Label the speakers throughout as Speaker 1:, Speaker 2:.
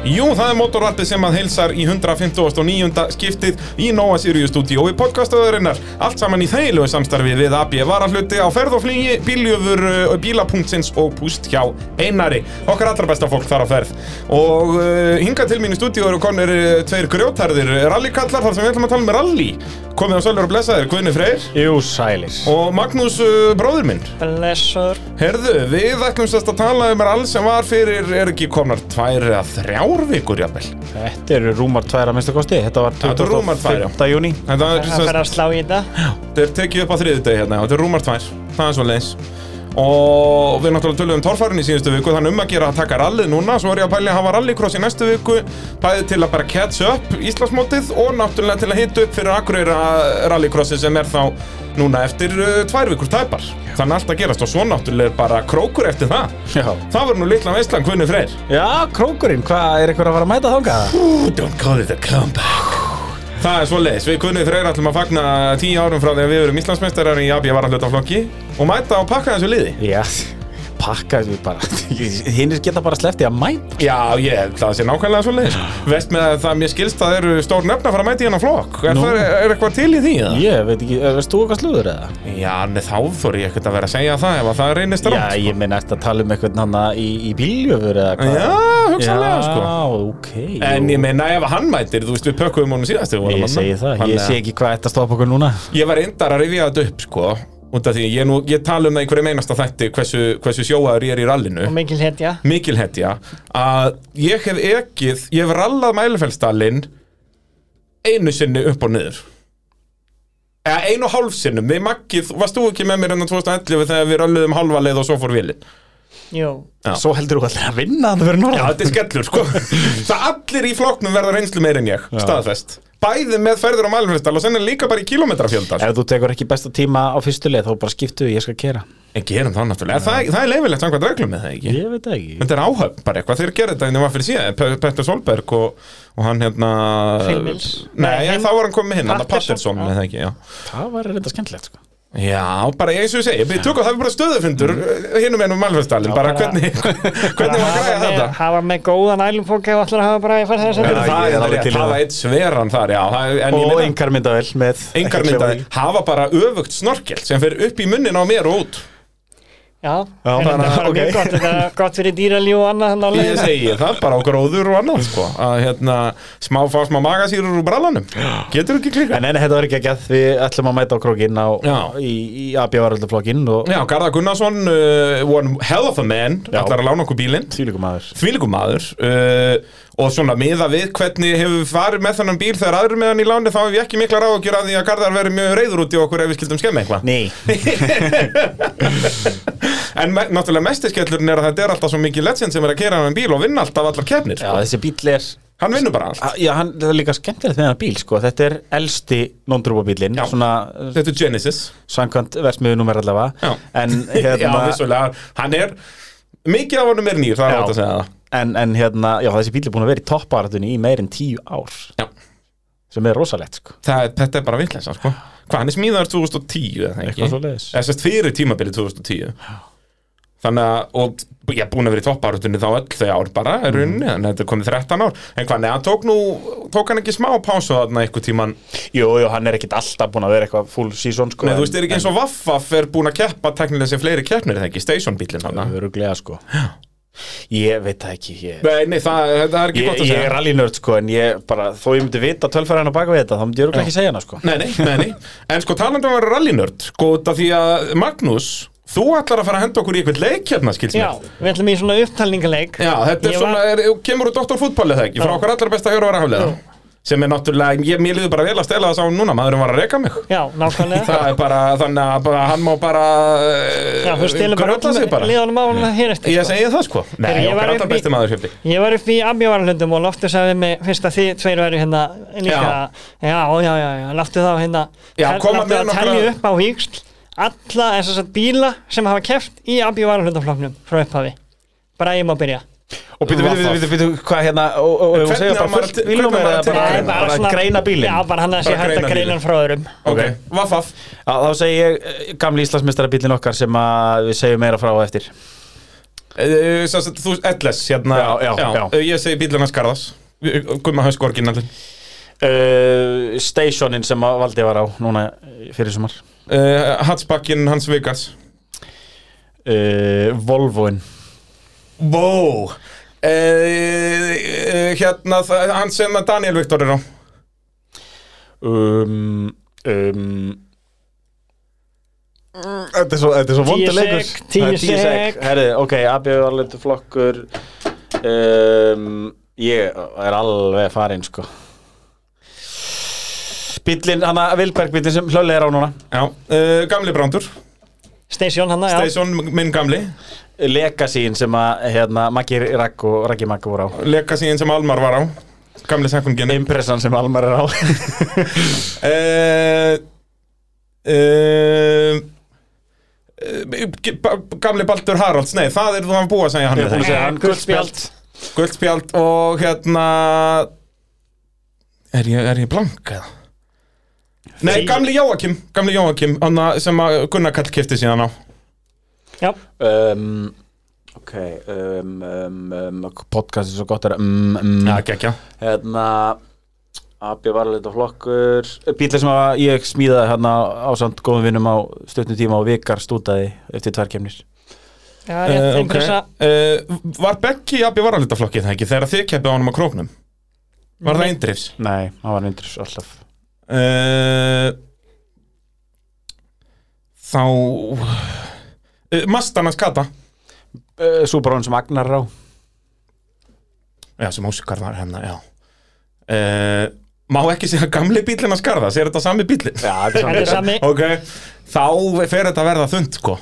Speaker 1: það er mótorvarpið sem að heilsar í 159. skiptið í Nóa Sirius stúdíó í podcastöðurinnar. Allt saman í þægilegu samstarfi við AB varahluti á ferð og flugi, bíljöfur, uh, bílapunktsins og púst hjá Einari. Okkar allra besta fólk þar á ferð. Og uh, hingað til mín í stúdíó eru konir uh, tveir grjótarðir, rallykallar þar sem við ætlum að tala um rally. Komið á Sölur og Blessaður, Guðni Freyr
Speaker 2: Jú, sælis
Speaker 1: og Magnús uh, bróður minn.
Speaker 3: Blessur
Speaker 1: Herðu, við ætlum sérst að tala um all sem var fyrir, er ekki komnar tvær eða þrjár vikur jafnvel.
Speaker 2: Þetta eru rúmar tværa minnstu kosti Þetta var
Speaker 1: Þetta eru rúmar tvær, já.
Speaker 2: 25. júni
Speaker 1: Þetta er,
Speaker 3: Það
Speaker 1: sérst,
Speaker 3: fer að slá í þetta
Speaker 1: þetta er tekið upp á þriðjudegi hérna, já, þetta er rúmar tvær, það er svo leins. Og við náttúrulega töluðum torfærin í síðustu viku, þannig um að gera að taka rallið núna, svo er ég að pæli að hafa rallycross í næstu viku, bæði til að bara catch up Íslandsmótið og náttúrulega til að hita upp fyrir akureyra rallycrossi sem er þá núna eftir uh, tvær vikur tæpar. Þannig að allt að gerast og svo náttúrulega er bara krókur eftir það.
Speaker 2: Já,
Speaker 1: Það var nú litla veistlan, Guðni Freyr.
Speaker 2: já krókurinn, hvað er eitthvað að fara að mæta þangað?
Speaker 1: Don't call it a comeback Það er svo leiðis, við kunnið freyr ætlum að fagna tíu árum frá því að við erum Íslandsmeistarar í AB varallutaflokki og mæta og pakka þessu liði
Speaker 2: Já, pakka þessu bara Hinnir geta bara sleftið að mæta
Speaker 1: Já, ég, það sé nákvæmlega svo leiðis Vest með að það mér skilst að það eru stór nöfn að fara að mæta í hennar flokk Er,
Speaker 2: Nú.
Speaker 1: það, er eitthvað til í því? eða?
Speaker 2: Ég veit ekki, er- veist þú eitthvað slúður eða?
Speaker 1: Já, en þá þóri ég ekkert að vera að segja það ef að það reynist
Speaker 2: Já,
Speaker 1: rátt
Speaker 2: ég minn eftir að tala um eitthvað hann í, í bíljöfur eða hvað
Speaker 1: Já, hugsanlega sko
Speaker 2: Já, ok
Speaker 1: En
Speaker 2: jú.
Speaker 1: ég meina ef að hann mætir, þú veist við pökkuðum honum síðast þegar við vorum
Speaker 2: Ég
Speaker 1: þarna.
Speaker 2: segi það, ég
Speaker 1: Þannig að-
Speaker 2: sé ekki hvað þetta stoppa okkur núna
Speaker 1: Ég var reyndar að rifja þetta upp sko út af því ég, nú, ég tala um það í hverju meinasta þætti hversu, hversu sjóaður ég er í rallinu
Speaker 3: og mikil hetja
Speaker 1: mikil hetja að ég hef ekið ég hef rallað mælefellstallinn einu sinni upp og niður eða einu og hálf sinnum við makkið, varst þú ekki með mér hérna enn 2011 þegar við ralluðum hálfa leið og svo fór vilin
Speaker 3: Jú
Speaker 1: Já.
Speaker 2: Svo heldur þú allir að vinna þannig fyrir
Speaker 1: Já,
Speaker 2: norðan
Speaker 1: þetta er skellur sko Það allir í flokknum verða reynslu meir en ég, staðfest Bæði með ferður á mælefellstall og sennan líka bara í kilometrafjöldar
Speaker 2: Ef þú tekur ekki besta tíma á fyrstu leið þá bara skiptu, ég skal kera
Speaker 1: En gerum það náttúrulega, það, það er leifilegt samkvæmt reglum með það ekki
Speaker 2: Ég veit það ekki
Speaker 1: Þetta er áhöfn bara eitthvað, þeir gerðu þetta en það var fyrir síðan, Pe- Petter Solberg og, og hann hérna
Speaker 3: Phil Mills.
Speaker 1: Nei,
Speaker 3: Nei,
Speaker 1: nei
Speaker 3: hinn-
Speaker 1: þá var hann komið hinn, hann
Speaker 3: Patterson,
Speaker 1: Patterson
Speaker 3: já.
Speaker 1: eða það ekki, já
Speaker 2: Það var reynda skemmtilegt sko.
Speaker 1: Já, bara eins og ég segi, við tökum það er bara stöðufundur
Speaker 2: Mm.
Speaker 1: eh, hinnum ennum Malfestalin, um bara
Speaker 2: bara-
Speaker 1: hvernig hvernig var að græja
Speaker 3: með,
Speaker 1: þetta
Speaker 3: hafa með góðan ælumfók ef allir hafa bara að fara þess að
Speaker 1: Það er
Speaker 2: Já, ég
Speaker 1: það,
Speaker 2: er
Speaker 1: það
Speaker 2: alveg
Speaker 1: er
Speaker 2: til í
Speaker 1: það
Speaker 2: það.
Speaker 1: var eitt sveran þar, já það- en ég
Speaker 2: Og
Speaker 1: meina,
Speaker 2: engar myndavel með
Speaker 1: engar myndaði hafa bara öfugt snorkel sem fer upp í munnin á mér og út
Speaker 3: Já,
Speaker 2: Já,
Speaker 3: en þetta
Speaker 2: bara,
Speaker 3: er bara
Speaker 2: ok.
Speaker 3: mjög gott Þetta er gott fyrir dýralíu og annað þannig á
Speaker 1: Ég
Speaker 3: leiðinni.
Speaker 1: segi það bara á gróður og annað sko, að hérna, smá fá smá magasýrur úr brallanum, getur ekki klika
Speaker 2: En enn þetta var ekki ekki að við ætlum að mæta á krókinn á,
Speaker 1: Já.
Speaker 2: í, í AB-varaldaflokkinn og
Speaker 1: Já, Garðar Gunnarsson, uh, one hell of a man,
Speaker 2: Já.
Speaker 1: ætlar að lána okkur bílinn,
Speaker 2: þvílíkum aður
Speaker 1: þvílíkum maður uh, og svona miða við hvernig hefur farið með þennan bíl þegar aðrir með hann í láni þá hef ég ekki mikla ráðugjur að því að Garðar verið mjög reyður út í okkur ef við skildum skemmi eitthvað.
Speaker 2: Nei,
Speaker 1: En me náttúrulega mestiskellurinn er að þetta er alltaf svo mikið legend sem er að kera hann bíl og vinna alltaf allar kefnir.
Speaker 2: já, þessi bíl er
Speaker 1: Hann vinnur bara allt.
Speaker 2: Ah, Já, hann, það er líka skemmtilegt með hann bíl sko. Þetta er elsti non-drupa bílinn
Speaker 1: Já.
Speaker 2: Svona
Speaker 1: Þetta er Genesis.
Speaker 2: svankvæmt versmiðunum er allavega
Speaker 1: Já.
Speaker 2: En
Speaker 1: Já,
Speaker 2: hérna,
Speaker 1: vissulega. Hann er, mikið af honum er nýr, það er
Speaker 2: Já.
Speaker 1: hægt að segja það.
Speaker 2: en, en hérna Já, þessi bíl er búin að vera í topparatunni í meir en tíu ár
Speaker 1: Já.
Speaker 2: Sem er rosalegt sko.
Speaker 1: Það, er- þetta er bara vitleisa, sko. Hvað, hann er smíðaður 2010 eða ekki?
Speaker 2: Eitthvað svo leiðis
Speaker 1: eða sérst fyrir tímabilið 2010 þannig að, og ég er búin að vera í topparutunni þá öll þau ár bara
Speaker 2: Mhm.
Speaker 1: er runni, þannig að þetta er komið 13 ár en hvað, neðan tók nú, tók hann ekki smá pásu þarna einhver tíman,
Speaker 2: Jú, jú, hann er ekkit alltaf búin að vera eitthvað full season sko,
Speaker 1: nei þú veist, er ekki eins og Vaffaf er búin að keppa teknilega sem fleiri keppnir er það ekki, stationbílinn hann
Speaker 2: Öruglega sko Ég veit það ekki Ég,
Speaker 1: nei, nei, það, það er ekki
Speaker 2: ég,
Speaker 1: gott að
Speaker 2: ég er
Speaker 1: segja
Speaker 2: rallynörd sko En ég bara, þó ég myndi vita tölfæraðan á baka við þetta Þá myndi ég öruglega ekki segja hana sko
Speaker 1: nei, nei, nei, nei, en sko talandi um að vera rallynörd, sko, út af því að Magnús, þú ætlar að fara að henda okkur í eitthvað leikjefna, skilst
Speaker 3: Já,
Speaker 1: mér
Speaker 3: við ætlum í svona upptalningaleik
Speaker 1: Já, þetta er
Speaker 3: Ég
Speaker 1: svona,
Speaker 3: var-
Speaker 1: er, kemur úr doktorfútballið það ekki, frá
Speaker 3: Já.
Speaker 1: okkar allra besta hér og vera haflega sem er náttúrulega, ég, mér liður bara vel að stela það sá núna, maðurinn var að reka mig
Speaker 3: Já, nákvæmlega
Speaker 1: það er bara, þannig að bara, hann má bara eh,
Speaker 3: Já, þú stilum bara
Speaker 1: grölla sig
Speaker 3: öllum liðanum á hana hér eftir
Speaker 1: ég segi það sko, nei,
Speaker 3: Heyrðu, ég var
Speaker 1: okkar
Speaker 3: upp
Speaker 1: allra
Speaker 3: í-
Speaker 1: besti maður hefði
Speaker 3: Ég var upp í ambjóvaralöndum og Loftur sagði mig fyrst að þið tveir væri hérna líka
Speaker 1: Já.
Speaker 3: Já, já, já, já, Loftur þá hérna
Speaker 1: Já,
Speaker 3: tel-
Speaker 1: koma
Speaker 3: láttu
Speaker 1: með
Speaker 3: að
Speaker 1: nokkra-
Speaker 3: telja upp á híksl alla þess að bíla sem hafa keft í ambjóvaralöndafloknum frá upphafi bara ég má byrja
Speaker 2: Og býtu, býtu, býtu, býtu, hvað hérna Og, og, og,
Speaker 1: Hvernig
Speaker 2: og segja
Speaker 1: á
Speaker 2: bara
Speaker 1: maður að-
Speaker 2: fullt
Speaker 1: hvernig á
Speaker 2: bílnúmer
Speaker 1: maður
Speaker 2: eða
Speaker 1: að
Speaker 2: bara,
Speaker 1: tilkynna?
Speaker 2: bara, greina bílinn
Speaker 3: Já, bara hann að sé
Speaker 1: Bara
Speaker 3: hægt
Speaker 1: greina
Speaker 3: að greina
Speaker 1: bílinn.
Speaker 3: hann frá öðrum
Speaker 1: ok, vaffaf
Speaker 2: Já, Þá segi ég eh, gamli Íslandsmeistarabílinn okkar Sem að við segjum meira frá á eftir
Speaker 1: Eh, sem sagt, Þú, Ellis, hérna
Speaker 2: Já, já, já.
Speaker 1: Eh, Ég segi bílinn hans Garðas Gumma Hausk orginallin
Speaker 2: uh, Stationin sem að Valdi var á núna eh, fyrir sumar
Speaker 1: uh, Hatsbakkin hans Vigars
Speaker 2: uh, Volvoin
Speaker 1: Vó uh, Hérna, það- hann sem að Daniel Viktor er á
Speaker 2: um, um, Þetta er svo, þetta er svo
Speaker 1: E
Speaker 2: vondur
Speaker 3: sek,
Speaker 2: leikur
Speaker 3: tíu
Speaker 2: Það er
Speaker 3: sek.
Speaker 2: Herri, ok, AB var litur flokkur um, Ég er alveg farinn sko Bíllinn, hann að Vilberg bíllinn sem hlöli er á núna
Speaker 1: Já, uh, gamli Brandur
Speaker 3: Station hann, já
Speaker 1: Stason, minn gamli
Speaker 2: Legacy-in sem að hérna, Maggi Rakk og Raggi Maggi voru á
Speaker 1: Leka síðan sem Almar var á Gamli sækungin uh,
Speaker 2: Impressan sem Almar er á
Speaker 1: Eh, uh, eh, Gamli Baldur Haralds Nei, það er þú að búa að segja hann
Speaker 2: Ég er búin að segja
Speaker 3: Eh,
Speaker 2: hann
Speaker 3: gult
Speaker 2: gult spjald
Speaker 1: Guldspjald og hérna Er ég, er ég blank eða? Nei,
Speaker 3: Nei.
Speaker 1: gamli Jóakim Gamli Jóakim, hann að- sem að Gunnar Kall kefti síðan á
Speaker 3: Já,
Speaker 2: um, Ok um, um, um, Podcast er svo gott er um, um,
Speaker 1: gekkja
Speaker 2: Hérna Abbi var alveg flokkur Bílar Eh, sem að ég smíðaði hérna á samt góðum vinnum á stöttnum tíma og vikar stútaði eftir tvær kemnir
Speaker 3: já,
Speaker 1: Eh,
Speaker 3: rétt, einhversa
Speaker 1: Var Beggi í Abbi varalitaflokki það ekki þegar þið keppið á honum á króknum? Var það
Speaker 3: Nei.
Speaker 1: eindrifs?
Speaker 2: Nei, hann var vindur alltaf
Speaker 1: Uh, þá uh, Mastana skata Eh,
Speaker 2: uh, Súbarón sem Agnar er á
Speaker 1: Já, sem ósikar var hennar, já uh, Má ekki segja gamli bílinn að skarða, segir þetta sami bílinn?
Speaker 2: Já, þetta
Speaker 3: Þetta er sami
Speaker 1: Ok, þá fer þetta að verða þund, sko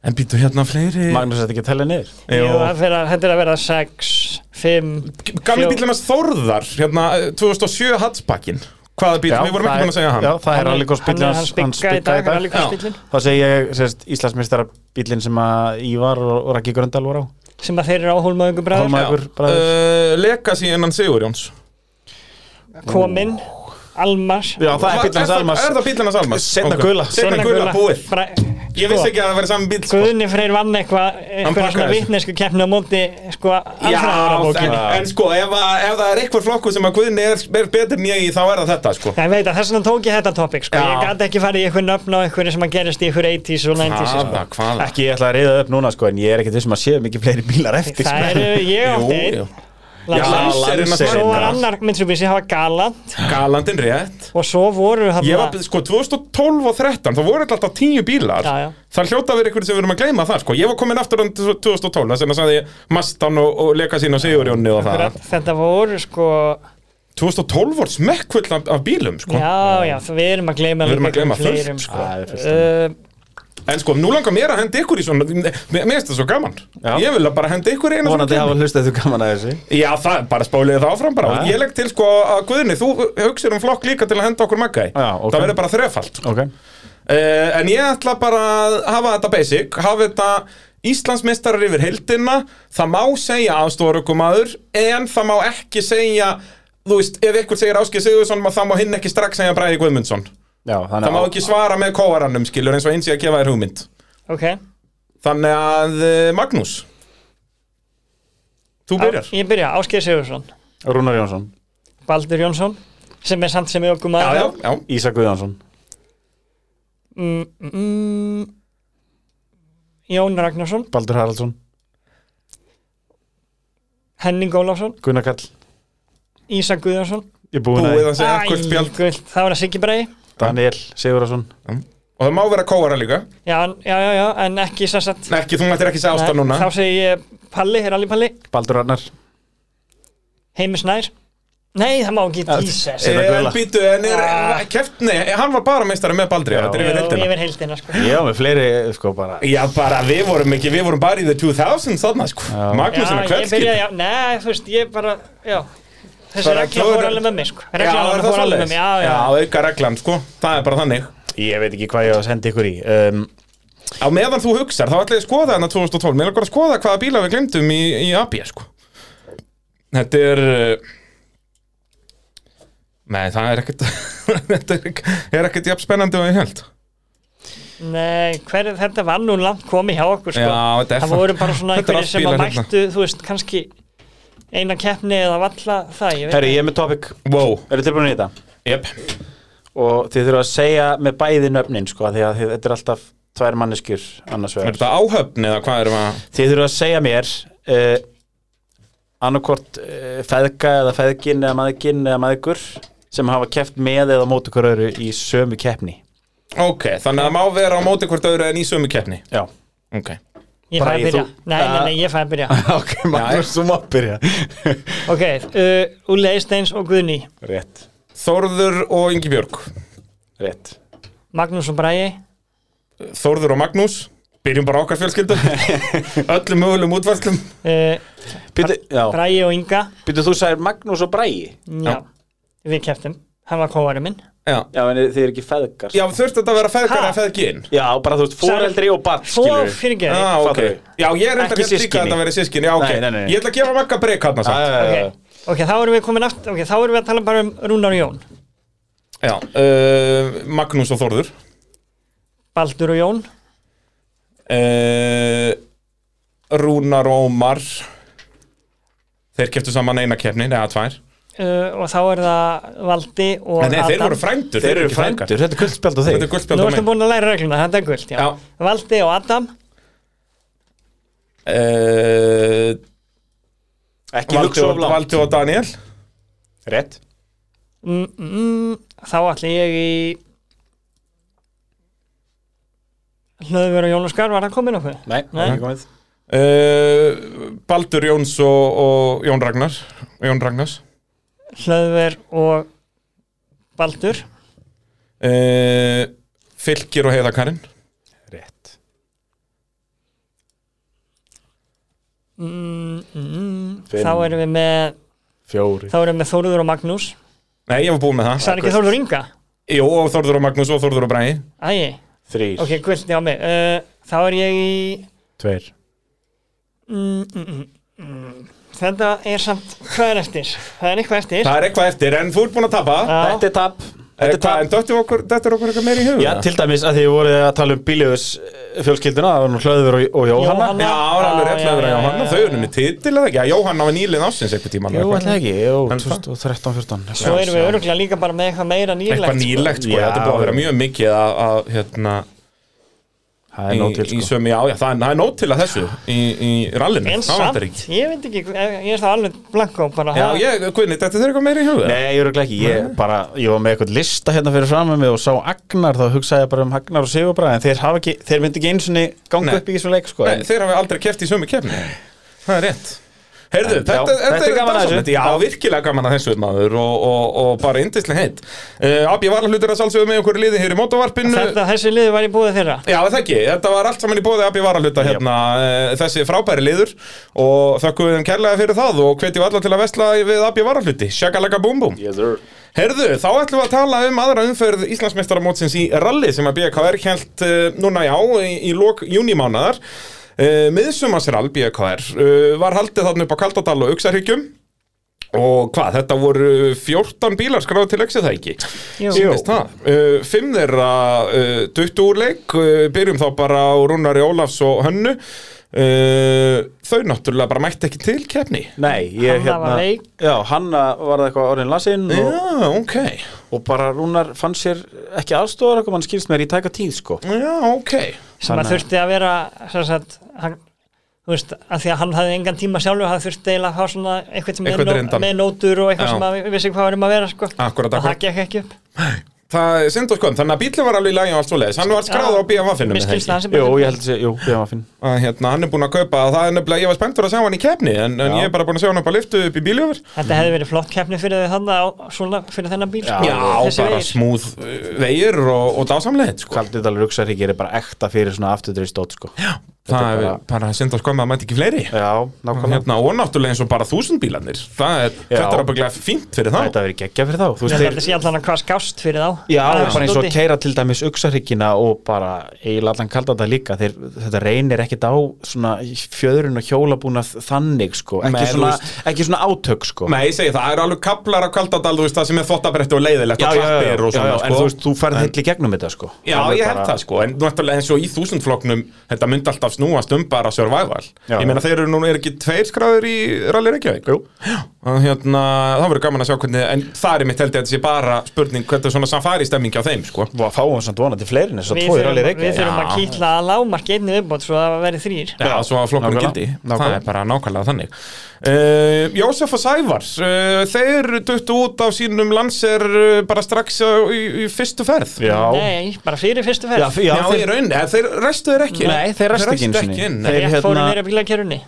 Speaker 1: En býtu hérna fleiri
Speaker 2: Magnús þetta ekki að tella niður
Speaker 3: Jú,
Speaker 1: Jú.
Speaker 3: það fer að- Þetta er að vera 6, 5
Speaker 1: Gamli bílum hans Þórðar, hérna, eh, 2007 Hatsbakkin Hvaða bíl, við vorum
Speaker 2: það
Speaker 1: ekki búin að segja hann
Speaker 2: Já, það er alveg góð spillin
Speaker 3: Hann spikka í dag, hann er líka
Speaker 1: Já.
Speaker 3: spillin
Speaker 2: Þá segi ég sérst, Íslandsmeistara bílinn sem að Ívar og, og Raggi Gröndal voru á
Speaker 3: sem að þeir eru á Hólmaðungu bræður
Speaker 2: Hólmavíkur bræður
Speaker 1: uh, Leka síðan hann Sigurjóns
Speaker 3: kominn, Almars
Speaker 2: Já, það er bílinn hans Almas
Speaker 1: Er það bílinn hans Almas?
Speaker 2: Seinna
Speaker 1: Ok.
Speaker 2: gula.
Speaker 1: Seinna
Speaker 3: Seinna
Speaker 1: gula,
Speaker 3: gula.
Speaker 1: búið
Speaker 3: Bra-
Speaker 1: Ég
Speaker 3: sko,
Speaker 1: vissi ekki að það væri saman bíl, sko
Speaker 3: Guðni Freyr vann eitthvað eitthvað
Speaker 1: pakkaði
Speaker 3: svona
Speaker 1: þessu.
Speaker 3: vitnesku keppni á móti sko
Speaker 1: Já, en,
Speaker 3: alfræðarabókinni
Speaker 1: en sko, ef, að- ef það er eitthvað flokku sem að Guðni er, er betur en ég í, þá er það þetta, sko
Speaker 3: Já, ég veit að þess vegna tók ég þetta topic sko.
Speaker 1: Já.
Speaker 3: Ég gat ekki farið í eitthvað nöfn á eitthvað sem að gerist í eitthvað 80s og 90s sko.
Speaker 1: Hvaða, hvaða
Speaker 2: Ekki ég ætla að reyða upp núna sko En ég er ekkit vissum að séu mikið fleiri bílar eftir
Speaker 3: Það
Speaker 2: sko.
Speaker 3: eru ég
Speaker 1: Jú,
Speaker 3: átti einn
Speaker 1: jú
Speaker 3: Landsins.
Speaker 2: Landsins.
Speaker 3: Svo var
Speaker 2: Já.
Speaker 3: annar Mitsubishi, það var Galant
Speaker 1: Galandin rétt
Speaker 3: Og svo voru
Speaker 1: Ég
Speaker 3: þarna
Speaker 1: var, sko, 2012 og 13 þá voru þetta alltaf tíu bílar
Speaker 3: Já, já.
Speaker 1: Það hljóta að vera ykkur sem við erum að gleyma það, sko Ég var komin aftur hann 2012 þess vegna sagði ég Mastan og, og leka sín og Sigurjónni og það
Speaker 3: Þetta voru sko
Speaker 1: 2012 voru smekkfull af, af bílum, sko
Speaker 3: Já, já, þú- við erum að gleyma
Speaker 1: Við erum að
Speaker 3: líka
Speaker 1: gleyma fullt,
Speaker 3: fleirum,
Speaker 1: sko.
Speaker 3: sko.
Speaker 2: Það er fullt.
Speaker 3: Uh,
Speaker 1: En sko, nú langar mér að henda ykkur í svona Mér mér finnst það svo gaman
Speaker 2: Já.
Speaker 1: Ég vil að bara henda ykkur í eina svona
Speaker 2: Vonandi hafa hlustað þú gaman að þessu
Speaker 1: Já, það er bara spáliðið það áfram bara
Speaker 2: Já.
Speaker 1: Ég legg til, sko, að Guðni, þú hugsir um flokk líka til að henda okkur magga í
Speaker 2: Já, ok.
Speaker 1: Það verður bara þrefalt, sko
Speaker 2: Ok
Speaker 1: Uh, en ég ætla bara að hafa þetta basic, hafa þetta Íslandsmeistarar yfir heildina, það má segja aðstofarökumadur, en það má ekki segja, þú veist, ef ykkur segir Áskei Sigurðsson, ma- þá má hinn ekki strax segja Bræði Guðmundsson.
Speaker 2: Já, þannig
Speaker 1: Það má ekki svara með kóarannum, skilur, eins og eins ég að gefa þér hugmynd.
Speaker 3: Uh, ok
Speaker 1: Þannig að, eh, Magnús, þú byrjar.
Speaker 3: Ég byrja, Ásgeir Sigursson
Speaker 2: Rúnar Jónsson
Speaker 3: Baldur Jónsson sem er samt sem ég
Speaker 1: Já,
Speaker 3: okkur maður
Speaker 1: já, já.
Speaker 2: Ísa Guðjónsson
Speaker 3: Mm, mm, mm. Jón Ragnarsson
Speaker 2: Baldur Haraldsson
Speaker 3: Henning Ólafsson
Speaker 2: Gunnar Kall
Speaker 3: Ísa Guðjónsson
Speaker 2: Ég búin að
Speaker 1: Búið að segja
Speaker 3: Æ,
Speaker 1: hvort spjald
Speaker 3: gult. það var að Siggi Brei
Speaker 2: Daniel Sigurðarsson
Speaker 1: og það má vera kóara líka.
Speaker 3: já, en- já, já, já, en ekki sem sagt
Speaker 1: Nei, Ekki, þú mættir ekki segja ásta
Speaker 3: Nei,
Speaker 1: núna.
Speaker 3: þá segi ég Palli, hér alveg Palli
Speaker 2: Baldur Arnar
Speaker 3: Heimi Snær nei, það má ekki,
Speaker 2: Já,
Speaker 3: Jesus
Speaker 2: Seinna
Speaker 1: Eh, En
Speaker 2: gula.
Speaker 1: býtu, en er,
Speaker 3: Ah.
Speaker 1: keppni, hann var bara meistari með Baldri,
Speaker 2: Já.
Speaker 1: þetta er
Speaker 3: Jú,
Speaker 1: yfir heildina.
Speaker 3: yfir heildina sko.
Speaker 2: Ég á með fleiri sko bara
Speaker 1: Já, bara við vorum ekki, við vorum bara í the 2000 þarna, sko.
Speaker 2: Já.
Speaker 1: Magnúsin að
Speaker 3: ég byrja,
Speaker 1: kveldskip.
Speaker 3: já, nei, þú veist, ég bara já, þessi
Speaker 1: Bara
Speaker 3: regla
Speaker 1: klóra-
Speaker 3: fór alveg með mig sko.
Speaker 1: Já,
Speaker 3: regla
Speaker 1: er það
Speaker 3: fór alveg með
Speaker 1: svoleiðis?
Speaker 3: mig, já, já,
Speaker 1: Já, auka reglan, sko. Það er bara þannig.
Speaker 2: Ég veit ekki hvað ég á að senda ykkur í um,
Speaker 1: Á meðan þú hugsar, þá ætla ég að skoða þarna 2012. Mér langar að skoða hvaða bíla við glemdum í, í AB, sko. Þetta er... uh, Nei, það er ekkert, þetta er, ekk- er ekkert jafn spennandi og ég held.
Speaker 3: Nei, hver, þetta var nú langt komið hjá okkur sko.
Speaker 1: Já, þetta er
Speaker 3: Það
Speaker 1: það.
Speaker 3: voru bara svona
Speaker 1: Þetta er
Speaker 3: einhverjir
Speaker 1: allt
Speaker 3: sem að
Speaker 1: bílar hérna.
Speaker 3: mættu Þú veist, kannski eina keppni eða valla það ég veit
Speaker 2: Herri, ég er með topic
Speaker 1: Wow,
Speaker 2: Eru tilbúin í þetta?
Speaker 1: jep
Speaker 2: Og þið þurfa að segja með bæði nöfnin sko af Því að þið- þetta er alltaf tvær manneskjur annars
Speaker 1: Er
Speaker 2: vegar
Speaker 1: þetta áhöfn eða hvað erum að
Speaker 2: Þið þurfa að segja mér uh, annarkvort uh, feðka eða feðgin eða maðurgin eða maðurgur sem hafa keft með eða móti hver öru í sömu keppni
Speaker 1: Ok, þannig að það má vera á móti hvort öðru en í sömu keppni
Speaker 2: Já
Speaker 1: Ok
Speaker 3: Ég fæ
Speaker 2: Bragi,
Speaker 3: að byrja
Speaker 2: þú-
Speaker 3: Nei, nei, nei, ég fæ að byrja
Speaker 2: Ok, Magnús, þú mátt byrja
Speaker 3: Ok, uh, Úli Eisteins og Guðni
Speaker 2: Rétt,
Speaker 1: Þórður og Ingi Björg
Speaker 2: rétt
Speaker 3: Magnús og Bragi
Speaker 1: Þórður og Magnús Byrjum bara á okkar fjölskyldu Öllum mögulegum útvarslum
Speaker 3: uh,
Speaker 2: Býtu, já,
Speaker 3: Bragi og Inga
Speaker 2: býtu þú sagðir Magnús og Bræi
Speaker 3: Já, við keftum Hann var kóari minn
Speaker 1: Já,
Speaker 2: Já, en þið eru ekki feðgar
Speaker 1: Já þurfti þetta að vera feðgar
Speaker 3: Ha?
Speaker 1: eða feðgin
Speaker 2: Já, bara þú veist, fóreldri og barn,
Speaker 3: Svo
Speaker 2: skilur
Speaker 3: fyrir
Speaker 1: Já,
Speaker 3: gerði
Speaker 1: Ah, ok
Speaker 2: Fattar við.
Speaker 1: Já, ég er
Speaker 2: Ekki
Speaker 1: enda hér líka
Speaker 2: systkini.
Speaker 1: að þetta verið sískin Já, ok
Speaker 2: Nei, nei, nei, nei.
Speaker 1: Ég ætla að gefa makka breyk hann að sagt
Speaker 3: okay. ok, þá erum við komin aftur Ok, þá erum við að tala bara um Rúnar og Jón
Speaker 1: Já, uh, Magnús og Þórður
Speaker 3: Baldur og Jón
Speaker 1: uh, Rúnar og Ómar Þeir keftu saman eina keppni, neða tvær
Speaker 3: uh, og þá er það Valdi og
Speaker 1: Nei, nei, þeir voru
Speaker 3: Adam
Speaker 1: frændur
Speaker 2: Þeir eru
Speaker 1: ekki feðgar.
Speaker 2: frændur, þetta er kvöldspjald á þig
Speaker 1: Þetta er guldspjald
Speaker 3: Nú
Speaker 1: á
Speaker 3: ertu
Speaker 1: mig
Speaker 3: búin að læra regluna, þetta er gult já.
Speaker 1: Já.
Speaker 3: Valdi og Adam
Speaker 1: uh,
Speaker 2: Ekki
Speaker 1: Valdi,
Speaker 2: hugsa
Speaker 1: og,
Speaker 2: of langt
Speaker 1: Valdi og Daniel
Speaker 2: Rétt
Speaker 3: mm, mm, Þá ætli ég í Hlöðver og Jónaskar Var það komin okkur?
Speaker 2: Nei,
Speaker 3: Nei.
Speaker 2: ekki komið
Speaker 1: uh, Baldur Jóns og, og Jón Ragnar Jón Ragnars
Speaker 3: Hlöðver og Baldur
Speaker 1: uh, Fylgir og Heiðakarinn
Speaker 2: Rétt
Speaker 3: mm, mm,
Speaker 2: Fimm.
Speaker 3: Þá erum við með
Speaker 2: Fjóri
Speaker 3: Þá erum við með Þóruður og Magnús
Speaker 1: Nei, ég var búinn með það
Speaker 3: Það er ekki
Speaker 2: gult.
Speaker 3: Þóruður Inga?
Speaker 1: Jú, og Þórður og Magnús og Þórður og Bræði
Speaker 3: Æi,
Speaker 2: Þrýr
Speaker 3: ok, gult, já mig uh, Þá er ég í
Speaker 2: Tveir
Speaker 3: mm, mm, mm, mm. Þetta er samt Hvað er eftir? Það er eitthvað eftir
Speaker 1: Það er eitthvað eftir, en þú ert búinn að tapa
Speaker 3: Já.
Speaker 2: Þetta er tap Þetta
Speaker 1: Eh, Er
Speaker 2: er
Speaker 1: eitthvað,
Speaker 2: tap
Speaker 1: en döttu okkur, döttu okkur eitthvað meir í huga
Speaker 2: Já, til dæmis að þið voruð að tala um Bíliðus fjölskylduna, það var nú Hlöður og, og Jóhanna
Speaker 3: Jóhanna.
Speaker 1: Já, það er alveg rétt
Speaker 3: Já,
Speaker 1: með
Speaker 3: já,
Speaker 1: vera
Speaker 3: já,
Speaker 1: Jóhanna,
Speaker 3: já,
Speaker 1: þau
Speaker 3: já.
Speaker 1: eru nýtt titil eða ekki Já, Jóhanna var nýlið ásins eitthvað tíma
Speaker 2: Jú, ætla ekki, jú,
Speaker 1: En það?
Speaker 2: 2013, 14
Speaker 3: Svo erum við öruglega líka bara með eitthvað meira nýlegt
Speaker 1: Eitthvað nýlegt, sko,
Speaker 2: Já.
Speaker 1: þetta er búið að vera mjög mikið að, að hérna,
Speaker 2: Það er
Speaker 1: í,
Speaker 2: nóg til,
Speaker 1: í
Speaker 2: sko
Speaker 1: sömu, já, já, það er, það er nót til að þessu í, í rallinu,
Speaker 3: En
Speaker 1: það
Speaker 3: samt,
Speaker 1: vantar ekki
Speaker 3: ég veit ekki, ég er það alveg blanko bara
Speaker 1: Já,
Speaker 3: það-
Speaker 1: ég, Guðni, þetta er eitthvað meira í huga
Speaker 2: Nei, ég öruglega ekki, ég bara, ég var með eitthvað lista hérna fyrir framum mig og sá Agnar, þá hugsaði ég bara um Agnar og Sigur bara, en þeir hafa ekki, þeir myndi ekki einu sinni ganga
Speaker 1: Nei.
Speaker 2: upp í þessum leik, sko
Speaker 1: Nei, þeir hafa aldrei keft í sömu kefni Það er rétt Heyrðu,
Speaker 2: En-
Speaker 1: þetta,
Speaker 2: já,
Speaker 1: þetta,
Speaker 2: þetta er gaman að
Speaker 1: dásamlegt.
Speaker 2: þessu.
Speaker 1: Já, virkilega gaman að þessu maður og, og, og bara yndislega heitt uh, Abbi Varahlutur að sálsögum með okkur í liði hér í mótovarpinu
Speaker 3: Þetta, þessi liði var í búið þeirra
Speaker 1: Já, það ekki, þetta var allt saman í bóði Abbi Varahluta hérna, uh, þessi frábæri liður og þökkum við þeim kærlega fyrir það og hvetjum alla til að vesla við Abbi Varahluti Shakalega búm búm
Speaker 2: Yes, sir
Speaker 1: Herðu, þá ætlum við að tala um aðra umferð Íslandsmeistaramótsins í rally sem að BKR held uh, núna já í, í lok júnimánaðar uh, miðsumasrall BKR uh, var haldið þarna upp á Kaldadal og Uxarhyggjum og hvað, þetta voru 14 bílar skráðu til auksið það ekki
Speaker 3: Jú.
Speaker 1: Sýnist það. Uh, Fimm þeirra uh, duttu úr leik uh, byrjum þá bara á Rúnari Ólafs og Hönnu uh, þau náttúrulega bara mætti ekki til keppni
Speaker 2: Nei, ég hérna-
Speaker 3: Hanna var veik.
Speaker 2: Já, Hanna var það eitthvað orðin lasinn og,
Speaker 1: Já, ok
Speaker 2: og bara Rúnar fann sér ekki aðstofar okkur, mann skilst mér í tæka tíð, sko
Speaker 1: Já, ok
Speaker 3: sem að
Speaker 2: Þannig að-
Speaker 3: þurfti að vera sem sagt, hann, þú veist, að því að hann hafði engan tíma sjálfur, hann þurfti eiginlega að hafa svona eitthvað sem
Speaker 1: Eitthvað
Speaker 3: með,
Speaker 1: reyndan.
Speaker 3: með nótur og eitthvað
Speaker 1: Já.
Speaker 3: sem að við vissi hvað varum að vera sko.
Speaker 1: Akkúrat,
Speaker 3: og
Speaker 1: akkúrat.
Speaker 3: það gekk ekki upp
Speaker 1: Það er synd og skoðum, þannig að bílinn var alveg í lagi og allt svo leiðis Hann var skráður á BMF-innum
Speaker 3: Mér skilst það sem
Speaker 2: Jú, ég held að sé, jú, ég var finn
Speaker 1: hérna, Hann er búinn að kaupa, það er nefnilega, ég var spenntur að sjá hann í keppni En, en
Speaker 2: Já.
Speaker 1: ég er bara búinn að sjá hann upp á liftu upp í bíljöfur
Speaker 3: Þetta hefði verið flott keppni fyrir þau þannig á, svona, fyrir þennan bíl sko.
Speaker 1: Já,
Speaker 3: Þessi
Speaker 1: bara
Speaker 3: vegir.
Speaker 1: smúð uh, vegir og, og dásamlegið sko.
Speaker 2: Kaldidal Ruksarík er bara ekta fyrir svona afturdreistótt, sko Já,
Speaker 1: Það er bara, synd og skoðum að mæti ekki fleiri
Speaker 2: Já, nákvæmlega
Speaker 1: hérna, Og náttúrulega eins og bara þúsund bílarnir Það er,
Speaker 2: Já.
Speaker 1: Þetta er ábygglega fínt fyrir þá
Speaker 2: Þetta verið geggja fyrir þá Þú veist,
Speaker 3: Ég held að þetta
Speaker 2: þeir,
Speaker 3: sé allan að hvað skást fyrir þá
Speaker 2: Já,
Speaker 3: Bara
Speaker 2: bara eins og
Speaker 3: dóti.
Speaker 2: keira til dæmis uksarhyggina og bara eiginlega allan kaldan það líka þeir, þetta reynir ekkit á svona fjöðrun og hjólabúna þannig sko, ekki,
Speaker 1: Nei, þú
Speaker 2: svona,
Speaker 1: veist-
Speaker 2: ekki svona átök sko
Speaker 1: Nei, ég segi það, það er alveg kaplar af kaldadal, þú veist, það sem er þvottabretti og leiðilegt og klappir og svona,
Speaker 2: en
Speaker 1: sko.
Speaker 2: þú veist, þú ferð hill í gegnum þetta sko
Speaker 1: Já,
Speaker 2: Alveg
Speaker 1: ég held
Speaker 2: bara-
Speaker 1: það sko, en náttúrulega eins og í þúsundfloknum þetta myndi alltaf snúast um bara survival
Speaker 2: Já.
Speaker 1: Ég meina þeir eru nú, er ekki tveir skráður í Rally Reykjavík? Jú Og hérna, það verður gaman að sjá hvernig, en það er mitt held ég að þetta sé bara spurning hvernig er svona safari stemming á þeim sko
Speaker 2: og að fáum samt vonandi fleirin þess að
Speaker 3: Við
Speaker 2: tvo er alveg
Speaker 3: þurfum, við
Speaker 2: reykja
Speaker 3: þurfum að kýtla að lámarki einni viðbót svo að það verði þrýr
Speaker 1: Já, svo að flokkur
Speaker 2: nákvæmlega,
Speaker 1: gildi, það
Speaker 2: nákvæmlega.
Speaker 1: er bara nákvæmlega þannig uh, Jósef og Sævar, uh, þeir duttu út af sínum landser uh, bara strax uh, í, í fyrstu ferð
Speaker 2: já,
Speaker 3: Nei, bara fyrir
Speaker 2: já,
Speaker 3: fyrstu ferð
Speaker 2: f- já
Speaker 1: Já, í
Speaker 2: þeir,
Speaker 1: rauninni, en þeir restu þeir ekki
Speaker 2: Nei, þeir restu ekki einu sinni.
Speaker 1: inn,
Speaker 2: Þeir-
Speaker 1: nei.
Speaker 3: Rétt
Speaker 2: hérna-
Speaker 3: fórum neyra bílakerunni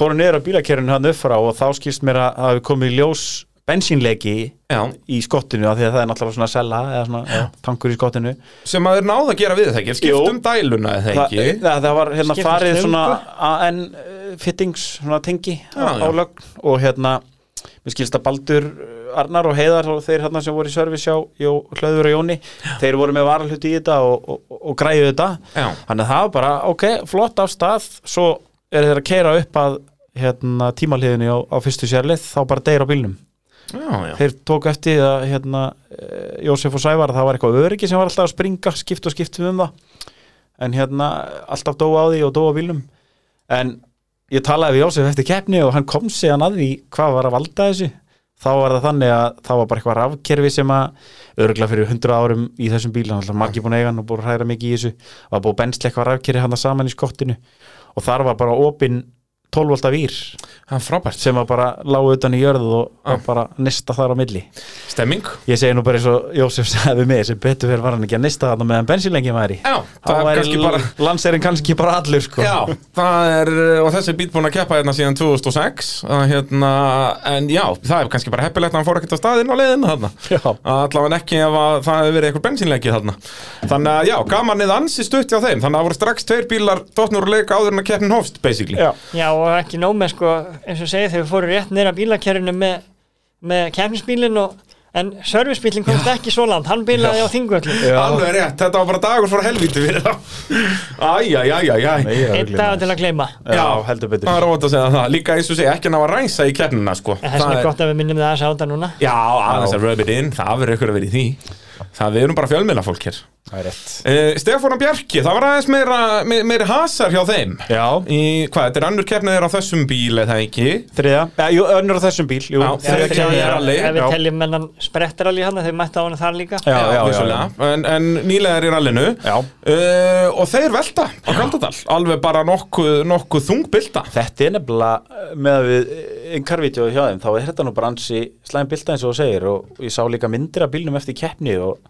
Speaker 2: fóru niður á bílakerinu hann upp frá og þá skýrst mér að það hafi komið í ljós bensínleiki
Speaker 1: Já,
Speaker 2: í skottinu af því að það er náttúrulega svona sella eða svona já, tankur í skottinu
Speaker 1: sem að þeir náðu að gera við það ekki,
Speaker 2: Jú.
Speaker 1: skiptum dæluna eða
Speaker 2: Þa,
Speaker 1: ekki
Speaker 2: það, það var hérna
Speaker 3: Skipta
Speaker 2: farið
Speaker 3: slöngu.
Speaker 2: svona AN eh, fittings svona tengi á,
Speaker 1: já.
Speaker 2: á lögn og hérna mér skilst að Baldur eh, Arnar og Heiðar og þeir hérna sem voru í service hjá Jó, Hlöður og Jóni, þeir voru með varalhuti í þetta og, og, og, og græðu þetta
Speaker 1: Já.
Speaker 2: þannig að það var bara, ok, flott af stað svo er þeir að keira upp að hérna, tímalíðinu á, á fyrstu sérlið þá bara deyr á bílnum
Speaker 1: Já, já,
Speaker 2: þeir tók eftir að hérna, eh, Jósef og Sævar, það var eitthvað öryggi sem var alltaf að springa, skipt og skipt um það en hérna, alltaf dóa á því og dóa á bílnum en ég talaði við Jósef eftir keppni og hann kom síðan að því hvað var að valda þessu þá var það þannig að það var bara eitthvað rafkerfi sem að örgla fyrir 100 árum í þessum bíl, hann alltaf maggi búin að eiga hann og búin að hræra mikið í þessu, var búin að bensla eitthvað rafkerfi hann saman í skottinu og þar var bara opin 12 volta vír
Speaker 1: það er frábært
Speaker 2: sem að bara lágu utan í jörðu og ah. bara nista þar á milli
Speaker 1: Stemming
Speaker 2: ég segi nú bara eins og Jósef sagði við mig sem betur fyrir var hann ekki að nista þarna meðan bensínlengi væri
Speaker 1: Já,
Speaker 2: þá
Speaker 1: það er
Speaker 2: væri
Speaker 1: kannski bara
Speaker 2: landserinn kannski bara allur sko
Speaker 1: Já, það er, uh, og þessi bít búin að keppa hérna síðan 2006 að, hérna, En já, það er kannski bara heppilegt að hann fór ekkert á staðinn á leiðinu þarna
Speaker 2: Já.
Speaker 1: Að Allavega ekki ef að það hefur verið eitthvað bensínleikið þarna Þannig að já, gamanið ansi stutt hjá þeim Þannig að það voru strax tveir bílar dottnur að leika áður en að keppnin hófst, basically
Speaker 2: Já.
Speaker 3: Já, og ekki nóg með sko, eins og segið þau fóru rétt neyra bílakerunni með, með kefnisbílinn og en servicebílinn komst ekki svo land, hann bílaði á þingvöldum
Speaker 1: Alveg rétt, þetta var bara dagur frá helvíti fyrir það Æjæjæjæjæ
Speaker 2: Nei, ég er að gleyma
Speaker 3: Einn dag
Speaker 2: þessu.
Speaker 3: til að gleyma
Speaker 2: Já, heldur betur
Speaker 1: Það er óvænt að segja það, líka eins og segja ekki að ná að rænsa í keppnina sko
Speaker 3: En það er svona gott að við minnum það að sjáta núna
Speaker 1: Já, aðeins að rub it in, það verður ykkur að vera í því Það við erum bara fjölmiðla fólk hér
Speaker 2: Það er rétt
Speaker 1: uh, Stefán og Bjarki, það var aðeins meira, me- meiri hasar hjá þeim
Speaker 2: Já,
Speaker 1: í, Hvað, þetta er annur keppnið þeirra á þessum bíl eða ekki
Speaker 2: þriða, ja, jú, önnur á þessum bíl jú,
Speaker 1: Já,
Speaker 2: þriðja
Speaker 1: þriðja
Speaker 2: keppni.
Speaker 1: keppni er rally.
Speaker 3: Ef við
Speaker 2: Já.
Speaker 3: teljum mennan sprettaralli hann þau mættu á hann þar líka
Speaker 2: Já, já, já, já.
Speaker 1: vissulega. En, en nýlega er í rallinu
Speaker 2: Já.
Speaker 1: Eh, Og þeir velta á Kaldadal Alveg bara nokkuð nokku þungbylta
Speaker 2: Þetta er nefnilega eh, með að við einhver vítjóðu hjá þeim, þá er þetta nú bara ansi slæm bylta eins og þú segir og ég sá líka myndir af bílnum eftir keppni og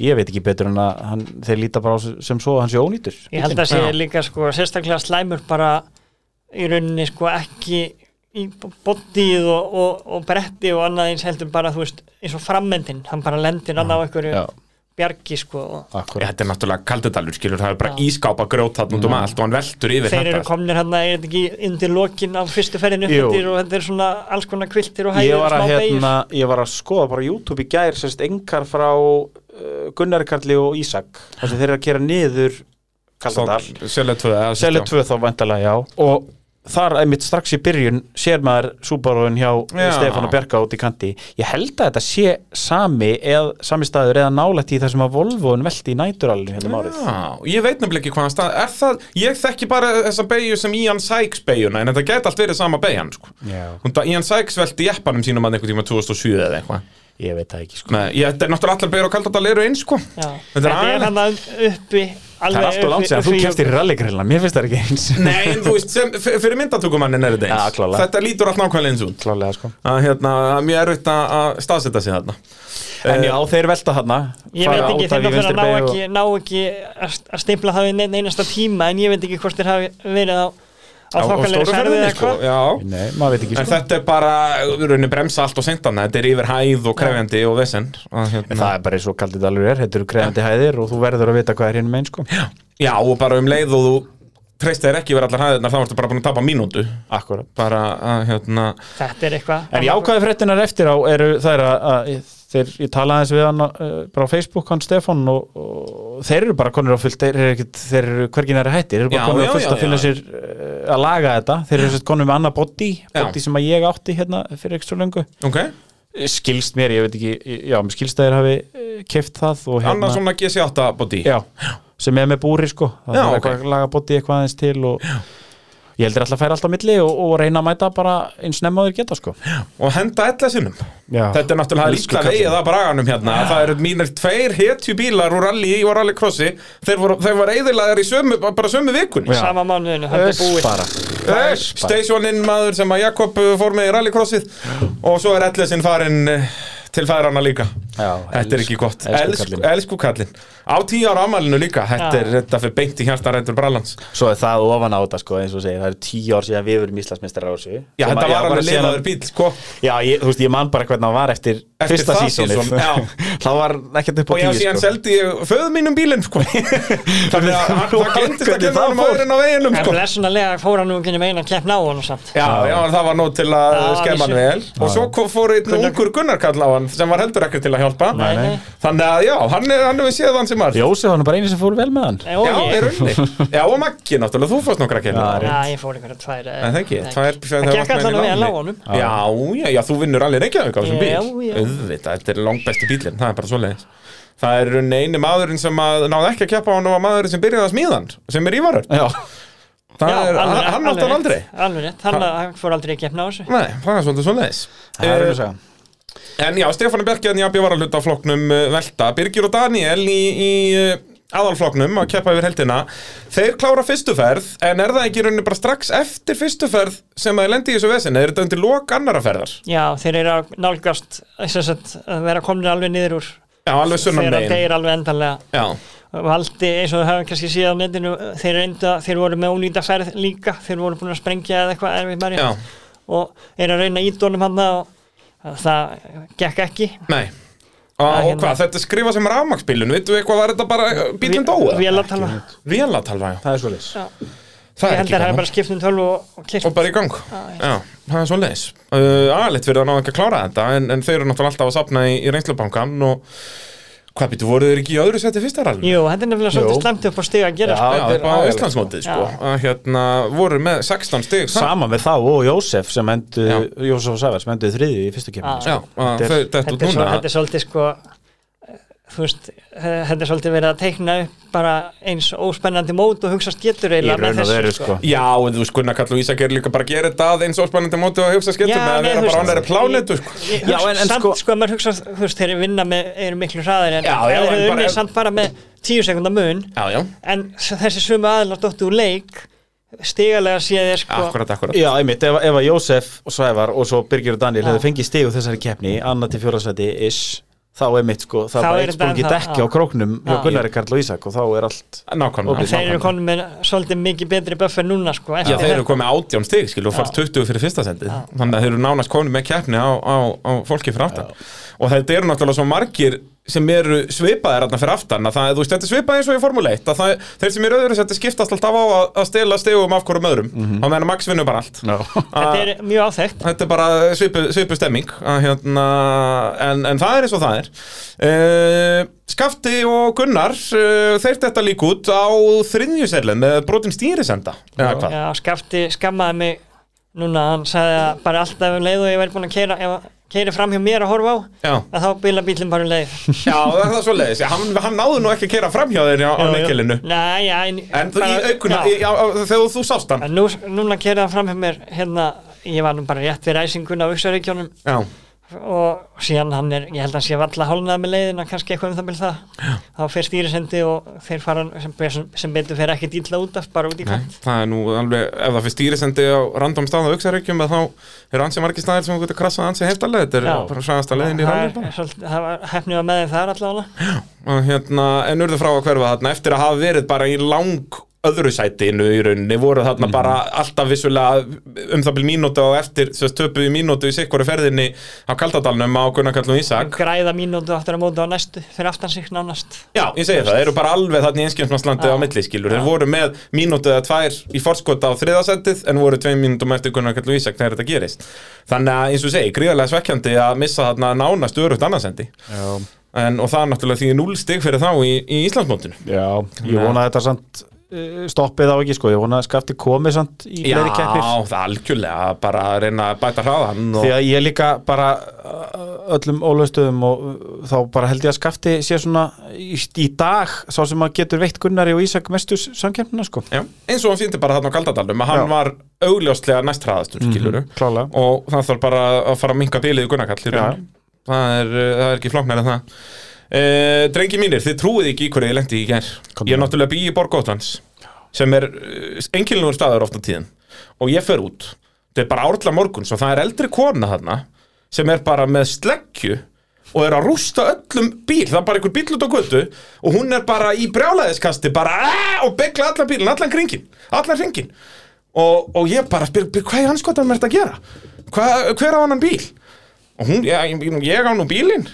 Speaker 2: ég veit ekki betur en að hann, þeir líta bara á s- sem svo að hann sé ónýtur
Speaker 3: Ég held að sé
Speaker 1: Já.
Speaker 3: líka sko, sérstaklega slæmur bara í rauninni sko ekki í boddið og, og, og bretti og annað eins heldur bara þú veist eins og frammendin, hann bara lendir annað á einhverju
Speaker 2: Já.
Speaker 3: bjargi sko og
Speaker 1: Já,
Speaker 2: Akkurat.
Speaker 1: Þetta er náttúrulega kaldedalur, skilur, það er bara ískápa grjót þarna út
Speaker 2: Mm.
Speaker 1: um allt og hann veltur yfir
Speaker 3: þeir eru
Speaker 1: þetta. sko.
Speaker 3: komnir hann er þetta ekki undir lokin af fyrstu ferðinu
Speaker 2: Jú.
Speaker 3: uppbyttir og þetta er svona alls konar kviltir og hægir
Speaker 2: Ég var,
Speaker 3: og
Speaker 2: að,
Speaker 3: smá beygir.
Speaker 2: hérna, ég var að skoða bara YouTube í gær sérst engar frá uh, Gunnar Karli og Ísak þar sem þeir eru að kera niður Kaldadal
Speaker 1: Þá- Selja 2 eða sérst,
Speaker 2: Selja
Speaker 1: já.
Speaker 2: 2 þá væntalega já og þar einmitt strax í byrjun sér maður súbaróin hjá eh,
Speaker 1: Já.
Speaker 2: Stefán og Bjarka út í kanti ég held að þetta sé sami eð, sami staður eða nálætt í þar sem að Volvoin velti í næturalinu hérna um árið
Speaker 1: Já, ég veit nefnilega ekki hvaðan stað er það, ég þekki bara þessa beigju sem Ian Sykes beigjuna en þetta gæti allt verið sama beigjan sko.
Speaker 2: Já.
Speaker 1: Hún da- Ian Sykes velti jeppanum sínum að einhvern tíma 2007 eða eitthvað
Speaker 2: ég veit það ekki sko
Speaker 1: Nei, ég, þetta er náttúrulega allar beigur á Kaldadal eru eins sko.
Speaker 3: Já.
Speaker 1: Þetta er
Speaker 3: Þetta er
Speaker 1: aðeins
Speaker 3: hann að uppi
Speaker 2: það
Speaker 3: alveg
Speaker 2: er alltaf langt sér að þú kemst í rallygrilla mér finnst það ekki eins
Speaker 1: Nei, en þú veist, sem, f- fyrir myndatökumannin er þetta eins
Speaker 2: Já, klárlega.
Speaker 1: Þetta lítur allt nákvæmlega eins út
Speaker 2: klálega sko
Speaker 1: að, hérna, að Mér er auðvitað að staðsetja sig þarna Eh,
Speaker 2: en já þeir velta þarna
Speaker 3: Eh, Ég veit
Speaker 2: fara
Speaker 3: ekki,
Speaker 2: út af
Speaker 3: þeir
Speaker 2: í
Speaker 3: náttúrulega
Speaker 2: vinstri
Speaker 3: ná
Speaker 2: beygju og-
Speaker 3: ekki, ná ekki að st- að stimpla það við neinn einasta tíma en ég veit ekki hvort þeir hafi verið á, á
Speaker 1: Á- á
Speaker 3: þokkalegri
Speaker 1: stóru
Speaker 3: ferðið
Speaker 1: ferðinni,
Speaker 3: eða
Speaker 1: sko.
Speaker 3: hvað
Speaker 1: Já,
Speaker 2: Nei, maður veit ekki
Speaker 1: En
Speaker 2: sko.
Speaker 1: þetta er bara, við erum að bremsa allt og sendana, þetta er yfir hæð og krefjandi og vesen. Að, Hérna.
Speaker 2: Það er bara eins og kaldið alveg er, þetta eru krefandi hæðir og þú verður að vita hvað er hérna meins sko.
Speaker 1: Já, og bara um leið og þú treystir þér ekki yfir allar hæðirnar, þá ertu bara búin að tapa mínútu.
Speaker 2: Akkurat.
Speaker 1: Bara, að, hérna,
Speaker 3: Þetta er eitthvað
Speaker 2: En jákvæði fréttinar eftir á eru þær að, að þeir, ég talaði eins við hann eh, bara á Facebook, hann Stefán og, og þeir eru bara konur á fullt þeir eru, ekkit, þeir eru hvergi næri hætti þeir eru bara
Speaker 1: Já,
Speaker 2: konur
Speaker 1: já,
Speaker 2: á fullt
Speaker 1: já,
Speaker 2: að finna
Speaker 1: já.
Speaker 2: sér eh, að laga þetta þeir eru sérst konur með annað body,
Speaker 1: Já.
Speaker 2: body sem að ég átti hérna fyrir ekki svo löngu
Speaker 1: ok,
Speaker 2: skilst mér, ég veit ekki, já, mér skilst að þeir hafi keft það og hérna
Speaker 1: annars svona GC8 body
Speaker 2: já, sem er með búri sko það
Speaker 1: Já,
Speaker 2: er
Speaker 1: ok.
Speaker 2: eitthvað að laga bóti eitthvað aðeins til og ég heldur alltaf að færa alltaf milli og, og reyna að mæta bara eins nefn að þeir geta sko já,
Speaker 1: og henda ella sinnum þetta er náttúrulega
Speaker 2: Elsku
Speaker 1: illa
Speaker 2: kallinn. Ah.
Speaker 1: vegið að braganum hérna það eru mínir tveir hetju bílar úr rally og rallycrossi þeir voru, þeir voru eðilaðir í sömu, bara sömu vikunni
Speaker 2: Já.
Speaker 3: sama mánuðinu, hann er
Speaker 2: Öss
Speaker 3: búið
Speaker 1: sko.
Speaker 2: bara
Speaker 1: Nei,
Speaker 2: Öss bara.
Speaker 1: Stationinn maður sem að Jakob uh, fór með í rallycrossið og svo er Ellesinn farin uh, til færana líka
Speaker 2: Já,
Speaker 1: Þetta er
Speaker 2: elsku-
Speaker 1: ekki gott
Speaker 2: elsku
Speaker 1: Elsku,
Speaker 2: kallinn.
Speaker 1: elsku kallinn Á tíu ára afmælinu líka Þetta
Speaker 3: Já.
Speaker 1: er þetta fyrir beint í hjarta Rendur Brallans
Speaker 2: Svo er það ofan á þetta sko, eins og segir, það er tíu ár síðan við verum Íslandsmeistrar á þessu
Speaker 1: Já,
Speaker 2: Sem
Speaker 1: þetta var
Speaker 2: að- bara
Speaker 1: alveg
Speaker 2: síðan-
Speaker 1: lefaður bíl sko.
Speaker 2: Já, ég, þú veist, ég man bara hvernig hann var eftir,
Speaker 1: Eftir
Speaker 2: fyrsta
Speaker 1: það
Speaker 2: sísónið
Speaker 1: season, já.
Speaker 2: Það var ekkert upp á
Speaker 1: Og já,
Speaker 2: tíu sko.
Speaker 1: síðan seldi ég föðu mínum bílinn sko. Þannig að hann- það glemtist að
Speaker 2: Hvernig
Speaker 1: kenna
Speaker 2: það
Speaker 1: honum
Speaker 2: fór?
Speaker 1: áðurinn á veginum
Speaker 3: en
Speaker 1: sko.
Speaker 3: blessunarlega fór hann nú ekki meina að keppna á hann samt
Speaker 1: Já, já, það var nóg til að
Speaker 3: Já,
Speaker 1: skemma hann
Speaker 3: vissu.
Speaker 1: vel Og svo kom- fór einn ungur Gunnarkall á hann sem var heldur ekkert til að hjálpa
Speaker 3: Nei, nei.
Speaker 1: Þannig að já, hann er- hann hefur séð hann sem allt
Speaker 2: Jósef var nú bara einu sem fór vel með hann
Speaker 3: Nei, og
Speaker 1: Já,
Speaker 3: ég-
Speaker 1: í rauninni Já, og Maggi náttúrulega, þú fórst nokkra kynna
Speaker 2: Já, rétt.
Speaker 3: Já, ég fór einhverja tvær eh,
Speaker 1: En það ekki,
Speaker 3: nei.
Speaker 1: tvær
Speaker 3: Það gekk allan að vel á honum
Speaker 1: Já, já, já, þú vinnur alveg Reykjavík á þessum
Speaker 3: Já,
Speaker 1: bíl
Speaker 3: já.
Speaker 1: Auðvitað, þetta er langbesti bílinn, það er bara svoleiðis Það er í rauninni eini maðurinn sem að, náði ekki að keppa á hann og maðurinn sem byrjaði að smíðan sem er Ívarur,
Speaker 2: Já,
Speaker 1: það
Speaker 3: Já,
Speaker 1: er,
Speaker 3: alveg
Speaker 1: hann-
Speaker 3: rétt,
Speaker 1: hann átti hann aldrei
Speaker 3: rétt, Alveg rétt, hann, hann fór aldrei að gefna á þessu
Speaker 1: Nei, það er svolítið svoleiðis Eh,
Speaker 2: það er um að segja
Speaker 1: En já, Stefán Bergjarni að bjóra hluta á flokknum uh, Velta, Birgir og Daniel í, í uh, aðalflokknum að keppa yfir heldina Þeir klára fyrstu ferð en er það ekki í rauninni bara strax eftir fyrstu ferð sem að lendi í þessu vesinni, er þetta undir lok annara ferðar?
Speaker 3: Já, þeir eru að nálgast sem sagt, að vera komnir alveg niður úr
Speaker 1: Já, alveg sunnan
Speaker 3: þegar að
Speaker 1: megin
Speaker 3: deyr alveg endanlega
Speaker 1: Já,
Speaker 3: valdi eins og við höfum kannski síðan á netinu þeir, reynda, þeir voru með ólýta færð líka þeir voru búin að sprengja eða eitthvað erfið mæri
Speaker 1: já,
Speaker 3: og eru að reyna ídónum hann og það gekk ekki
Speaker 1: nei Og,
Speaker 3: Það er
Speaker 1: og
Speaker 3: hérna.
Speaker 1: hvað, þetta skrifa sem rafmaksbílun, veitum við hvað var þetta bara, eh, bílinn dóa?
Speaker 3: Vél að tala
Speaker 1: Vélatalva, já
Speaker 2: Það er svolítið
Speaker 1: Það
Speaker 3: Ég
Speaker 1: er
Speaker 3: held
Speaker 1: ekki
Speaker 3: að það er
Speaker 1: gaman.
Speaker 3: bara skipt um tölvu og, og kirt
Speaker 1: Og bara í gang
Speaker 3: já.
Speaker 1: Já, það er svo leis uh, Aðalegt fyrir að náða ekki að klára þetta en, en þeir eru náttúrulega alltaf að sapna í, í reynslubankan og hvað býttu, voru þeir ekki í öðru seti fyrsta rallinu?
Speaker 3: Jú, þetta er nefnilega
Speaker 2: Jú.
Speaker 3: svolítið slemt upp á stiga að gera sko.
Speaker 1: Já,
Speaker 2: þetta er
Speaker 1: bara á
Speaker 2: agalegt,
Speaker 1: Íslandsmótið
Speaker 3: sko.
Speaker 1: sko að hérna voru með 16 stig saman.
Speaker 2: Saman með þá og Jósef sem endu,
Speaker 1: Já.
Speaker 2: Jósef og Sævar sem endu þriði í fyrstu kemur
Speaker 3: Já.
Speaker 1: Já, að
Speaker 2: Þetta er-
Speaker 1: þau dett út
Speaker 3: þetta er, svo,
Speaker 1: núna
Speaker 3: þetta er svolítið sko eh, þú veist, eh, þetta er svolítið verið að teikna upp bara eins óspennandi mót og hugsast getur
Speaker 2: Í
Speaker 3: eiginlega
Speaker 2: raun og veru sko
Speaker 1: Já, en þú skunna kall og Ísak er líka bara að gera þetta að eins og spennandi móti og hugsa skettum
Speaker 3: Já,
Speaker 1: með að
Speaker 3: nei,
Speaker 1: vera
Speaker 3: þú
Speaker 1: bara
Speaker 3: veist,
Speaker 1: ánæri plánetu sko.
Speaker 3: Ég
Speaker 2: Já,
Speaker 3: hugsa-
Speaker 2: en- en
Speaker 3: samt
Speaker 2: sko-
Speaker 3: sko, maður hugsa, þú veist, þeir vinna með, eru miklu hraðir en
Speaker 1: Já, já,
Speaker 3: ef
Speaker 1: en
Speaker 3: þeir eru
Speaker 1: bara-
Speaker 3: unnið samt bara með tíu sekundar mun
Speaker 1: Já, já,
Speaker 3: en s- þessi sömu aðlar dóttu úr leik stigalega séð er sko
Speaker 1: akkurat, akkurat
Speaker 2: Já, einmitt, ef, ef að Jósef og Sævar og svo Birgir og Daniel hefðu fengið stig úr þessari keppni, annað til fjórasæti ish, þá einmitt sko, það
Speaker 3: Þá
Speaker 2: er bara
Speaker 3: er
Speaker 2: eitt
Speaker 3: þetta
Speaker 2: sprungi
Speaker 3: ennþá-
Speaker 2: dekki á
Speaker 3: já.
Speaker 2: króknum
Speaker 3: króknum
Speaker 2: hjá
Speaker 3: Já.
Speaker 2: Gunnari Karl og Ísak og þá er allt
Speaker 1: Nákvæmlega
Speaker 2: Ok.
Speaker 3: þeir eru konum með svolítið mikið betri buffer núna sko
Speaker 1: Já, þeir eru
Speaker 3: þetta.
Speaker 1: komið átján stig, skilu, og fannst 20 fyrir fyrsta sendið Þannig að þeir eru nánast konum með keppni á, á, á fólki fyrir aftan Og þetta eru náttúrulega svo margir sem eru svipaðir þarna fyrir aftan að það, þú veist, þetta er svipað eins og í Formule 1 að það, þeir sem eru öðru setti skiptast alltaf á að, að stela stegum af hverjum öðrum mm -hmm. á meðan að Max vinnur bara allt
Speaker 3: þetta er mjög áþekkt
Speaker 1: Þetta er bara svipu, svipu stemming að, hérna, en, en það er eins og það er uh, Skafti og Gunnar uh, þeir þetta líka út á þriðjusellin með brotin stýrisenda eða hvað
Speaker 3: Já, skafti skammaði mig núna, hann sagði að bara alltaf um leið og ég væri búin að keira, ef keiri fram hjá mér að horfa á,
Speaker 1: Já.
Speaker 3: að þá bila bílinn bara um leið.
Speaker 1: Já, það er það svo leiðis hann, hann náði nú ekki að kera framhjá þeir á, á
Speaker 3: Jú, jú.
Speaker 1: leikilinu
Speaker 3: Nei, já, en,
Speaker 1: En þú, í aukuna, í,
Speaker 3: já,
Speaker 1: á, á, þegar þú sást hann
Speaker 3: En nú, núna keiri hann fram hjá mér, hérna, ég var nú bara rétt við ræsinguna á Uxaríkjónum
Speaker 1: Já,
Speaker 3: og síðan hann er, ég held að hann sé valla hálnað með leiðina, kannski eitthvað um það með það. Já. Þá fer stýrisendi og þeir fara sem, sem, sem betur fer ekkit illa út af, bara út í
Speaker 1: Nei,
Speaker 3: kant.
Speaker 1: það er nú alveg, ef það fyrir stýrisendi á random stað á auksareikjum þá eru ansi margir staðir sem þú getur krassað ansi heftalega, þetta er
Speaker 3: Já.
Speaker 1: bara sæðasta leiðin í
Speaker 3: Það
Speaker 1: rallið
Speaker 3: er-
Speaker 1: bara
Speaker 3: er svolítið- það var hefnið að með þeim þar allavega.
Speaker 1: og hérna, en urðu frá að hverfa þarna eftir að hafa verið bara í lang öðru sætinu í rauninni voru þarna bara
Speaker 3: Mhm.
Speaker 1: alltaf vissulega um það byrjum mínútu á eftir þess töpuðu mínútu í sikkvaru ferðinni á Kaldadalnum á Gunnar Kallum Ísak
Speaker 3: græða mínútu aftur á móti á næstu fyrir aftan sig nánast
Speaker 1: Já, ég segi það, þeir eru bara alveg þarna í einskjöfnarslandi
Speaker 3: Já.
Speaker 1: á milli skilur,
Speaker 3: Já.
Speaker 1: þeir voru með mínútu eða tvær í forskota á þriðasættið en voru tveim mínútum eftir Gunnar Kallum Ísak þegar þetta gerist Þannig að eins og ég segi, gríðarlega svekkjandi að missa þarna nánast örugt annarsendi
Speaker 2: Já,
Speaker 1: en, og það er náttúrulega því núl stig fyrir þá í, í Íslandsmótinu
Speaker 2: já ég
Speaker 1: Nei.
Speaker 2: vona að þetta samt eh, stoppið á ekki sko, ég vona að skafti komið samt í
Speaker 1: Já,
Speaker 2: fleiri keppir
Speaker 1: það er algjörlega bara að reyna að bæta hraðan og...
Speaker 2: Því að ég líka bara uh, öllum ólöfstöðum og uh, þá bara held ég að skafti sé svona í, í dag sá sem að getur veitt Gunnari og Ísak mestu s- samkeppnina sko.
Speaker 1: Já, eins og hann sýndi bara þarna á Kaldadalum að hann
Speaker 2: Já. Mhm.
Speaker 1: var augljóslega næst hraðastur skiluru
Speaker 2: Klálega.
Speaker 1: og það þarf bara að fara að minka bilið í Gunnarkall í raun. það, er, uh, það er ekki flóknar en það uh, Drengi mínir, þið trúið ekki í hverju ég lendi í gær
Speaker 2: Komdu
Speaker 1: Ég er
Speaker 2: með.
Speaker 1: náttúrulega býi í Borgóttlands sem er engilinur staður ofta tíðin og ég fer út þetta er bara árla morguns og það er eldri kona þarna sem er bara með sleggju og er að rústa öllum bíl það er bara einhver bíl út á götu og hún er bara í brjálæðiskasti bara "Ah!" og begla allan bílinn, allan kringin allan hringin og, og ég bara spyr, "Bíl, hvað er hans gott að mér þetta að gera? Hva, hver á annan bíl? og hún, ég, ég, ég á nú bílinn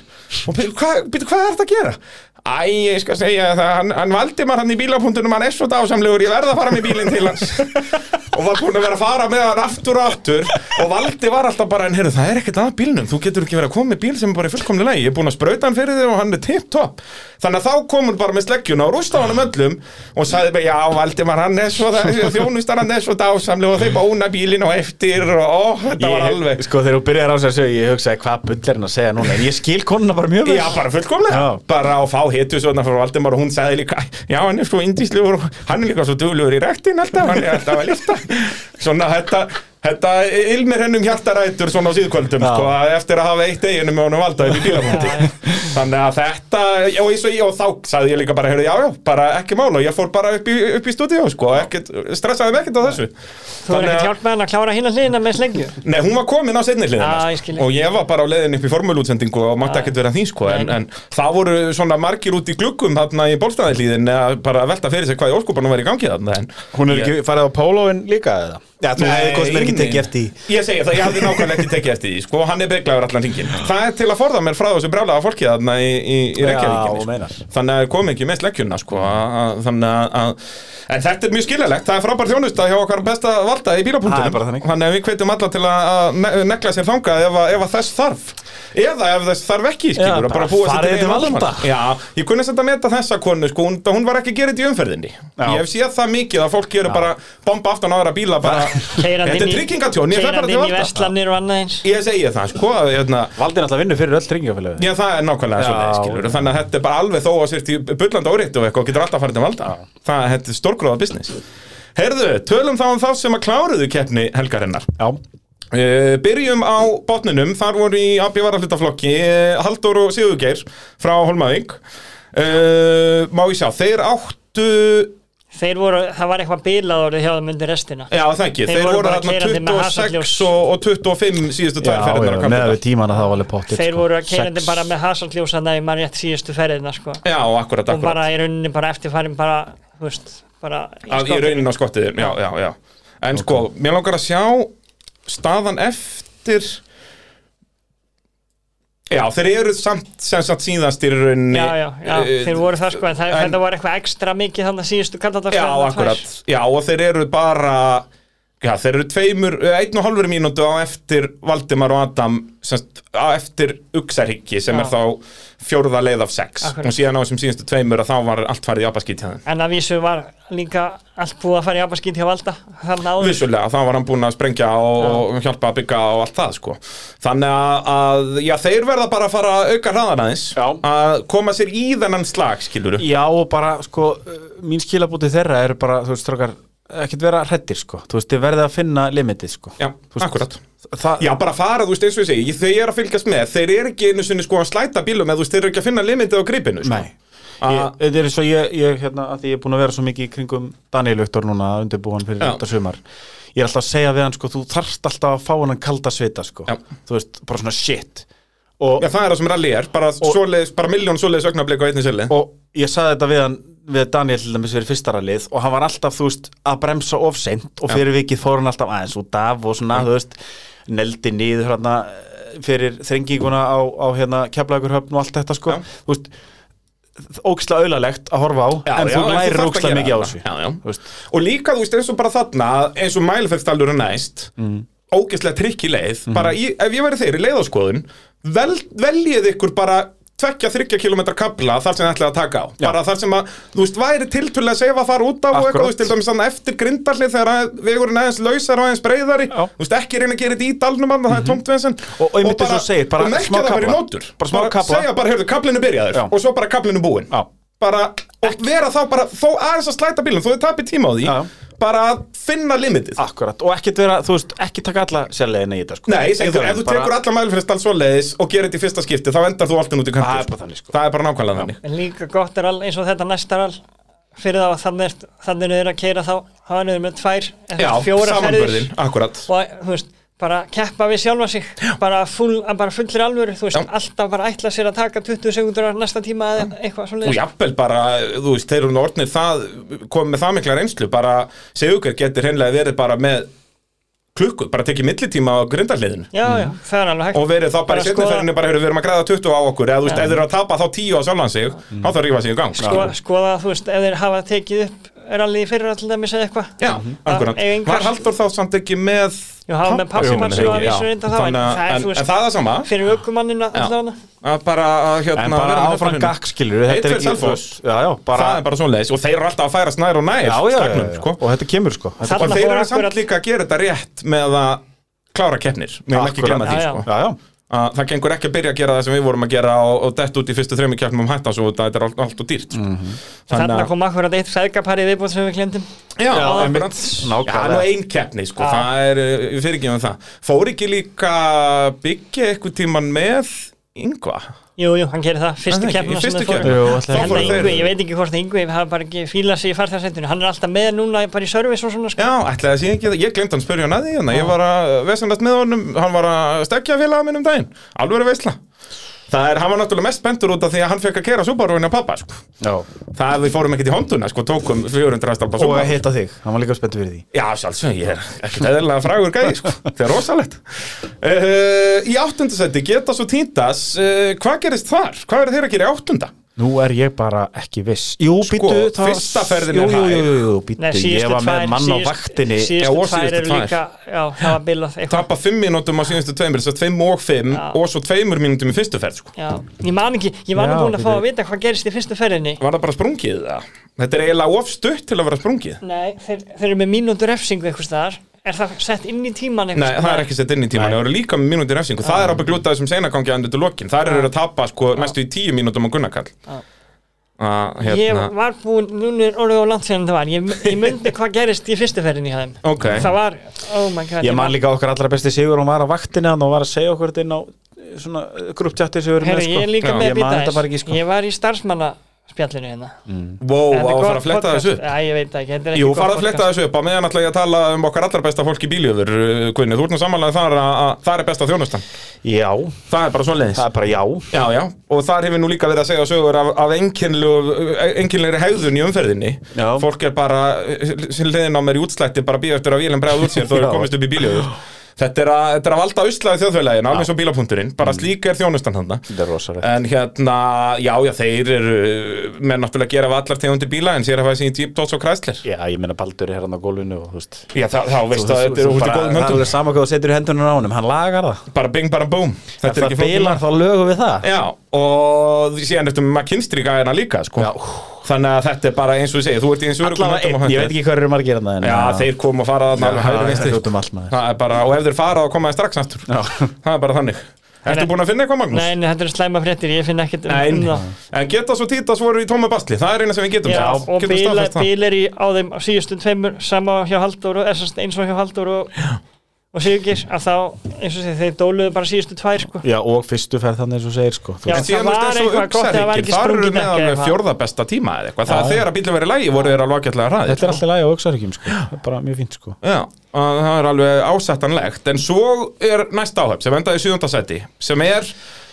Speaker 1: og byrju, hvað byrju, hvað er þetta að gera? Æ, ég skal segja það, hann, hann valdi maður hann í bílapunktunum, hann er svo dásamlegur, ég verð að fara með bílinn til hans og var búin að vera að fara með hann aftur og aftur og valdi var alltaf bara, en heyrðu, það er ekkert að bílnum, þú getur ekki verið að koma með bíl sem er bara í fullkomni lagi, ég er búin að sprauta hann fyrir þig og hann er tipp-topp, þannig að þá kom hún bara með sleggjuna og rústa hann um öllum og sagði mig, já, valdi maður hann er svo þjónustar hann er svo dásamlegur og þau bána bílinn á eftir og ó, þetta var alveg
Speaker 2: Sko þegar þú byrjar á þess að segja, ég hugsaði hvað bull er hann að segja núna, en ég skil konuna bara mjög vel.
Speaker 1: Já, bara fullkomlega
Speaker 2: Já.
Speaker 1: Bara að fá hitu svona frá Valdimar og hún sagði líka Já, hann er svo indíslegur og hann er líka svo duglegur í rektin alltaf Hann er alltaf að lifta Svona þetta, þetta ilmir hennum hjartarætur svona á síðkvöldum
Speaker 2: Já.
Speaker 1: sko, að Eftir að hafa eitt eiginu með honum valda upp í bílapunkti
Speaker 3: Já, já.
Speaker 1: Þannig að þetta já, og, eins og, ég, og þá sagði ég líka bara heyrðu, Já, já, bara ekki mála Ég fór bara upp í, upp í stúdíó sko, ekkit, Stressaði mig ekkert á þessu
Speaker 3: þú er ekkert hjálp með hann að klára hinn að hliðina með slengju
Speaker 1: Nei, hún var komin á seinni hliðina
Speaker 3: Ah,
Speaker 1: sko.
Speaker 3: ég skil. Ah.
Speaker 1: og ég var bara á leiðin upp í formúlútsendingu og mátti ekkert vera því sko en,
Speaker 3: Nei.
Speaker 1: en það voru svona margir út í gluggum þarna í bólstaðilíðin að bara velta fyrir sig hvað í óskupanum var í gangi þarna en
Speaker 2: Hún er ekki farið á pólóin líka eða? Já, þú hefði
Speaker 1: Nei,
Speaker 2: kostum ekki
Speaker 1: nei.
Speaker 2: tekið eftir í.
Speaker 1: Ég segi það, ég hafði nákvæmlega ekki tekið eftir því sko, hann er beglaður allan hringin Það er til að forða mér frá þessu brjálega fólki þarna í, í, í
Speaker 2: Já,
Speaker 1: Reykjavíkinni
Speaker 2: og
Speaker 1: sko.
Speaker 2: meinar.
Speaker 1: Þannig að kom ekki með sleggjuna sko, að- að- þannig að- að En þetta er mjög skiljalegt, það er frábær þjónusta hjá okkar besta valda í
Speaker 2: Það er bara
Speaker 1: bílapunktunum
Speaker 2: þannig.
Speaker 1: Þannig að við hvetjum alla til að- að ne- negla sér þangað ef, að- ef að þess þarf Eða ef þess þarf ekki, skilur,
Speaker 2: Já,
Speaker 1: að
Speaker 2: bara
Speaker 1: bara búa sér
Speaker 2: farið til
Speaker 1: eigin
Speaker 2: valda.
Speaker 1: valdamanns. Já, ég kunni þetta að meta þessa konu sko, hún, hún var ekki að gera þetta í umferðinni
Speaker 2: Já.
Speaker 1: Ég hef séð það mikið að fólk gerur bara bomba aftan á aðra bíla bara, Þetta
Speaker 3: Keyra
Speaker 1: er
Speaker 3: hann inn í-
Speaker 1: tryggingatjón, ég
Speaker 3: keyra
Speaker 1: fer bara
Speaker 3: hann
Speaker 1: til
Speaker 3: inn í
Speaker 1: valda
Speaker 3: verslanir og annað eins
Speaker 1: Ég segi það, sko, að, hérna,
Speaker 2: Valdi náttúrulega vinnu fyrir öll tryggingafélögu.
Speaker 1: já það er nákvæmlega
Speaker 2: Já.
Speaker 1: svoleiðis, skilur Þannig að þetta er bara alveg þó að sér til bullandi áreitt og eitthvað og getur alltaf farið til valda Það þetta er stórgróða business Herðu, tölum þá um þá sem að kláruðu keppni helgarinnar
Speaker 2: Já.
Speaker 1: Uh, byrjum á botninum, þar voru í AB varahlutaflokki uh, Halldór og Sigurgeir frá Holmavík uh, Má ég sjá, þeir áttu
Speaker 3: þeir voru, það var eitthvað bilað orðið hjá þeim undir restina
Speaker 1: Já það ekki,
Speaker 3: Þeir
Speaker 1: þeir,
Speaker 3: voru
Speaker 1: voru
Speaker 3: bara
Speaker 1: þarna
Speaker 3: keyrandi með
Speaker 1: 26
Speaker 3: hasarljós.
Speaker 1: og, og 25 síðustu
Speaker 2: Já,
Speaker 1: tvær ferðirnar á
Speaker 2: já, með
Speaker 1: Kaplakrika.
Speaker 2: við tímana það var alveg pottitt.
Speaker 3: þeir
Speaker 2: sko.
Speaker 3: voru keirandi
Speaker 2: Sex.
Speaker 3: bara með hasarljósana í mann rétt síðustu ferðina sko.
Speaker 1: Já, akkurat,
Speaker 3: og
Speaker 1: akkurat
Speaker 3: bara í rauninni bara eftirfærin bara, þú veist, bara í
Speaker 1: Að, Í
Speaker 3: skottinu.
Speaker 1: raunin á skottiðir, já, já, já En sko, mér langar að sjá staðan eftir Já, þeir eru samt sem sagt síðast í rauninni
Speaker 3: já, já, já,
Speaker 1: eh,
Speaker 3: þeir voru það sko en það,
Speaker 1: en-
Speaker 3: þetta var eitthvað ekstra mikið þannig að síðustu kandadarskóð
Speaker 1: Já, akkurat, já og þeir eru bara Já, þeir eru tveimur, eh, einn og halvur mínútu á eftir Valdimar og Adam semst, á eftir Uxarhyggi sem
Speaker 3: Já.
Speaker 1: er þá fjórða leið af sex
Speaker 3: Akkurat.
Speaker 1: og síðan á þessum síðustu tveimur að þá var allt farið í abaskýt hjá þeim
Speaker 3: en að vísu var líka allt búið að fara í abaskýt hjá Valda þannig áður
Speaker 1: Vissulega, þá var hann búinn að sprengja og, og hjálpa að byggja og allt það sko Þannig að, að já, þeir verða bara að fara að auka hraðan aðeins
Speaker 2: Já.
Speaker 1: að koma sér í þennan slag, skiluru
Speaker 2: Já og bara sko uh, mín skilabúti þeirra eru bara þú veist strókar ekkert vera hrettir sko þú veist þið verðið að finna limitið sko
Speaker 1: Já,
Speaker 2: Þú veist,
Speaker 1: akkurat.
Speaker 2: það,
Speaker 1: Já, bara fara, þú veist, eins og ég segi, þeir eru að fylgjast með, þeir eru ekki einu sinni sko að slæta bílum eða þú veist, þeir eru ekki að finna limitið á gripinu, sko.
Speaker 2: Nei Ég- Þetta er svo ég, ég hérna, að því ég er búin að vera svo mikið í kringum Daniel Viktor núna undirbúan fyrir
Speaker 1: Já.
Speaker 2: þetta sumar Ég er alltaf að segja við hann sko, þú þarft alltaf að fá hann kalda svita sko
Speaker 1: Já.
Speaker 2: Þú veist, bara svona shit Og
Speaker 1: Já, það er það sem rally er, bara, svoleiðis, bara miljón svoleiðis augnablík á einni sili.
Speaker 2: og ég saði þetta við hann við Daniel til dæmis fyrir fyrstara lið og hann var alltaf, þú veist, að bremsa of seint og fyrir vikið fór hann alltaf aðeins út af
Speaker 1: Mm.
Speaker 2: og svona, þú veist, neldi nýður hérna eh, fyrir þrenginguna á, á hérna keflaugurhöfn og allt þetta sko,
Speaker 1: Já.
Speaker 2: þú veist óksla auðalegt að horfa á
Speaker 1: Já,
Speaker 2: en
Speaker 1: já,
Speaker 2: þú
Speaker 1: en þú
Speaker 2: lærir
Speaker 1: þarft að
Speaker 2: óksla
Speaker 1: gera
Speaker 2: mikið á
Speaker 1: þetta.
Speaker 2: þessu
Speaker 1: Já, já.
Speaker 2: Þú veist,
Speaker 1: og líka þú veist eins og bara þarna eins og mælferðstallur er næst mm. ógeðslega trikk í leið
Speaker 2: Mhm.
Speaker 1: bara í, ef ég væri þeir í leiðaskoðun vel, veljið ykkur bara tvekja þryggja kilometra kabla þar sem ætlaði að taka á bara þar sem að, þú veist, væri tiltölu að sefa þar út af og eitthvað,
Speaker 2: Akkúrat.
Speaker 1: þú veist, til dæmis þannig eftir grindallið þegar að vegurinn aðeins lausar og aðeins breyðari,
Speaker 2: Já. Mhm.
Speaker 1: þú veist, ekki reyna að gera þetta í dalnum annað, það er tómt vesen
Speaker 2: Og- og einmitt eins og þú segir, bara
Speaker 1: og merkja
Speaker 2: smá
Speaker 1: það bara í
Speaker 2: kafla.
Speaker 1: nótur
Speaker 2: Bara smá kafla.
Speaker 1: segja bara, heyrðu, kablinu byrjaður
Speaker 2: Já.
Speaker 1: og svo bara kablinu búinn
Speaker 2: Já.
Speaker 1: bara, og vera þá bara þó aðeins að slæta bílum, þó þið tapir tíma á því
Speaker 2: Já, já. Ah,
Speaker 1: bara að finna limitið
Speaker 2: Akkurat, og ekkert vera, þú veist, ekki taka alla sérlegina í þetta sko
Speaker 1: Nei, segðu,
Speaker 2: Bara-
Speaker 1: ef þú tekur alla mælfrist alls svoleiðis og gerir þetta í fyrsta skipti, þá endar þú alltaf út í kantur
Speaker 2: Það er bara þannig, sko.
Speaker 1: Það er bara nákvæmlega þannig
Speaker 3: En líka gott er all, eins og þetta næsta all fyrir þá að þannig er, þannig er að keira þá þá er niður með tvær
Speaker 1: Já,
Speaker 3: eða fjóra
Speaker 1: samanbörðin, akkurat
Speaker 3: og þú veist, bara keppa við sjálfa sig bara, full, bara fullir alvöru þú veist,
Speaker 1: Já.
Speaker 3: alltaf bara ætla sér að taka 20 sekundur næsta tíma eða eitthvað
Speaker 1: Og
Speaker 3: svoleiðis
Speaker 1: jafnvel bara, þú veist, þeir eru nú orðnir það komið með það mikla reynslu, bara segjúkar getur hreinlega verið bara með klukku, bara tekið millitíma á grindahliðinu
Speaker 3: já, já, það er alveg hægt
Speaker 1: Mhm. og verið þá bara,
Speaker 3: Bara
Speaker 1: í
Speaker 3: skoða-
Speaker 1: setniferðinu bara, heyrðu, við erum að græða 20 á okkur eða þú veist, ef þeir eru að tapa þá 10 á sjálfan sig
Speaker 2: Mm.
Speaker 1: þá þarf að rífa sig í gang
Speaker 3: sko, skoða, þú veist, ef þeir hafa tekið upp rallið fyrir allir dæmis eða eitthvað
Speaker 1: Já, akkurat.
Speaker 3: Ef engar-
Speaker 1: Var Halldór þá samt ekki með
Speaker 3: já, hafa með
Speaker 1: Jú,
Speaker 3: pappi
Speaker 1: menn
Speaker 3: mann sem
Speaker 1: ekki,
Speaker 3: var
Speaker 1: já.
Speaker 3: vísur reynda það en
Speaker 1: Þannig að-
Speaker 3: það
Speaker 1: en-
Speaker 3: er, þú
Speaker 1: En
Speaker 3: veist,
Speaker 1: það er það sama
Speaker 3: fyrir
Speaker 1: Já.
Speaker 3: aukumannina allavega
Speaker 1: að bara, að, hérna,
Speaker 2: En bara
Speaker 1: vera með
Speaker 2: áfram
Speaker 1: framhjólið.
Speaker 2: gakk, skilur við, þetta er
Speaker 1: Eitt fyrir
Speaker 2: ekki þú
Speaker 1: Selfoss.
Speaker 2: veist, Já, já, bara
Speaker 1: Það er bara svoleiðis og þeir eru alltaf að færast nær og nær
Speaker 2: já, já, já,
Speaker 1: stagnum,
Speaker 2: já,
Speaker 1: sko.
Speaker 2: og þetta kemur sko þetta
Speaker 3: Þarna
Speaker 1: Og þeir
Speaker 3: fór
Speaker 1: eru samt
Speaker 3: akkurat-
Speaker 1: líka að gera þetta rétt með að klára keppnir Mér erum ekki
Speaker 2: Akkurat.
Speaker 1: glemma því,
Speaker 3: Já, já.
Speaker 1: sko
Speaker 2: já, já,
Speaker 1: að það gengur ekki að byrja að gera það sem við vorum að gera og, og dett út í fyrstu þrejum keppnum um hætta svo þetta er allt, allt og dýrt sko.
Speaker 3: þannig að kom akkurat eitt feðgapari viðbúð sem við glemdum
Speaker 1: Já,
Speaker 2: Já,
Speaker 1: já
Speaker 2: einmitt.
Speaker 1: Já,
Speaker 2: Nákvæmlega.
Speaker 1: nú ein keppni, sko,
Speaker 3: Já.
Speaker 1: það er, uh, við fyrir ekki með það Fór ekki líka byggja eitthvað tíman með yngva?
Speaker 3: Jú, jú, hann gerir
Speaker 1: Er
Speaker 3: það,
Speaker 1: það
Speaker 3: fyrstu
Speaker 1: ekki?
Speaker 3: keppna
Speaker 1: Í fyrstu
Speaker 3: sem
Speaker 1: keppni?
Speaker 2: Jú,
Speaker 3: það
Speaker 2: ætli það
Speaker 3: fór
Speaker 1: fóru þeir-
Speaker 3: Yngvi, ég veit ekki hvort Yngvi hafa bara ekki fílað sig í farþarsendinu hann er alltaf með núna bara í service og svona sko.
Speaker 1: Já, ætlaði að sé ekki það, ég glemt hann spyrja hann að því hérna, ég var að vesanast með honum, hann var að stekja félaga minn um daginn, alveg að veisla. Það er, hann var náttúrulega mest bentur út af því að hann fekk að kera súbarúinu á pappa, sko.
Speaker 2: já
Speaker 1: Það við fórum ekkert í honduna, sko, tókum 400 rastalpa
Speaker 2: og að
Speaker 1: súbarúinu.
Speaker 2: hita þig, hann var líka spenntur fyrir því
Speaker 1: Já, sjálfsög, ég er ekkert eðlilega frægur gæði, sko, það er rosalegt. Uh, í áttundasætti, Getas og Tintas, uh, hvað gerist þar? Hvað eru þeir að gera í áttunda?
Speaker 2: Nú er ég bara ekki viss Jú,
Speaker 1: Sko,
Speaker 2: býttu það-
Speaker 1: fyrsta ferðin er
Speaker 2: Jú, jú,
Speaker 1: hæg.
Speaker 2: jú, jú, býttu
Speaker 3: Nei,
Speaker 2: Ég
Speaker 3: síðustu
Speaker 2: var með
Speaker 3: tvær-
Speaker 2: mann á
Speaker 3: síðust-
Speaker 2: vaktinni
Speaker 1: Já, og
Speaker 3: Síðustu tvær
Speaker 1: síðustu
Speaker 3: eru
Speaker 1: tvær.
Speaker 3: líka, já, það var bilað eitthvað
Speaker 1: Tapa fimm mínútum á síðustu tveimur, þess að tveim og fimm
Speaker 3: Já.
Speaker 1: og svo tveimur mínútum í fyrstu ferð, sko.
Speaker 3: Já, ég man ekki, ég var
Speaker 2: Já,
Speaker 3: nú búin að fá
Speaker 2: bíddu.
Speaker 3: að vita hvað gerist í fyrstu ferðinni
Speaker 1: Var það bara sprungið það? Þetta er eiginlega ofstutt til að vera sprungið
Speaker 3: Nei, þeir, þeir eru með mínútur refsingu eitthvað staðar Er það sett inn í tíman
Speaker 1: Nei, það er ekki sett inn í tíman,
Speaker 2: Nei.
Speaker 1: það eru líka með mínúti refsingu Það
Speaker 3: Ah.
Speaker 1: er ábyggt lútað sem seinagangi andur til lokin Það eru þeir að tapa sko mestu í tíu mínútum á Gunnarkall
Speaker 3: Já.
Speaker 1: Að,
Speaker 3: Ah. Ég
Speaker 1: hérna,
Speaker 3: var búin, núna er orðið á land síðan það var Ég, ég myndi hvað gerist í fyrstu ferðinni hjá þeim
Speaker 1: Ok.
Speaker 3: Það var, oh my god
Speaker 2: Ég man líka okkar allra besti sigur Hún var á vaktinni hann og var að segja okkur þetta inn á eh, Svona grupptjatti sem við erum
Speaker 3: Herri,
Speaker 2: með sko.
Speaker 3: ég er líka
Speaker 1: Já.
Speaker 3: með
Speaker 2: Ég man þetta bara ekki sko.
Speaker 3: Ég var í starfsmannaspjallinu hérna
Speaker 1: Wow, á
Speaker 3: Þetta er
Speaker 1: að
Speaker 3: gott
Speaker 1: fara að fletta
Speaker 3: podcast.
Speaker 1: þessu upp
Speaker 3: Já, ég veit það ekki, þetta er ekki
Speaker 1: Jú,
Speaker 3: gott
Speaker 1: fara að
Speaker 3: podcast.
Speaker 1: fletta þessu upp, á meðan ætla ég að tala um okkar allra besta fólk í bíljöfur Guðni, þú ert nú samanlega þar að, að það er besta þjónustan
Speaker 2: Já,
Speaker 1: Það er bara svona
Speaker 2: það er bara já
Speaker 1: Já, já, og þar hefur nú líka verið að segja sögur af, af einkennilegri hegðun í umferðinni
Speaker 2: Já.
Speaker 1: Fólk er bara, sem leiðin á mér í útslætti, bara býða eftir að vílum bregða út sér þó
Speaker 2: Já.
Speaker 1: er komist upp í bíljöður Þetta er að, þetta er að valda uslaði þjóðfélagin, alveg svo bílapunkturinn, bara slík er þjónustan hann
Speaker 2: Mm. Þetta er rosalegt
Speaker 1: En hérna, já, já, þeir eru, menn náttúrulega gera af allar tegundir bíla en sér að fæða sín Jeep, Dodge og Chrysler
Speaker 2: Já, ég meina Baldur er hérna á gólfinu og þú veist
Speaker 1: Já, þá, þá
Speaker 2: Þú-
Speaker 1: veist að
Speaker 2: þú-
Speaker 1: þetta er
Speaker 2: þú
Speaker 1: út í
Speaker 2: bara-
Speaker 1: góðum
Speaker 2: Það er
Speaker 1: höndum
Speaker 2: alveg sama hvað þú setur í hendunar á honum, hann lagar það
Speaker 1: Bara bing, bara boom
Speaker 2: Ef
Speaker 1: Þetta er
Speaker 2: það
Speaker 1: ekki flókið mál.
Speaker 2: bilar þá lögum við það
Speaker 1: Já, og síðan ertu með McKinstry gæðina líka, sko
Speaker 2: Já.
Speaker 1: Þannig að þetta er bara eins og ég segi, þú ert í eins og öruggum
Speaker 2: Allavega
Speaker 1: höndum á
Speaker 2: einn, ég veit
Speaker 1: höndum.
Speaker 2: ekki hvað eru margir hérna en-
Speaker 1: Já, þeir kom að fara þarna
Speaker 2: Já,
Speaker 1: alveg
Speaker 2: það
Speaker 1: hægri
Speaker 2: er
Speaker 1: vinstri
Speaker 2: út um allt, maður.
Speaker 1: Það er bara, og ef þeir fara þá koma þeir strax aftur
Speaker 2: Já.
Speaker 1: Það er bara þannig Ertu
Speaker 3: Nei.
Speaker 1: búin að finna eitthvað, Magnús?
Speaker 3: Nei, nei, þetta eru slæma fréttir, ég finn ekkert um- um
Speaker 1: Nein.
Speaker 3: það
Speaker 1: En getas og títas voru í tóma basli, það er eina sem við getum
Speaker 3: Já,
Speaker 1: sagt.
Speaker 3: og
Speaker 1: Getum
Speaker 3: bílar,
Speaker 1: staðfest það.
Speaker 3: bílar í, á þeim á síðustu tveimur sama hjá Halldór og essast eins og hjá Halldór og, og Sigurgir að þá eins og segir þeir dóluðu bara síðustu tvær sko.
Speaker 2: Já, og fyrstu ferð þannig eins og þú segir sko Þú
Speaker 3: Já.
Speaker 1: En
Speaker 3: það
Speaker 1: síðan
Speaker 3: var
Speaker 1: er
Speaker 3: eitthvað
Speaker 1: þessu
Speaker 3: gott, það
Speaker 1: uppsæringir,
Speaker 3: var ekki
Speaker 1: þar eru
Speaker 3: sprungið dekk
Speaker 1: með
Speaker 3: eða
Speaker 1: alveg
Speaker 3: eitthvað.
Speaker 1: fjórða besta tíma eða eitthvað Það er
Speaker 2: Já.
Speaker 1: þegar að bílum verið lægi voru þeir alveg ágætlega hræðir
Speaker 2: Þetta er alltaf læg á auksaríkjum sko, Það er bara mjög fínt sko
Speaker 1: Já, að það er alveg ásættanlegt En svo er næsta áhöf sem endaði í sjöndasæti sem er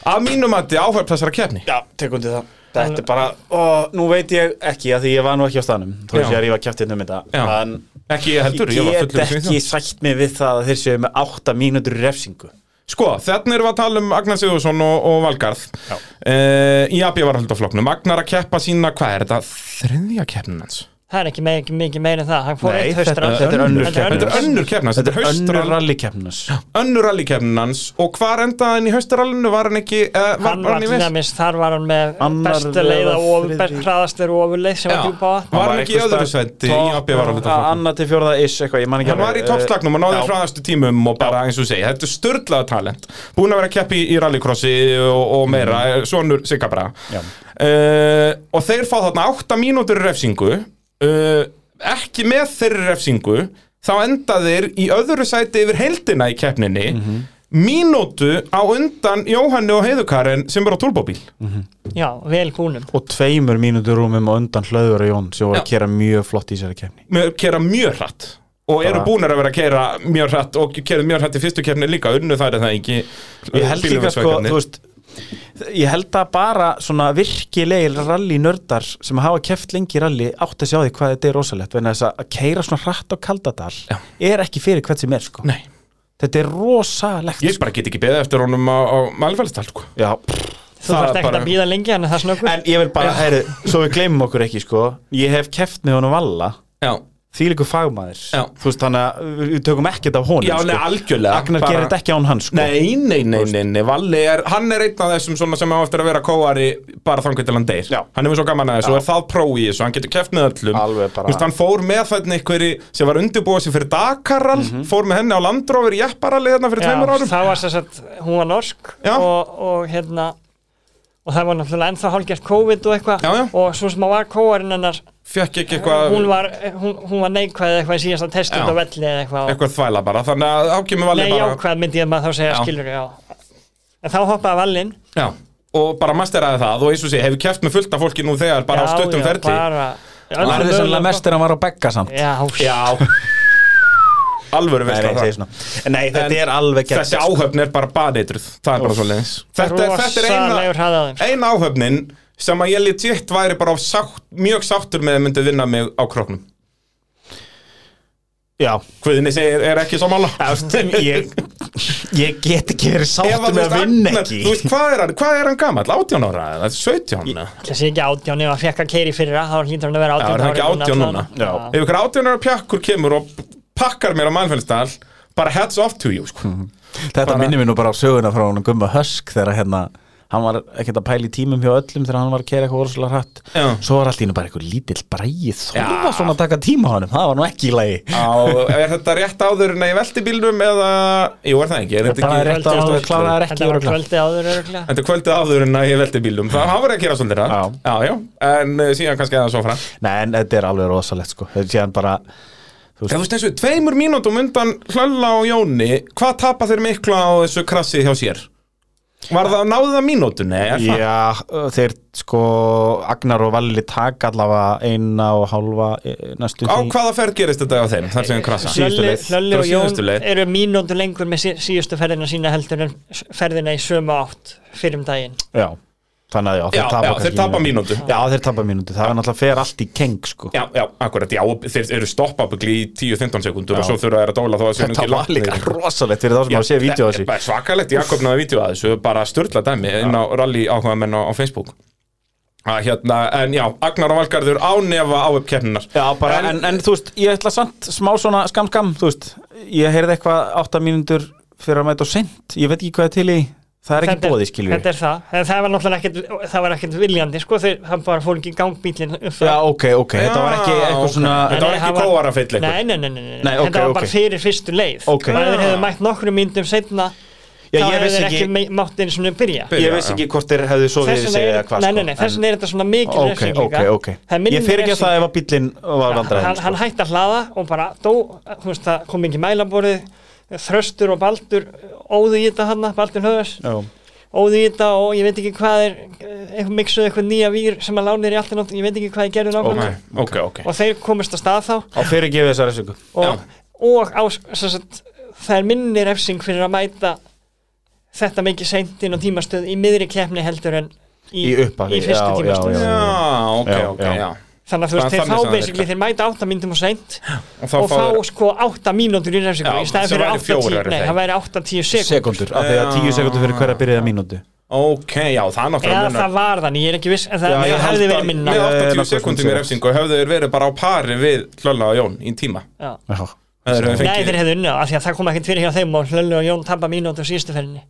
Speaker 1: Að mínum að þið áhverf þessara keppni
Speaker 2: Já, tekundi það Þetta er bara, og nú veit ég ekki að því ég var nú ekki á staðnum þó
Speaker 1: Já.
Speaker 2: ég sé að rífa kjæftið um þetta
Speaker 1: Já.
Speaker 2: en
Speaker 1: Ekki ég heldur, ég
Speaker 2: ég
Speaker 1: var
Speaker 2: get
Speaker 1: fullur
Speaker 2: ekki
Speaker 1: ekki...
Speaker 2: sætt mig við það að þeir séu með 8 mínútur í refsingu
Speaker 1: Sko, þannig erum við að tala um Agnar Sigurðsson og, og Valgarð
Speaker 2: Já.
Speaker 1: uh, Í AB var flokknum Agnar að keppa sína, hvað er þetta? Þriðja keppnin hans
Speaker 3: Það er ekki meik, mikið meira en það Hann fór
Speaker 2: Nei,
Speaker 3: eitt haustra
Speaker 2: þetta- þetta er önnur keppni.
Speaker 1: Þetta er önnur keppnin hans,
Speaker 2: Þetta er önnur
Speaker 1: haustrall-
Speaker 2: rallikeppnus
Speaker 1: önnur rally keppnin hans Og hvar endaði hann í haustrallinu? Var hann ekki, uh, var,
Speaker 3: Hann var
Speaker 1: hann í
Speaker 3: til
Speaker 1: veist?
Speaker 3: dæmis, þar var hann með
Speaker 2: Annar
Speaker 3: bestu
Speaker 2: eða
Speaker 3: leið á
Speaker 2: þriðji.
Speaker 3: hraðastur ofurleið sem var
Speaker 1: Já.
Speaker 3: djúpa vatn
Speaker 1: Var hann ekki í öðru sæti í AB varahlutarflokki?
Speaker 2: Anna til fjórða is, eitthvað, ég man ekki
Speaker 1: Hann var í toppslagnum eh, og náði
Speaker 2: Já.
Speaker 1: fræðastu tímum og bara eins og segja, þetta er störlaða talent búin að vera að keppi í rallycrossi og, og meira, mm. sonur Sigga
Speaker 2: Já.
Speaker 1: Braga uh, og þeir fá þarna 8 mínútur í refsingu uh, ekki með þeirri refsingu þá enda þeir í öðru sæti yfir heldina í keppninni mínútu á undan Jóhanni og Heiðukaren sem er á turbóbíl
Speaker 3: Já, vel búnum
Speaker 2: og tveimur mínútur rúmum og undan hlöður og Jón sem voru að
Speaker 1: Já.
Speaker 2: kera mjög flott í þessari keppni
Speaker 1: með að kera mjög hratt og eru
Speaker 2: Bara-
Speaker 1: búnir að vera að kera mjög hratt og kerið mjög hratt í fyrstu keppni líka unnu það er það ekki
Speaker 2: ég held líka sko, þú veist ég held að bara svona virkilegir rally nördar sem hafa keft lengi í rally átt að sjá því hvað þetta er rosalegt vegna þess að að keira svona hratt á kaldadal
Speaker 1: Já.
Speaker 2: er ekki fyrir hvert sem er sko
Speaker 1: Nei,
Speaker 2: þetta er rosalegt
Speaker 1: ég bara get ekki beðið eftir honum á, á mælfælstall sko.
Speaker 2: Já.
Speaker 3: Þú þarft ekkert að býða lengi en það snöggur
Speaker 2: en ég vil bara, heyri, svo við gleymum okkur ekki sko ég hef keft með honum valla
Speaker 1: Já,
Speaker 2: því líku fagmaður
Speaker 1: Já.
Speaker 2: þú veist þannig að við- við tökum ekkert af honum
Speaker 1: já nei,
Speaker 2: sko.
Speaker 1: algjörlega
Speaker 2: Agnar
Speaker 1: Bara-
Speaker 2: gerir þetta ekki án hans sko
Speaker 1: Nei, nei, nei, nei, nei, Valli er, hann er einn af þessum svona sem á eftir að vera kóari bara þangur til hann deyr
Speaker 2: Já.
Speaker 1: Hann hefur svo gaman að þessu, og er það pró í þessu, hann getur keft með öllum
Speaker 2: Alveg bara-
Speaker 1: Þú veist, hann fór með þarna einhverji sem var undirbúið sér fyrir Dakarall Fór með henni á landrófur í Jepparalli hérna fyrir tveimur árum
Speaker 3: það var sér að hún var norsk
Speaker 1: Já.
Speaker 3: og, og hérna og það var náttúrulega ennþá hálfgjart COVID og eitthvað
Speaker 1: Já, já.
Speaker 3: og svo sem að var kóarinn hennar
Speaker 1: Fekk ekki eitthvað
Speaker 3: hún var, hún, hún var neikvæð eitthvað í síðasta test
Speaker 1: Já.
Speaker 3: út á velli eða eitthvað, eitthvað
Speaker 1: eitthvað þvæla bara þannig að ákjömi valið
Speaker 3: Nei,
Speaker 1: bara
Speaker 3: jákvæð myndi ég maður þá segja
Speaker 1: Já.
Speaker 3: skilur já. En þá hoppaði vallinn
Speaker 1: já, og bara masteraði það og eins og sé, hefur keft með fullt af fólki nú þegar bara á
Speaker 3: Já,
Speaker 1: stuttum
Speaker 3: já,
Speaker 1: ferli
Speaker 3: bara,
Speaker 2: hann er þess að mest er hann var á begga samt
Speaker 3: Já,
Speaker 1: já, alvöru
Speaker 2: Nei,
Speaker 1: veist
Speaker 2: nei,
Speaker 1: það
Speaker 2: segir svona. sko. nei, þetta
Speaker 1: En
Speaker 2: er alveg gert
Speaker 1: þessi áhöfn er bara baneitruð, það er bara svo leiðis þetta, er- þetta er
Speaker 3: Rosalegur
Speaker 1: eina,
Speaker 3: hraði á þeim, sko.
Speaker 1: eina áhöfnin sem að ég legit væri bara á sátt, mjög sáttur með að myndi vinna mig á kroknum
Speaker 2: Já,
Speaker 1: Guðinni segir, er ekki sammála
Speaker 2: ég, ég get ekki verið
Speaker 1: Ef þú
Speaker 2: sáttu með
Speaker 1: veist,
Speaker 2: að vinna
Speaker 1: Agnar-
Speaker 2: ekki
Speaker 1: Þú veist, hvað er hann, hvað er hann gamall? 18 ára, eða 17 ára
Speaker 3: Það sé ekki átján, ef hann fekk að keiri fyrir að þá hlýtur hann að vera
Speaker 1: Já,
Speaker 3: átján
Speaker 1: er það ekki átján núna?
Speaker 2: Já.
Speaker 1: Ef ykkur átjónara pjakkur kemur og pakkar mér á mannfélstall bara heads off to you sko.
Speaker 2: Þetta
Speaker 1: bara-
Speaker 2: minnir mér nú bara á söguna frá honum Gumma Hösk þegar hérna hann var ekkert að pæla í tímum hjá öllum þegar hann var að kera eitthvað orðslega hratt
Speaker 1: Já.
Speaker 2: svo var allt í hennu bara eitthvað lítill bræði þorfa svona að taka tíma á honum, það var nú ekki í lagi
Speaker 1: Á, er þetta rétt áður en að ég velti bílnum eða, jú er það ekki, er þetta
Speaker 2: Bara
Speaker 1: ekki
Speaker 2: rétt áður en þú kláraðir ekki,
Speaker 3: Þetta var
Speaker 2: örugglega.
Speaker 3: kvöldi áður öruglega
Speaker 1: Þetta er kvöldið áður en að ég velti bílnum Það hann verið að gera svolítið það
Speaker 2: Já.
Speaker 1: já, já, en uh, síðan kannski eða svo frá En
Speaker 2: Nei, en þetta er alveg rosalegt sko þetta er síðan bara,
Speaker 1: þú veist eins og tveimur mínútum undan Hlölla og Jóni Hvað tapa þeir mikla á þessu krassi hjá sér? Var það, náðu það mínútunni? Er það?
Speaker 2: já, þeir sko Agnar og Valli taka allavega eina og hálfa eh, næstu
Speaker 1: Á
Speaker 2: því-
Speaker 1: hvaða ferð gerist þetta á þeim? Þar sem þeir krassa
Speaker 3: Hlölli Hlölli og
Speaker 1: Síðustu
Speaker 3: Jón
Speaker 1: leið.
Speaker 3: eru mínútu lengur með sí- síðustu ferðina sína heldur en s- ferðina í sömu átt fyrir um daginn
Speaker 2: Já, þannig að já,
Speaker 1: Já, já, þeir
Speaker 2: kannski
Speaker 1: tapa
Speaker 2: mínútu.
Speaker 1: mínútu
Speaker 2: Já, þeir tapa mínútu, það er náttúrulega fer allt í keng sko
Speaker 1: Já, já, akkurat, já, og þeir eru stoppabugli í 10-15 sekundur og svo þurfa þeir að dóla þó að sé nú
Speaker 2: Þetta
Speaker 1: ekki
Speaker 2: var
Speaker 1: langt
Speaker 2: líka
Speaker 1: niður.
Speaker 2: rosalegt fyrir þá sem
Speaker 1: Já,
Speaker 2: hafa séð vídeo á
Speaker 1: þetta er
Speaker 2: þessu
Speaker 1: bara Svakalegt, Jakob náði vídeo að þessu, bara störla dæmi inn á rally áhuga menn á, á Facebook að hérna, en já, Agnar og Valgarður ánefa á upp keppninar
Speaker 2: Já, bara, en,
Speaker 1: En-
Speaker 2: en, þú veist, ég ætla samt smá svona skam skam, þú veist ég heyrði eitthvað 8 mínútur fyrir að mæta og sent, ég veit ekki hvað er til í það er ekki bóði, skiljum við
Speaker 3: Þetta er það, en það var náttúrulega ekkert það var ekkert viljandi, sko, þeir, hann bara fór ekki í gangbílinn upp
Speaker 2: Já, ok, ok, þetta var ekki
Speaker 1: Já,
Speaker 2: eitthvað
Speaker 1: ok.
Speaker 2: svona
Speaker 1: Þetta var
Speaker 3: Nei,
Speaker 1: ekki
Speaker 3: hann var-
Speaker 1: kóarafeill eitthvað.
Speaker 3: Nei, nei, nei, nei, nei.
Speaker 2: Nei, ok,
Speaker 3: þetta var bara
Speaker 2: ok.
Speaker 3: fyrir fyrstu leið
Speaker 2: Ok.
Speaker 3: og ef þeir
Speaker 1: Ah.
Speaker 3: hefðu mætt nokkrum myndum setna
Speaker 2: Já,
Speaker 3: þá
Speaker 2: ég
Speaker 3: hefðu
Speaker 2: vissi
Speaker 3: þeir
Speaker 2: ekki-
Speaker 3: ekki, ekki mátt einu svona byrja
Speaker 1: Byrja.
Speaker 2: Ég veist ekki hvort þeir hefðu svo við
Speaker 3: Þess
Speaker 2: þessi
Speaker 3: vegna
Speaker 2: eða
Speaker 3: er-
Speaker 2: hvað
Speaker 3: Nei,
Speaker 2: sko,
Speaker 3: nei, nei, þess
Speaker 2: en-
Speaker 3: vegna er þetta svona mikil
Speaker 2: Ok,
Speaker 3: refsing
Speaker 2: ok,
Speaker 3: líka
Speaker 2: ok
Speaker 3: Það er minni
Speaker 2: Ég fyrir ekki
Speaker 3: refsing.
Speaker 2: það ef að bíllinn var sko. vandræðin
Speaker 3: hann, hann hætti að hlaða og bara dó, þú veist, það kom ekki mælaborðið þröstur og baldur óðu í þetta hann, baldur höfðs
Speaker 2: sko.
Speaker 3: óðu í þetta og ég veit ekki hvað er eitthvað mixuð eitthvað nýja vír sem að lánir í alltaf nátt, ég veit ekki hvað ég gerði nákvæmlega
Speaker 1: Nei, Ok, ok
Speaker 3: og þeir komist að stað þá
Speaker 2: Og fyrir gefið þessar refsingu
Speaker 3: og, og á, sem sagt, það er minni refsing fyrir að mæta þetta mikið seint inn á tímastöð í miðri keppni heldur en í,
Speaker 2: Í upphafi,
Speaker 3: fyrstu
Speaker 2: já, já,
Speaker 3: tímastöð
Speaker 1: Já, ok,
Speaker 2: Já,
Speaker 1: ok,
Speaker 2: já.
Speaker 1: já
Speaker 3: þannig að þú
Speaker 1: Þannig
Speaker 3: veist, þeir
Speaker 1: þannig sem
Speaker 3: þá
Speaker 1: það
Speaker 3: basically þeir mæta átta mínútum og seint
Speaker 1: Og þá
Speaker 3: og fá
Speaker 1: fáður
Speaker 3: sko átta mínútur í refsingu
Speaker 1: Já,
Speaker 3: í staðin
Speaker 1: sem
Speaker 3: fyrir
Speaker 1: væri
Speaker 3: átta tíu,
Speaker 1: fjórar,
Speaker 3: nei,
Speaker 1: er það
Speaker 3: það væri átta tíu sekund
Speaker 2: sekundur, af því að 10 sekundur fyrir hverja byrjaða mínútu
Speaker 1: Ok, já, það er náttúrulega
Speaker 3: eða
Speaker 1: munar.
Speaker 3: það var þannig, ég er ekki viss en það
Speaker 2: Já, ég
Speaker 3: hefði
Speaker 2: held að-
Speaker 3: verið minna
Speaker 1: Með
Speaker 2: Já, já,
Speaker 1: 80
Speaker 2: nokkuð
Speaker 1: sekundum í
Speaker 2: sem-
Speaker 1: refsingu hefðu þeir verið bara á pari við Hlölla og Jón í tíma
Speaker 3: Já.
Speaker 2: Já.
Speaker 1: Þeir hefðu
Speaker 3: Nei, þeir
Speaker 1: fengið-
Speaker 3: hefðu unnið það, af því að það kom ekkert fyrir hjá þeim og Hlöllu og Jón tappa mínútu á síðustu ferðinni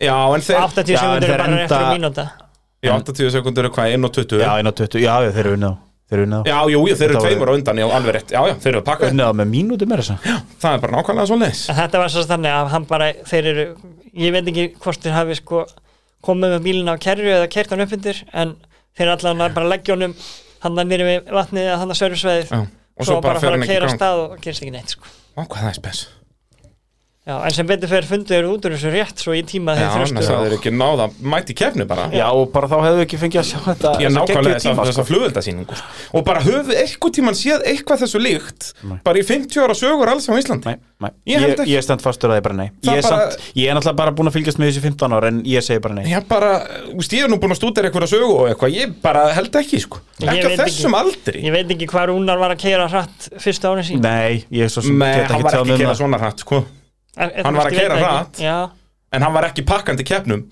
Speaker 1: Já, en þeir
Speaker 3: 80
Speaker 2: Já, en
Speaker 3: sekundur
Speaker 2: þeir
Speaker 3: er bara eftir
Speaker 2: enda-
Speaker 3: mínúta
Speaker 1: Já, 80 sekundur er hvað, 1 og 20
Speaker 2: já, inn á 20, já, já, þeir eru unnið á þeir eru unnið á,
Speaker 1: Já, jú, jú, þeir eru
Speaker 2: Þetta var-
Speaker 1: tveimur á undan, já, alveg rétt Já, já, þeir eru pakkað,
Speaker 2: unnið á með mínútu meira þess að
Speaker 1: það er bara nákvæmlega svo leis
Speaker 3: En þetta var svo þannig að hann bara, þeir eru, ég veit ekki hvort þeir hafi sko komið með bílina á kerru eða kert hann uppindir en þeir allan að bara leggja honum hann að nýri við vatnið að hann að sörfisveðið
Speaker 1: Já, og svo bara fer
Speaker 3: fara
Speaker 1: hann
Speaker 3: að
Speaker 1: ekki í
Speaker 3: keira
Speaker 1: gang.
Speaker 3: stað og gerist ekki neitt sko.
Speaker 1: Vá, hvað það er spes
Speaker 3: Já, en sem betur fyrir fundu eru út úr þessu rétt svo í tíma
Speaker 1: Já,
Speaker 3: þeir
Speaker 1: annars
Speaker 3: þröstu
Speaker 1: að þeir ekki náða mæti kefni bara
Speaker 2: já, og bara þá hefðu ekki fengið að sjá þetta
Speaker 1: Ég
Speaker 2: þessa
Speaker 1: nákvæmlega
Speaker 2: geggjuðu
Speaker 1: þessa,
Speaker 2: tíma, sko.
Speaker 1: þessa flugveldasýningu sko. Og bara höfðu eitthvað tíman séð eitthvað þessu líkt
Speaker 2: Nei.
Speaker 1: Bara í 50 ára sögur alls á Íslandi
Speaker 2: Nei, nei,
Speaker 1: Ég
Speaker 2: ég,
Speaker 1: held
Speaker 2: ég,
Speaker 1: ekki.
Speaker 2: stend fastur að ég bara nei
Speaker 1: Það
Speaker 2: ég er,
Speaker 1: bara-
Speaker 2: samt, ég er náttúrulega bara búin að fylgjast með þessu í 15 ára en ég segi bara nei
Speaker 1: Ég bara, þú veist, ég er nú búin að stúdera eitthvað sögu og eitthvað, ég bara held ekki, sko
Speaker 3: Ég
Speaker 1: Ekki á
Speaker 3: veit
Speaker 1: þessum
Speaker 3: ekki.
Speaker 1: aldri
Speaker 3: Ég veit ekki hvað Rúnar var að keira hratt fyrsta árið sín
Speaker 2: nei, ég svo sem
Speaker 1: Nei,
Speaker 2: get
Speaker 1: hann
Speaker 2: ekki
Speaker 1: var
Speaker 2: tjáð
Speaker 1: ekki að
Speaker 2: með
Speaker 1: kera
Speaker 2: það
Speaker 1: svona hratt, sko Hann var að keyra hratt.
Speaker 3: Já,
Speaker 1: En hann var ekki pakkandi keppnum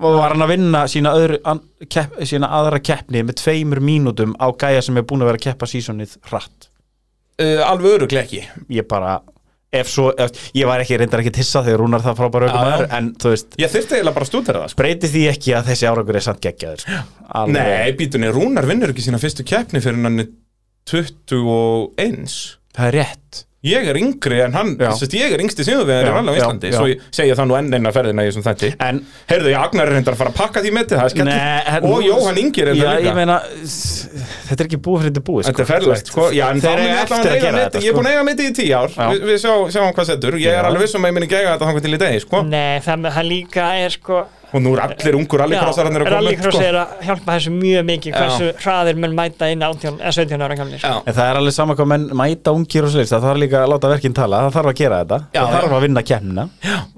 Speaker 2: og var hann að vinna sína, öðru, an, kepp, sína aðra keppni með tveimur mínútum á gæja sem er búin að vera að keppa sísonið hratt
Speaker 1: uh, Alveg öruglega ekki
Speaker 2: ég bara, ef svo ef, ég var ekki reyndar ekki tissa þegar Rúnar það frábæra aukum
Speaker 1: Já, já.
Speaker 2: en þú veist,
Speaker 1: Ég þyrfti eiginlega bara að stúdera það, sko
Speaker 2: breyti því ekki að þessi árangur er samt geggjaður sko. Alveg.
Speaker 1: Nei, býtunni, Rúnar vinnur ekki sína fyrstu keppni fyrir hann er 21
Speaker 2: það er rétt
Speaker 1: Ég er yngri en hann,
Speaker 2: Já.
Speaker 1: sérst, ég er yngsti síðurvegar í
Speaker 2: Já,
Speaker 1: rally á
Speaker 2: já,
Speaker 1: Íslandi
Speaker 2: já.
Speaker 1: Svo ég segja það nú enn eina ferðina í þessum þætti
Speaker 2: en
Speaker 1: Heyrðu, já, Agnar er reyndar að fara að pakka því metið, það er
Speaker 2: Nei,
Speaker 1: skemmt
Speaker 2: en-
Speaker 1: Og Jóhann Ingi er
Speaker 2: já,
Speaker 1: reyndar
Speaker 2: ég
Speaker 1: líka
Speaker 2: meina, s- þetta er ekki búið fyrir þetta er búið
Speaker 1: Þetta er
Speaker 2: sko.
Speaker 1: ferlegt, sko, já, en þá
Speaker 2: Þeir
Speaker 1: mun ég
Speaker 2: eiga
Speaker 1: alltaf
Speaker 2: eftir að
Speaker 1: eiga
Speaker 2: gera
Speaker 1: metið,
Speaker 2: þetta,
Speaker 1: ég er
Speaker 2: sko.
Speaker 1: búin að eiga metið í tíu ár,
Speaker 2: Já.
Speaker 1: við, við sjá, sjáum hvað setur, ég er
Speaker 2: Já.
Speaker 1: alveg vissum að ég muni gega þetta þangar til í degi, sko,
Speaker 3: nei, það, það líka er sko
Speaker 1: og nú er allir ungur rallycrossararnir að koma upp,
Speaker 3: Rallycross
Speaker 1: sko.
Speaker 3: er að hjálpa þessu mjög mikið
Speaker 1: Já.
Speaker 3: hversu hraðir menn mæta inn 18, eða 17 ára gamlir
Speaker 1: Já.
Speaker 2: En það er alveg sama hvað menn mæta ungir og sliðist, það þarf líka að láta verkinn tala, það þarf að gera þetta,
Speaker 1: Já,
Speaker 2: það þarf að vinna keppnina.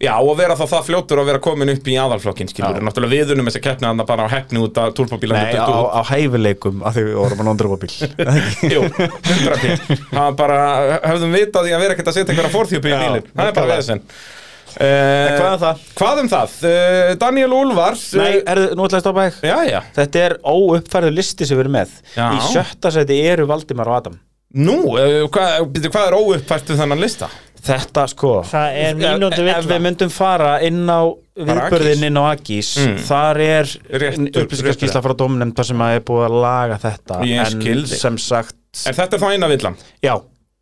Speaker 1: Já, og vera þá það fljótur að vera komin upp í aðalflokkin, skilur,
Speaker 2: Já.
Speaker 1: náttúrulega viðunum þess að keppna hann bara á hefni út að turbóbílan
Speaker 2: Nei, á, á hæfileikum að því við vorum að nóndra upp á bíl.
Speaker 1: Jú, hundra bíl Það var bara, höfðum vitað því að vera ekkert að setja einhverja forþjópi í
Speaker 2: Já,
Speaker 1: bílinn Það er bara
Speaker 2: nákvæmlega.
Speaker 1: veðsinn uh,
Speaker 2: hvað um það?
Speaker 1: Hvað um það? Uh, Daniel Úlfars
Speaker 2: Nei, erðu, nú ætlaði að stoppa ekki.
Speaker 1: Já, já,
Speaker 2: Þetta er óuppfærðu listi sem við erum með.
Speaker 1: Já.
Speaker 2: Í sjötta seti eru Valdimar og Adam.
Speaker 1: nú, uh, hvað, byrju, hvað er óuppfært við þennan lista?
Speaker 2: Þetta sko,
Speaker 3: Það er
Speaker 2: ef,
Speaker 3: mínútu
Speaker 2: ef
Speaker 3: villa.
Speaker 2: við myndum fara inn á
Speaker 1: Bara Agis.
Speaker 2: viðbörðin inn á Agis, þar er
Speaker 1: Réttur, réttur.
Speaker 2: upplýsingarskísla frá domnefnd þar sem að er búið að laga þetta.
Speaker 1: Ég skil
Speaker 2: en
Speaker 1: þig.
Speaker 2: sem sagt,
Speaker 1: En þetta er þá eina villan
Speaker 2: Já,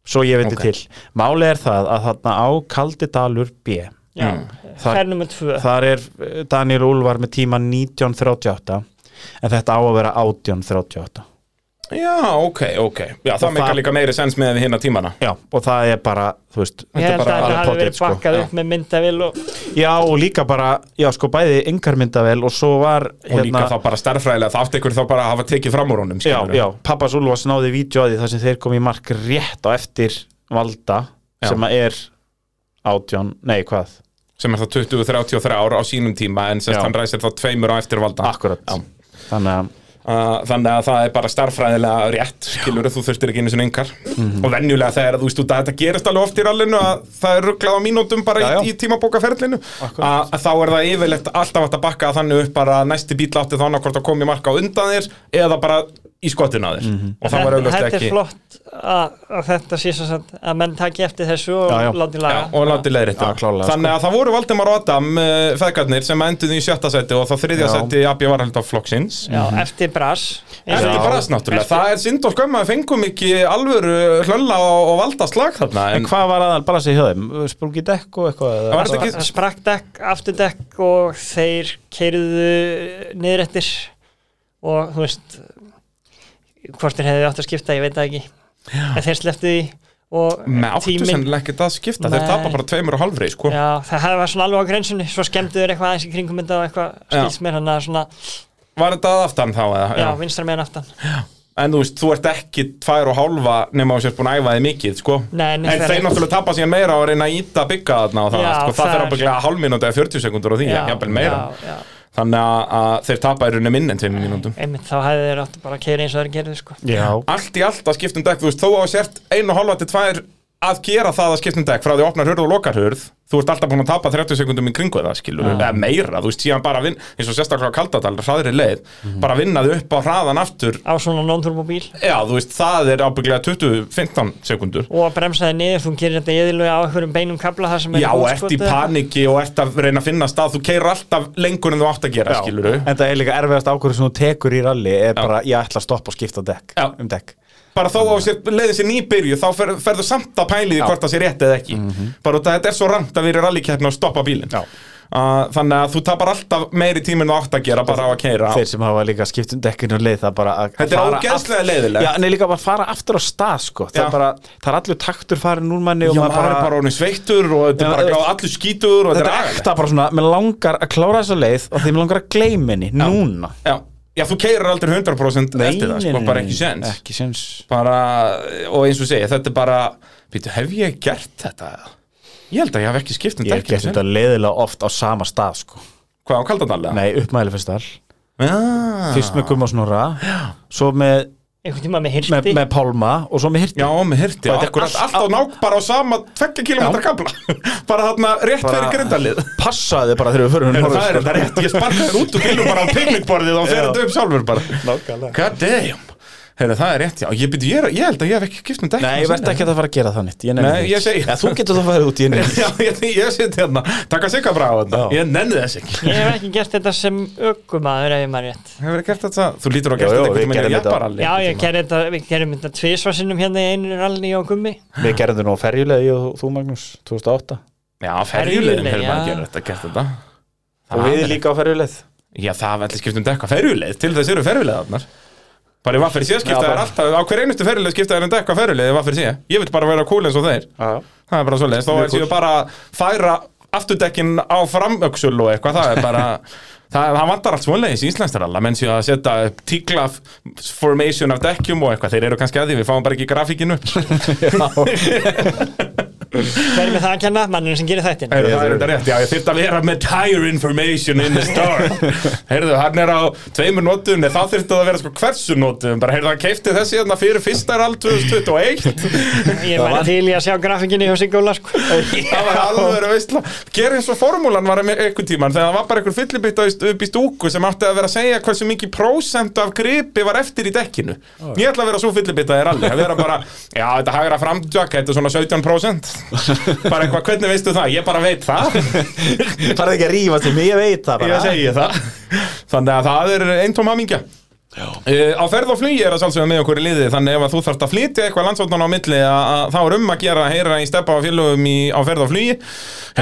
Speaker 2: svo ég veit
Speaker 1: Ok.
Speaker 2: til Málið er það að þarna á Kaldidalur B
Speaker 3: Já.
Speaker 1: Mm.
Speaker 2: Það-
Speaker 3: Fær nummer 2
Speaker 2: Þar er eh, Daniel Úlfar með tíma 1938 En þetta á að vera 1838
Speaker 1: Já, ok, ok Já, það
Speaker 2: Og
Speaker 1: meikar
Speaker 2: það-
Speaker 1: líka meiri sens með við hinna tímana
Speaker 2: Já, og það er bara, þú veist
Speaker 3: Ég held
Speaker 1: bara
Speaker 3: að það
Speaker 2: alveg
Speaker 3: hafi
Speaker 2: pottet,
Speaker 3: verið
Speaker 2: sko.
Speaker 3: bakkað
Speaker 1: Já.
Speaker 3: upp með myndavill og
Speaker 2: Já, og líka bara, já sko, bæði yngar myndavel og svo var
Speaker 1: Og líka þá bara stærðfræðilega, það átti ykkur þá bara að hafa tekið fram úr honum
Speaker 2: Hérna- Já,
Speaker 1: skilurðu.
Speaker 2: já, pappas Úlfars náði vídjóði þar sem þeir kom í mark rétt á eftir valda
Speaker 1: Já.
Speaker 2: sem að er 18, nei hvað
Speaker 1: Sem er það 20-33 ára á sínum tíma En sérst
Speaker 2: Já.
Speaker 1: hann ræsir þá tveimur á eftir valda
Speaker 2: Akkurat
Speaker 1: Já.
Speaker 2: Þannig að
Speaker 1: Uh, þannig að það er bara starffræðilega rétt skilur þú þurftir ekki einu sinni yngar
Speaker 2: Mhm.
Speaker 1: og venjulega þegar þú veist út að þetta gerist alveg oft í rallinu að það er rugglað á mínútum bara
Speaker 2: Já,
Speaker 1: í,
Speaker 2: já.
Speaker 1: í tímabókaferlinu að
Speaker 2: Akkurat.
Speaker 1: að þá er það yfirleitt alltaf hægt að bakka þannig upp bara að næsti bíl átti þannig hvort að komi marka á undan þér eða bara í skottinu að þér
Speaker 2: Mhm.
Speaker 1: og það var
Speaker 3: þetta,
Speaker 1: auðvitað
Speaker 3: þetta er
Speaker 1: ekki
Speaker 3: flott að, að þetta sé svo satt að menn taki eftir þessu og
Speaker 2: Já, já.
Speaker 3: láti
Speaker 1: Já,
Speaker 3: laga
Speaker 1: og láti leiðrétt
Speaker 2: Já, klárlega, sko.
Speaker 1: þannig að það voru Valdimar og Adam uh, feðgarnir sem enduðu í sjötta seti og þá þriðja
Speaker 2: Já.
Speaker 1: seti Abbi Varhaldaflokksins
Speaker 3: Já, eftir brass
Speaker 1: Mhm. Eftir
Speaker 2: Já.
Speaker 1: brast náttúrulega, það er synd og skömm að við fengum ekki alvöru hlölla og, og valda slag þarna
Speaker 2: En
Speaker 1: en,
Speaker 2: hvað var aðal bara að segja hjá þeim? Sprungi dekk og eitthvað? eða?
Speaker 1: Það var-
Speaker 3: það,
Speaker 1: ekki-
Speaker 3: það sprakk dekk, afturdekk og þeir keirðu niður eftir og þú veist hvort þeir hefðu átt að skipta, ég veit það ekki en þeir sleftu því og
Speaker 1: með áttu
Speaker 3: tíminn-
Speaker 1: sennilega ekki það skipta, þeir
Speaker 3: Nei.
Speaker 1: tapa bara tveimur og halvri sko.
Speaker 3: Já, það hefði var svona alveg á grensunni svo skemmdu þeir eitthvað aðeins í kringum þetta og eitthvað
Speaker 1: Já.
Speaker 3: skilst mér hann að svona,
Speaker 1: Var þetta að aftan þá eða?
Speaker 3: já, vinstra meðan aftan
Speaker 1: en þú veist, þú ert ekki tvær og hálfa nema þú sért búin að æfa þig mikið, sko
Speaker 3: Nei, nei,
Speaker 1: en
Speaker 3: það er
Speaker 1: þeir
Speaker 3: rétt.
Speaker 1: náttúrulega tappa síðan meira á að reyna að íta bygga þarna og það,
Speaker 3: Já,
Speaker 1: sko, það
Speaker 3: það
Speaker 1: fer
Speaker 3: er-
Speaker 1: ábygglega hálfminúti eða 40 sekundur á því, jafnvel meira
Speaker 3: já, já.
Speaker 1: þannig að, að þeir tappa í rauninni minn en tveimur mínúndum
Speaker 3: einmitt þá hefði þeir átt að bara keira eins og þeir gerðu sko.
Speaker 2: Já,
Speaker 1: allt í allt að skiptum dekk, þú veist, þó að þú sért einu og hálfa til tvær að gera það að skiptum dekk frá því að opnar hurð og lokar hurð þú ert alltaf búin að tapa 30 sekundum í kringu það skilur, eða meira, þú veist, síðan bara vinn eins og sérstaklega á kaldatal, hraðri leið bara vinnaði upp á hraðan aftur
Speaker 3: á svona non-turbóbíl
Speaker 1: já, þú veist, það er ábygglega 20-15 sekundur
Speaker 3: og að bremsaði niður, þú gerir þetta yðurlega á einhverjum beinum kabla þar sem er
Speaker 1: Já, ert í
Speaker 3: útskotið.
Speaker 1: paniki og ert að reyna að finna stað þú keirir alltaf lengur en þú átt að gera, skilur
Speaker 2: en það er líka erfiðast ákvörðu sem þú tekur í rally er bara, ég ætla að stoppa og skipta dekk,
Speaker 1: Já.
Speaker 2: um dekk
Speaker 1: bara þó á sér, leiði sér nýbyrju þá fer, ferðu samt að pæli því hvort það sé rétt eða ekki bara út að þetta er svo rangt að vera í rallikeppni og stoppa bílinn
Speaker 2: Mhm. Já.
Speaker 1: uh, þannig að þú tapar alltaf meiri tíma en þú átt að gera bara á að keira
Speaker 2: Þeir sem hafa líka skipt um dekkinu og leið það bara að
Speaker 1: þetta er
Speaker 2: fara
Speaker 1: ógeðslega
Speaker 2: aft-
Speaker 1: leiðilegt
Speaker 2: Já, nei, líka bara að fara aftur á stað, sko Það
Speaker 1: Já.
Speaker 2: er bara, það er allur taktur farin úr manni og
Speaker 1: Já,
Speaker 2: maður bara,
Speaker 1: bara orðin sveittur og þetta
Speaker 2: Já,
Speaker 1: er bara
Speaker 2: þú
Speaker 1: gráð allur skítur og
Speaker 2: þetta
Speaker 1: þetta
Speaker 2: er
Speaker 1: agalegt.
Speaker 2: ekta bara svona, mér langar að klára þessa leið og því mér langar að gleyma henni, núna
Speaker 1: Já, já þú keirir aldrei 100% eftir það, sko,
Speaker 2: nei,
Speaker 1: bara
Speaker 2: nei,
Speaker 1: ekki sens
Speaker 2: Ekki sens
Speaker 1: bara, og eins og segja, þetta er bara býtu, hef ég gert þetta? Ég held að ég hef ekki skipt um
Speaker 2: Ég hef gert
Speaker 1: dekkin
Speaker 2: þetta leiðilega oft á sama stað, sko
Speaker 1: Hvað á Ah. kaldandalega?
Speaker 2: Nei, uppmæli fyrst all
Speaker 1: Já,
Speaker 2: Fyrst með Gumma Snorra Svo með,
Speaker 3: einhvern tíma með
Speaker 2: með,
Speaker 3: hirti
Speaker 2: með Pálma og svo með Hirti
Speaker 1: Já, með hirti,
Speaker 2: Bara þetta er
Speaker 1: akkurat
Speaker 2: allt-
Speaker 1: allt á nák bara á sama 2 km kabla bara þarna rétt
Speaker 2: Bara-
Speaker 1: fyrir grindalið
Speaker 2: Passaði bara þegar við förum
Speaker 1: Það
Speaker 2: norður,
Speaker 1: er
Speaker 2: sko.
Speaker 1: þetta rétt, ég sparka þér út úr bílum bara á picnicborðið og fer
Speaker 2: Já.
Speaker 1: þetta upp sjálfur bara
Speaker 2: Nákvæmlega.
Speaker 1: God damn Heyrðu, það er rétt, já, ég, byrju, ég, er, ég held að ég hef ekki skipt um dekk
Speaker 2: Nei, ég verð ekki að það fara að gera það nýtt
Speaker 1: Nei, ég segi-
Speaker 2: Þú getur það farið út í henni
Speaker 1: Já, ég, ég seti hérna, taka sig að braga þetta
Speaker 2: Já.
Speaker 1: Ég nenni þess ekki
Speaker 3: ég hef ekki gert þetta sem ökumæður ef ég maður rétt
Speaker 1: Hefur þið gert þetta? Þú lítur á
Speaker 2: Jú,
Speaker 1: gert þetta einhvern veginn í
Speaker 2: jú, við gerðum þetta.
Speaker 1: Japaralli
Speaker 3: já ég gerði þetta, við gerum þetta tvisvarsinnum hérna í einu rallni á gummi
Speaker 2: Við gerðum þetta nú á ferjulega, ég og þú Magnús 2008
Speaker 1: Já, ferjulegin
Speaker 3: Ferjuleið,
Speaker 1: hefur maður
Speaker 3: já.
Speaker 1: gerð þetta, gert þetta
Speaker 2: Og
Speaker 1: Það
Speaker 2: við
Speaker 1: er-
Speaker 2: líka á ferjuleið
Speaker 1: Já, það var allir skipt um dekka ferjuleið, til þess eru ferjuleiðarnar Bara í vaffir sé skipta
Speaker 2: Já,
Speaker 1: þær
Speaker 2: bara-
Speaker 1: alltaf, á hver einustu ferjuleið skipta þær en dekka ferjuleið í vaffir sé Ég vil bara vera cool eins og þeir, það er bara svoleiðis, þá
Speaker 2: Mjög
Speaker 1: er séu
Speaker 2: cool.
Speaker 1: bara að færa afturdekkin á framöksul og eitthvað, það er bara Það, það vantar allt svoleiðis í Íslandstaralla, menn séu að setja upp tíkla f- formation af dekkjum og eitthvað, þeir eru kannski að því, við fáum bara ekki grafíkinu
Speaker 3: hver er með það að kenna, manninn sem gerir þættin
Speaker 1: Heyrðu,
Speaker 2: Ég
Speaker 1: það er
Speaker 2: þurfi.
Speaker 1: þetta rétt, já, ég þyrfti að vera með tire information in the store Heyrðu, hann er á tveimur nótum, nei, þá þyrfti það að vera sko hversu nótum Bara, heyrðu, hann keipti þessi hérna fyrir fyrsta rall 2021
Speaker 3: ég
Speaker 2: Það
Speaker 3: væri
Speaker 2: var-
Speaker 3: til í að sjá grafikinni hjá Sigóla sko. já,
Speaker 1: Það var alveg að veistla Gerið eins og formúlan var með einhvern tíman Þegar það var bara einhver fyllibitt á- upp í stúku sem átti að vera að segja hversu mikið prósent af gripi var eftir í dekkinu Ég ætla að vera svo fyllibitt að þér alveg Að vera bara, já, þetta hægra framtjökk, þetta er svona 17% Bara eitthvað, hvernig veistu það? Ég bara veit það
Speaker 2: Það er ekki að rífa til mig, ég veit það
Speaker 1: Ég segi það Þannig að það er eintóm hamingja Uh, á ferð og flugi er að sjálfsögða með okkur í liði þannig ef að þú þarft að flytja eitthvað landsóttan á milli að, að þá er um að gera að heyra í steppa á félögum í, á ferð og flugi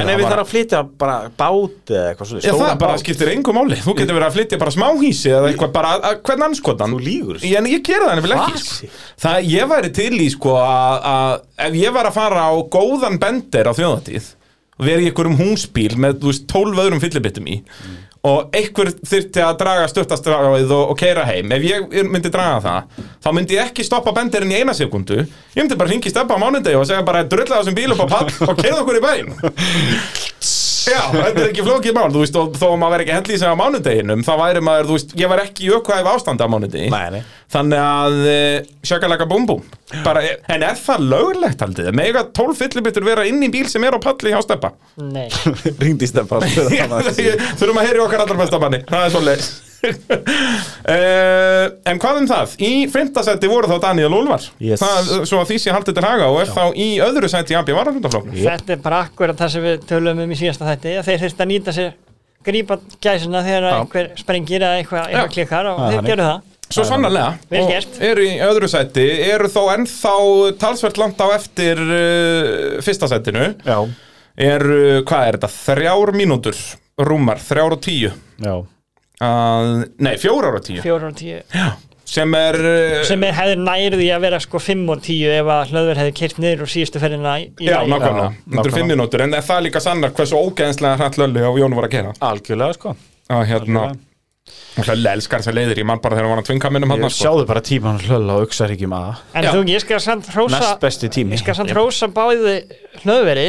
Speaker 2: En ef við þarf að flytja bara bát eða eitthvað
Speaker 1: Já,
Speaker 2: svolítið
Speaker 1: það
Speaker 2: stóran
Speaker 1: bara
Speaker 2: bát,
Speaker 1: skiptir engu máli Þú getur verið að flytja bara smáhísi eða eitthvað bara að- að- hvern anskotan
Speaker 2: Þú lýgur.
Speaker 1: En ég gera það nefnilega ekki sko.
Speaker 2: Hvað?
Speaker 1: Það ég væri til í sko að að ef ég var að fara á góðan bender á þjóðatíð og verið í einhverjum húsbíl með þú veist 12 öðrum fyllibittum í og einhver þyrfti að draga stöttastráið og, og keira heim ef ég myndi draga það þá myndi ég ekki stoppa benderinn í eina sekundu ég myndi bara hringi steppa á mánudegi og segja bara drulla þessum bíl upp á pall og keira okkur í bæinn Já, þetta er ekki flókið mál, þú veist, og þó að maður væri ekki hendlið sem á mánudeginum, þá væri maður, þú veist, ég var ekki í aukvæf ástandi á mánudegi.
Speaker 2: Nei, nei.
Speaker 1: Þannig að, uh, sjökkalega búm búm. Bara, e, en er það löglegt haldið? Mega 12 fyllibittur vera inn í bíl sem er á palli hjá steppa.
Speaker 3: nei,
Speaker 2: Ringdi í stefn bara að spyrja hann að þessi.
Speaker 1: Þurfum að heyri okkar allar besta manni Það er svolítið uh, En hvað um það? Í fymtasetti voru þá Daniel Úlfar
Speaker 2: Yes.
Speaker 1: það, Svo að því sé haldið til haga og er þá í öðru seti AB varaflundaflóknum
Speaker 2: Jep.
Speaker 3: þetta er bara akkurat það sem við tölum um í síðasta þætti að þeir þurft að nýta sér grípa gæsina þegar
Speaker 1: Já.
Speaker 3: einhver sprengir eða eitthvað, eitthvað
Speaker 1: Já.
Speaker 3: klikkar og
Speaker 2: Já,
Speaker 3: þeir
Speaker 2: þannig.
Speaker 3: gerðu það
Speaker 1: Svo sannarlega
Speaker 3: Vel
Speaker 1: Og
Speaker 3: gert.
Speaker 1: Eru í öðru seti, eru þó ennþá talsvert langt á eftir uh, fyrsta setinu
Speaker 2: Já,
Speaker 1: Eru, hvað er þetta? Þrjár mínútur rúmar, þrjár og tíu
Speaker 2: já
Speaker 1: Uh, nei, fjórar og tíu
Speaker 3: fjóra og tíu
Speaker 1: sem er, uh,
Speaker 3: sem er hefði nærði að vera sko 5 og 10 ef að hlöður hefði keirt niður úr síðustu ferðina í
Speaker 1: eh,
Speaker 3: í
Speaker 1: já,
Speaker 3: lagi.
Speaker 1: nákvæmlega, þetta
Speaker 2: Já,
Speaker 1: eru
Speaker 2: nákvæmlega.
Speaker 1: fimm mínútur en það er líka sannar hversu ógeðenslega hrætt löllu og Jón var að gera
Speaker 2: Algjörlega, sko
Speaker 1: að hérna
Speaker 2: Algjörlega.
Speaker 1: Hún hljóðlega elskar þessar leiðir, ég man bara þegar hann var að tvinga minnum hann
Speaker 2: Ég
Speaker 1: sko.
Speaker 2: sjáðu bara tíma hann hlölla og auksar ekki maður
Speaker 3: En
Speaker 1: Já.
Speaker 3: þú, ég skal samt hrósa
Speaker 2: Næst besti tími
Speaker 3: Ég skal samt hrósa báði hlöðveri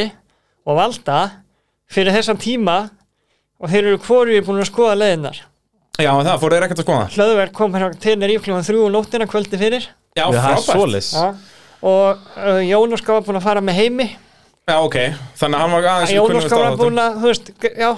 Speaker 3: og valda fyrir þessan tíma og þeir eru hvorið búin að skoða leiðinnar
Speaker 1: Já, en það fór þeir ekkert að skoða
Speaker 3: Hlöðver kom hérna til nær ífljóðan þrjú og nóttina kvöldi fyrir
Speaker 1: Já,
Speaker 2: Já, það er
Speaker 1: frábært
Speaker 2: svoleiðis.
Speaker 3: ja. og uh, Jónuska var búin að fara með heimi
Speaker 1: Já, ok, þannig að hann var aðeins í kunnum
Speaker 3: Jónuska var
Speaker 1: staðháttum.
Speaker 3: búin að, þú veist, g- já,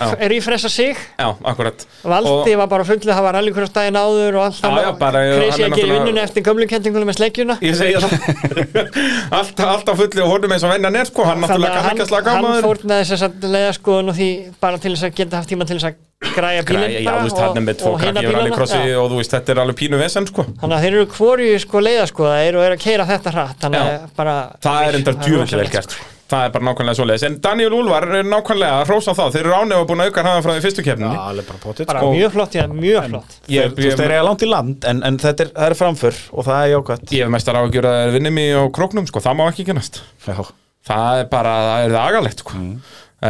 Speaker 1: Já.
Speaker 3: er í fressa sig
Speaker 1: Já, akkurat
Speaker 3: Valdi var bara fullið, það var alveg hverjum daginn áður og allt
Speaker 1: Já, já, bara, hann er
Speaker 3: Kreisi að gera í
Speaker 1: náttúrulega-
Speaker 3: vinnunni eftir gömlingkendingunum með sleggjuna
Speaker 1: Ég segi það Alltaf allt fullið og honum eins og vennan er sko Hann náttúrulega kann ekki að slaka á
Speaker 3: hann
Speaker 1: maður
Speaker 3: fór með þess að leiða skoðun og því bara til þess að geta haft tíma til þess að græja
Speaker 1: Græ,
Speaker 3: bílinn
Speaker 1: já, þú veist, hann er með tvo
Speaker 3: hina
Speaker 1: krakki og hérna rallycrossi
Speaker 3: já.
Speaker 1: og þú veist, þetta er alveg pínu vesen, sko.
Speaker 3: þannig að þeir eru hvoru sko leiða skoðaðir og eru að keira þetta hratt þannig
Speaker 1: Já.
Speaker 3: að bara
Speaker 1: Það er enda djúvill vel gert, sko. Það er bara nákvæmlega svoleiðis. En Daniel Úlvar er nákvæmlega að hrósa þá. Þeir eru ánefða búin að auka hraðan frá því fyrstu kefninni.
Speaker 2: Já, alveg bara potið
Speaker 3: bara
Speaker 1: Og-
Speaker 3: mjög flott, já, mjög flott
Speaker 1: Ég-
Speaker 2: Þú veist,
Speaker 1: ég-
Speaker 2: þeir eru langt í land en, en þetta er, það er framför og það er jákvæmt
Speaker 1: Ég hef mestar á að gera þeir vinnum í á króknum, sko. Það má ekki genast.
Speaker 2: Já,
Speaker 1: Það er bara, það er það agalegt, sko.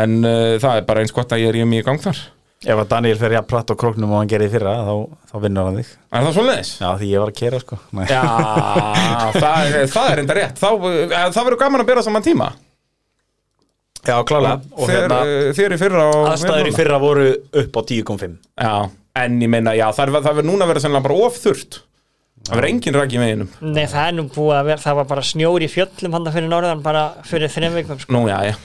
Speaker 1: En uh, það er bara eins gott að ég er í mig í gang þar.
Speaker 2: ef að Daniel fer jafn platt á króknum og hann gerði í fyrra þá, þá vinnur hann þig
Speaker 1: Er það svoleiðis?
Speaker 2: Já, því ég var að kera sko Nei.
Speaker 1: Já, það, er- það er enda rétt. Þá, eh, það verður gaman að bera saman tíma.
Speaker 2: Já, klálega og
Speaker 1: Þér,
Speaker 2: hérna,
Speaker 1: eh, þér í fyrra og við
Speaker 2: aðstæður í
Speaker 1: núna.
Speaker 2: fyrra voru upp á 10.5
Speaker 1: Já, en ég meina, já, það er- það verður núna að vera sennilega bara ofþurrt Það verður engin rak í veginum
Speaker 3: Nei, það er nú búið að vera, það var bara snjór í fjöllum hann fyrir norðan bara fyrir þreim vikum sko.
Speaker 1: Nú, já, já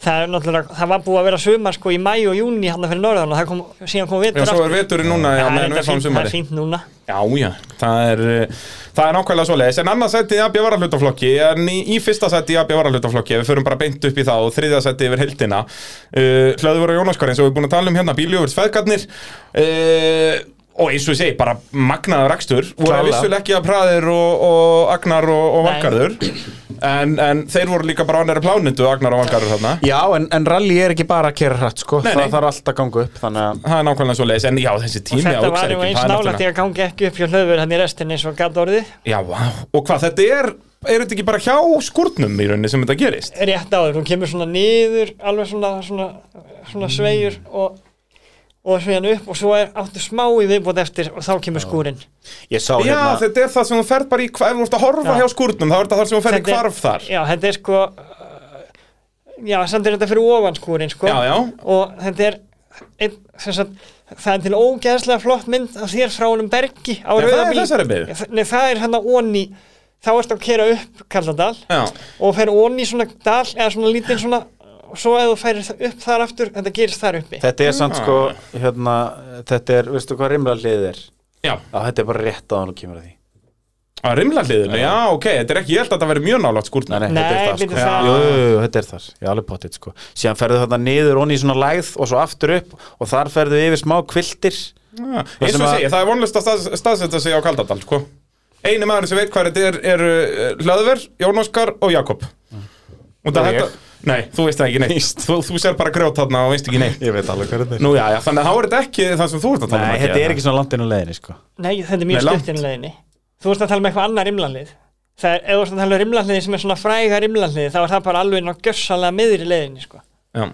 Speaker 3: það, er náttúrulega- það var búið að vera sumar sko í mæ og júni hann fyrir norðan og það kom, síðan kom
Speaker 1: Já,
Speaker 3: vetur
Speaker 1: svo er veturinn núna, já,
Speaker 3: Það er
Speaker 1: meðan
Speaker 3: enda
Speaker 1: við fáum
Speaker 3: fínt- það er
Speaker 1: sumari
Speaker 3: fínt núna
Speaker 1: Já, já, það er, eh, það er nákvæmlega svoleiðis En annars sætti í AB varahlutaflokki En í, í fyrsta sætti í AB varahlutaflokki Við förum bara beint upp í það og þriðja sætti yfir heldina uh, Hlöður og Jónaskar eins og við erum búin að tala um hérna Bíljöfur, sveðgarnir uh, Og eins og ég segi, bara magnaður akstur Voru
Speaker 2: Klárlega.
Speaker 1: vissulega ekki að Praðir og, og Agnar og, og
Speaker 3: Nei.
Speaker 1: Valgarður en, en þeir voru líka bara á næri plánutu Agnar og Valgarður þarna
Speaker 2: Já, en, en rally er ekki bara að kera hratt sko
Speaker 1: Nei, nei.
Speaker 2: Það þarf alltaf að ganga upp Þannig að
Speaker 1: það er nákvæmlega svo leiðis, en já, þessi
Speaker 3: og
Speaker 1: tími á
Speaker 3: þetta var
Speaker 1: Uxaríki,
Speaker 3: nú eins
Speaker 1: það er
Speaker 3: nálægt ég að gangi ekki upp hjá hlöður hann í restin eins og gæt orðið
Speaker 1: náttúrulega- Já, vá, og hvað, þetta er, er þetta ekki bara hjá skúrnum í rauninni sem þetta gerist?
Speaker 3: rétt áður, hún kemur svona niður alveg svona, svona,
Speaker 1: Mm.
Speaker 3: svona sveigur og, og sveigan upp og svo er áttu smá í viðbót eftir og þá kemur skúrin
Speaker 2: ég sá
Speaker 1: já,
Speaker 2: hérna
Speaker 1: þetta er það sem þú ferð bara í, hva- ef þú ert að horfa
Speaker 3: Já.
Speaker 1: hjá skúrnum, þá er þetta það sem þú ferð í
Speaker 3: Þetta er-
Speaker 1: hvarf þar.
Speaker 3: já, þetta er sko uh, já, samt er þetta fyrir ofan skúrin sko.
Speaker 1: Já, já.
Speaker 3: og þetta er ein, sagt, það er til ógeðslega flott mynd af þér frá honum Bergi á
Speaker 1: Já, það
Speaker 3: Rauðabíl.
Speaker 1: er þessari byggð.
Speaker 3: Já, þa- Nei, það er hann að onni þá ertu að kera upp Kalladal
Speaker 1: Já,
Speaker 3: og fer onni svona dal eða svona lítinn svona og svo ef þú færir það upp þar aftur þetta gerist þar uppi
Speaker 2: Þetta er samt sko hérna, Þetta er, veistu hvað rimla liðið er Já,
Speaker 1: já,
Speaker 2: þetta er bara rétt að hann kemur að því
Speaker 1: að rimla hliðinu, já, ok, þetta er ekki, ég held að þetta verði mjög nálátt skúrnum.
Speaker 2: Nei, nei,
Speaker 3: Nei,
Speaker 2: þetta er það
Speaker 3: bíddu,
Speaker 2: sko
Speaker 3: það-
Speaker 2: Jú, jú, jú, þetta er það, já, alveg potið sko Síðan ferðu þarna niður onni í svona lægð og svo aftur upp og þar ferðu yfir smá kviltir
Speaker 1: Já, eins og ég
Speaker 2: sem að-
Speaker 1: segi, það er vonlust að stað, staðsetja sig á Kaldadal sko. eini maður sem veit hvað þetta er er uh, Hlöðver, Jón Óskar og Jakob og það
Speaker 2: Og ég.
Speaker 1: þetta nei, þú veist það ekki neitt þú, þú sér bara grjót þarna og veist ekki neitt
Speaker 2: Ég veit alveg hvað þetta
Speaker 1: Nú, já, já, þannig að þá er þetta ekki það sem þú ert að tala
Speaker 2: Nei,
Speaker 1: um
Speaker 2: þetta er ekki svona langt inn á leiðinni sko
Speaker 3: nei, þetta er
Speaker 1: Nei,
Speaker 3: mjög
Speaker 1: langt.
Speaker 3: stutt inn í leiðinni þú veist að tala um eitthvað annað rimlanlið það er, ef þú veist að tala um rimlanlið sem er svona fræga rimlanlið þá er það bara alveg ná gjössalega miður í leiðinni sko.
Speaker 1: já.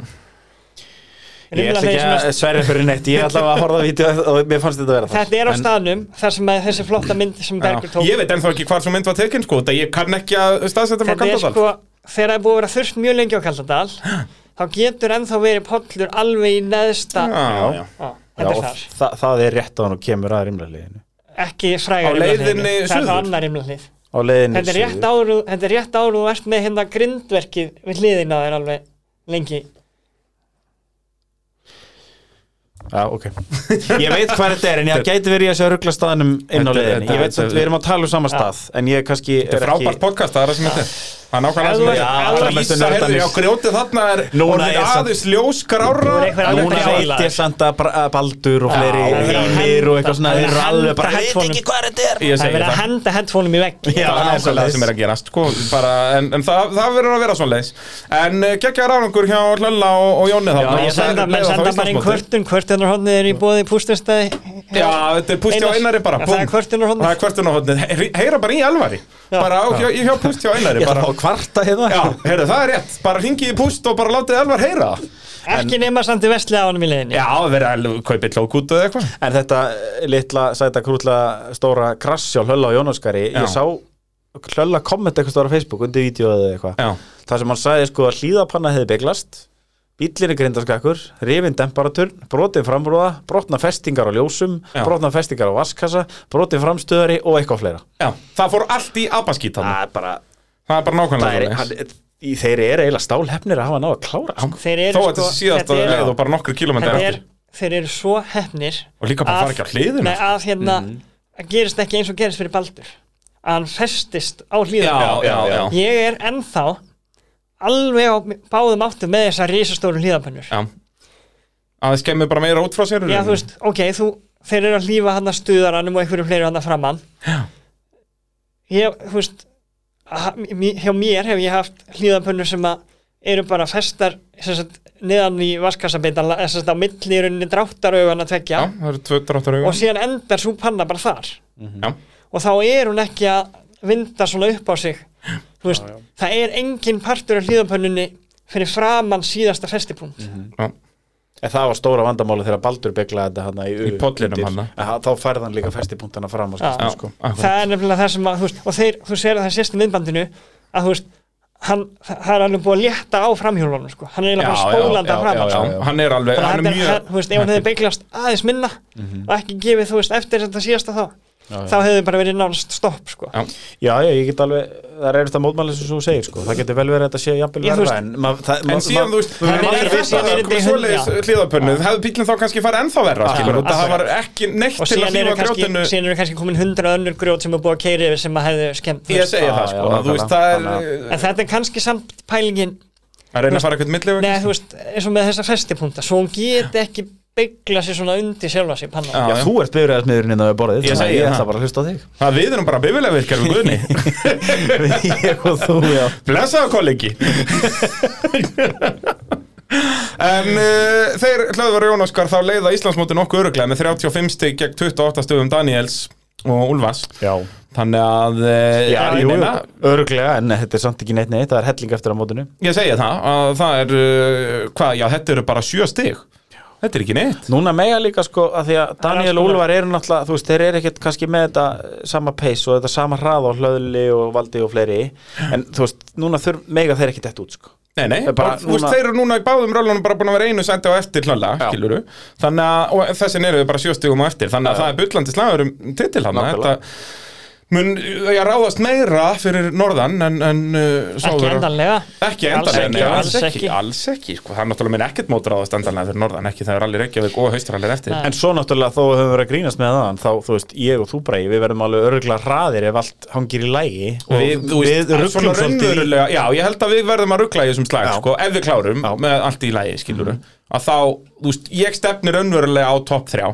Speaker 2: Ég ætla
Speaker 3: Rimlanhliðin
Speaker 2: ekki
Speaker 3: sem er-
Speaker 2: að sverja fyrir neitt, ég ætla að horfa á vídeo og mér fannst þetta að vera það
Speaker 3: Þetta er á
Speaker 2: En-
Speaker 3: staðnum þar sem að þessi flotta mynd sem Bergur
Speaker 1: Já.
Speaker 3: tók
Speaker 1: ég veit ennþá ekki hvar svo mynd var tekin sko, þetta ég kann ekki að staðsetja frá
Speaker 3: Þetta er
Speaker 1: Kaldadal
Speaker 3: sko, þegar það er búið að vera þurft mjög lengi á Kaldadal þá getur ennþá verið pollur alveg í neðsta
Speaker 1: já, já.
Speaker 3: Já,
Speaker 2: Já,
Speaker 3: Þetta er
Speaker 2: og
Speaker 3: þar,
Speaker 2: þa það er rétt að hann kemur að rimla liðinu
Speaker 3: ekki fræga
Speaker 1: Á leiðinni
Speaker 3: Það er
Speaker 1: suður?
Speaker 3: það annar rimlalið
Speaker 2: Á leiðinni
Speaker 3: Þetta er
Speaker 2: suður.
Speaker 3: rétt áru, þetta er rétt áru og ert með hérna grindverkið við hliðina þér alveg lengi
Speaker 2: Já, ok Ég veit hvað þetta er, en ég gæti verið í þessu að ruggla staðanum inn á
Speaker 1: Þetta-
Speaker 2: leiðinni
Speaker 1: þetta-
Speaker 2: Ég veit að við erum að tala um sama stað En ég kannski
Speaker 1: þetta er
Speaker 2: er ekki
Speaker 1: frábært podcast, það er það sem þetta er það er nákvæmlega sem þetta er
Speaker 3: Ef þú ert- ef þú
Speaker 1: Það
Speaker 3: ert-
Speaker 1: er
Speaker 2: mestu
Speaker 1: Ísa, heyrðu,
Speaker 2: nerdarnir.
Speaker 1: já, grjótið þarna er
Speaker 2: Núna
Speaker 1: orðið
Speaker 2: er samt-
Speaker 1: aðeins ljósgrára
Speaker 3: Nú er einhver alveg
Speaker 2: Núna
Speaker 3: brjálaður.
Speaker 2: veit ég samt að Bra- að Baldur og
Speaker 3: Já,
Speaker 2: fleiri
Speaker 3: það er verið að
Speaker 2: hinir og eitthvað
Speaker 3: henda-
Speaker 2: svona
Speaker 3: það
Speaker 2: Þeir eru
Speaker 3: er verið að
Speaker 2: alveg
Speaker 3: henda
Speaker 2: bara, ég veit
Speaker 3: headphoneum.
Speaker 2: ekki hvað þetta er
Speaker 1: Ég
Speaker 3: Það er
Speaker 1: segi
Speaker 3: verið að
Speaker 1: það
Speaker 3: henda headphoneum í vegg
Speaker 1: það
Speaker 2: Já,
Speaker 1: er nákvæmlega
Speaker 2: svoleiðis.
Speaker 1: sem er að gerast sko, bara, en, en það, það verður að vera svoleiðis en geggja ráðangur hjá Hlölla og, og Jóni
Speaker 3: Já,
Speaker 1: þarna og það
Speaker 3: ég
Speaker 1: er
Speaker 3: senda, menn
Speaker 1: leiða þá
Speaker 3: senda bara einn
Speaker 1: Íslandsmótið.
Speaker 3: kvörtun, kvörtunarhóndið er í bóði pústinstæði
Speaker 1: Já, þetta er púst hjá Einari bara
Speaker 3: Það
Speaker 1: búmm.
Speaker 3: er kvörtunarhóndið
Speaker 1: Það er kvörtunarhóndið, Hey- heyra bara í alvari
Speaker 3: Já.
Speaker 1: bara á, hjá, hjá púst hjá Einari
Speaker 2: Ég ætla
Speaker 1: bara,
Speaker 2: að fá kvarta hérna
Speaker 1: Já, heyrðu, það er rétt, bara ringi í púst og bara látið alvar heyra það
Speaker 3: Ekki nema samt í vestlið á honum í leiðinni
Speaker 1: Já, verið að kaupa klókút eða eitthvað
Speaker 2: En þetta litla, sæta, krútla, stóra krass hjá Hlölla og Jónaskari
Speaker 1: Já.
Speaker 2: Ég sá Hlölla kommenta eitthvað stóra á Facebook undir vídeo eða eitthvað
Speaker 1: Já,
Speaker 2: Það sem hann sagði sko að hlýðapanna hefði beglast Bíllinn er grindaskakkur, rifin demparaturn, brotin framrúða, brotna festingar á ljósum,
Speaker 1: Já.
Speaker 2: brotna festingar á vaskassa, brotin framstöðari og eitthvað fleira.
Speaker 1: já, það fór allt í abaskít
Speaker 2: Það
Speaker 1: þarna
Speaker 2: er bara,
Speaker 1: Það er bara
Speaker 2: það er,
Speaker 1: nákvæmlega
Speaker 2: hann,
Speaker 1: það
Speaker 2: í- þeir eru eiginlega stálhefnir að hafa náða að klára. sko.
Speaker 1: Þó
Speaker 3: Þeir eru
Speaker 1: að
Speaker 3: sko
Speaker 1: þetta sé síðast
Speaker 3: þetta
Speaker 1: að
Speaker 3: eru-
Speaker 1: leið og bara nokkru kilómetri
Speaker 3: þetta er,
Speaker 1: eftir
Speaker 3: Þeir eru svo hefnir
Speaker 1: Og líka bara
Speaker 3: að-
Speaker 1: fara ekki á hliðina,
Speaker 3: Nei,
Speaker 1: sko.
Speaker 3: að hérna að gerist ekki eins og gerist fyrir Baldur að hann festist
Speaker 1: Já,
Speaker 3: á
Speaker 1: já,
Speaker 3: hlýðarnar
Speaker 1: já, já.
Speaker 3: Ég er ennþá alveg á báðum áttum með þessar risastóru hlýðarpönnur
Speaker 1: Að það skemmir bara meira út frá sér í
Speaker 3: Já,
Speaker 1: rauninni.
Speaker 3: þú veist, ok, þú, þeir eru að hlýfa hann að stuðaranum og einhverju fleiri hann að framann
Speaker 1: Já.
Speaker 3: Ég, þú veist að- mí- hjá mér hef ég haft hlýðarpönnur sem að eru bara festar sem sagt, neðan í vaskassabitan þess að á milli í rauninni dráttarauðan að
Speaker 1: Já,
Speaker 3: tvekja
Speaker 1: það eru tvö dráttur auga
Speaker 3: og síðan endar svo panna bara þar
Speaker 1: Já.
Speaker 3: og þá er hún ekki að vinda svona upp á sig Þú veist, það er engin partur af hlýðapönnunni fyrir framann síðasta festipunkt
Speaker 2: Mhm.
Speaker 1: Já.
Speaker 2: En það var stóra vandamáli þegar Baldur beglaði þetta hann í,
Speaker 1: Í pollinum
Speaker 2: undir.
Speaker 1: þarna.
Speaker 2: Aha, Þá færði hann líka festipunktana fram að
Speaker 3: Já.
Speaker 2: skilja,
Speaker 1: Já,
Speaker 2: sko.
Speaker 1: akkurat.
Speaker 3: það er nefnilega það sem að þú veist, og þeir, þú sér að það sést í myndbandinu að þú veist, hann, það það er alveg búið að létta á framhjólunum sko. hann er eiginlega bara
Speaker 2: Já, já,
Speaker 3: spólanda
Speaker 2: já,
Speaker 3: framann
Speaker 2: já,
Speaker 3: sko.
Speaker 2: já.
Speaker 1: Já, Hann er alveg,
Speaker 3: Þannig að
Speaker 1: hann er
Speaker 3: þetta er- hann-
Speaker 1: mjög
Speaker 3: þú veist, ef hann hefði beiglast aðeins minna
Speaker 2: Mhm.
Speaker 3: og ekki gefið þú veist, eftir þetta síðasta þá þá hefði bara verið nánast stopp sko.
Speaker 1: Já.
Speaker 2: Já, já, ég get alveg, það er eftir að mótmála sem þú segir, sko. Það getur vel verið að þetta sé jafnvel
Speaker 3: Ég, þú
Speaker 2: verra,
Speaker 3: veist-
Speaker 2: en mað, það,
Speaker 1: En síðan, þú veist,
Speaker 2: maður-
Speaker 1: það
Speaker 3: er aldrei
Speaker 1: er
Speaker 3: verið
Speaker 1: fyrst að
Speaker 3: verið
Speaker 1: það komið
Speaker 3: í
Speaker 1: svoleiðis
Speaker 3: hund,
Speaker 1: hlýðapönnuð, hefði bílinn þá kannski farið ennþá verra, skilur,
Speaker 2: akkurat.
Speaker 1: það var ekki neitt
Speaker 3: og
Speaker 1: til að
Speaker 3: síðan eru,
Speaker 1: hlýfa
Speaker 3: kannski,
Speaker 1: grjótinu
Speaker 3: síðan eru kannski komin hundra önnur grjót sem er búið að keiri yfir sem að hefðu skemmt þú
Speaker 1: Ég
Speaker 3: veist.
Speaker 1: segja
Speaker 2: Já,
Speaker 1: það, sko,
Speaker 2: já,
Speaker 1: að þú veist, það er
Speaker 2: nákvæmlega.
Speaker 1: að
Speaker 3: en þetta er kannski samt pælingin
Speaker 1: reyna að fara eitthvað millivögg
Speaker 3: neða þú veist, eins og með þessa festipunta svo hún geti ekki byggla sér svona undir sjálfa sér panna
Speaker 2: Já, þú ert bifræðasmiðurinn innan við borðið,
Speaker 1: Ég
Speaker 2: þannig að
Speaker 1: segi
Speaker 2: ég
Speaker 1: það.
Speaker 2: ætla bara að hlusta á þig.
Speaker 1: Það við erum bara bifilega virkar við Guðni
Speaker 2: ég og þú, já
Speaker 1: Blessaðu kollegi En uh, þeir hlöðvar Jónaskar þá leiða Íslandsmóti nokkuð öruglega með 35 stig gegn 28 stöðum Daniels og Úlfars
Speaker 2: Já,
Speaker 1: Þannig að uh,
Speaker 2: já
Speaker 1: ég
Speaker 2: jú,
Speaker 1: meina,
Speaker 2: örglega, en þetta er samt ekki neitt neitt, það er helling eftir á mótinu
Speaker 1: Ég segja það að það er uh, hvað, já þetta eru bara 7 stig Þetta er ekki neitt
Speaker 2: Núna mega líka sko, að því að Daniel
Speaker 3: alls
Speaker 2: og
Speaker 3: konar.
Speaker 2: Úlfar eru náttúrulega, þú veist, þeir eru ekkert kannski með þetta eh, sama pace og þetta sama hrað á hlöðli og valdi og fleiri en þú veist, núna þurf, mega þeir ekki dett út sko
Speaker 1: Nei, nei,
Speaker 2: Það er bara
Speaker 1: bara, núna...
Speaker 2: núna-
Speaker 1: þeir eru núna í báðum rölunum bara búin að vera einu sendi á eftir hlölla,
Speaker 2: Já.
Speaker 1: skiluru Þannig að, og þessin eru við bara sjöstigum á eftir Þannig að
Speaker 2: Já.
Speaker 1: það er bullandi slagur um titil hann Þetta
Speaker 2: Nákvæmlega.
Speaker 1: mun, ég ráðast meira fyrir norðan en, en uh,
Speaker 3: ekki
Speaker 1: sáður-
Speaker 3: endanlega
Speaker 1: Ekki
Speaker 3: Alls
Speaker 1: endanlega, nei,
Speaker 3: ekki, alls
Speaker 1: alls ekki,
Speaker 3: ekki.
Speaker 1: alls ekki sko. Það er náttúrulega minn ekkert mót ráðast endanlega fyrir norðan Ekki það er allir Reykjavík og haustarallir eftir
Speaker 3: Nei.
Speaker 2: En svo náttúrulega þó höfum við verið að grínast með það þá, þú veist, ég og þú bregi, við verðum alveg örglega hraðir ef allt hangir í lægi og
Speaker 1: Við, þú veist, svona
Speaker 2: við ruglum svolítið í-
Speaker 1: raunverulega Já, ég held að við verðum að ruggla í þessum slag
Speaker 2: Já. Mhm.
Speaker 1: sko, Ef við klárum með allt í lægi, skiluru Að þá, þú veist, ég stefnir raunverulega á topp þrjá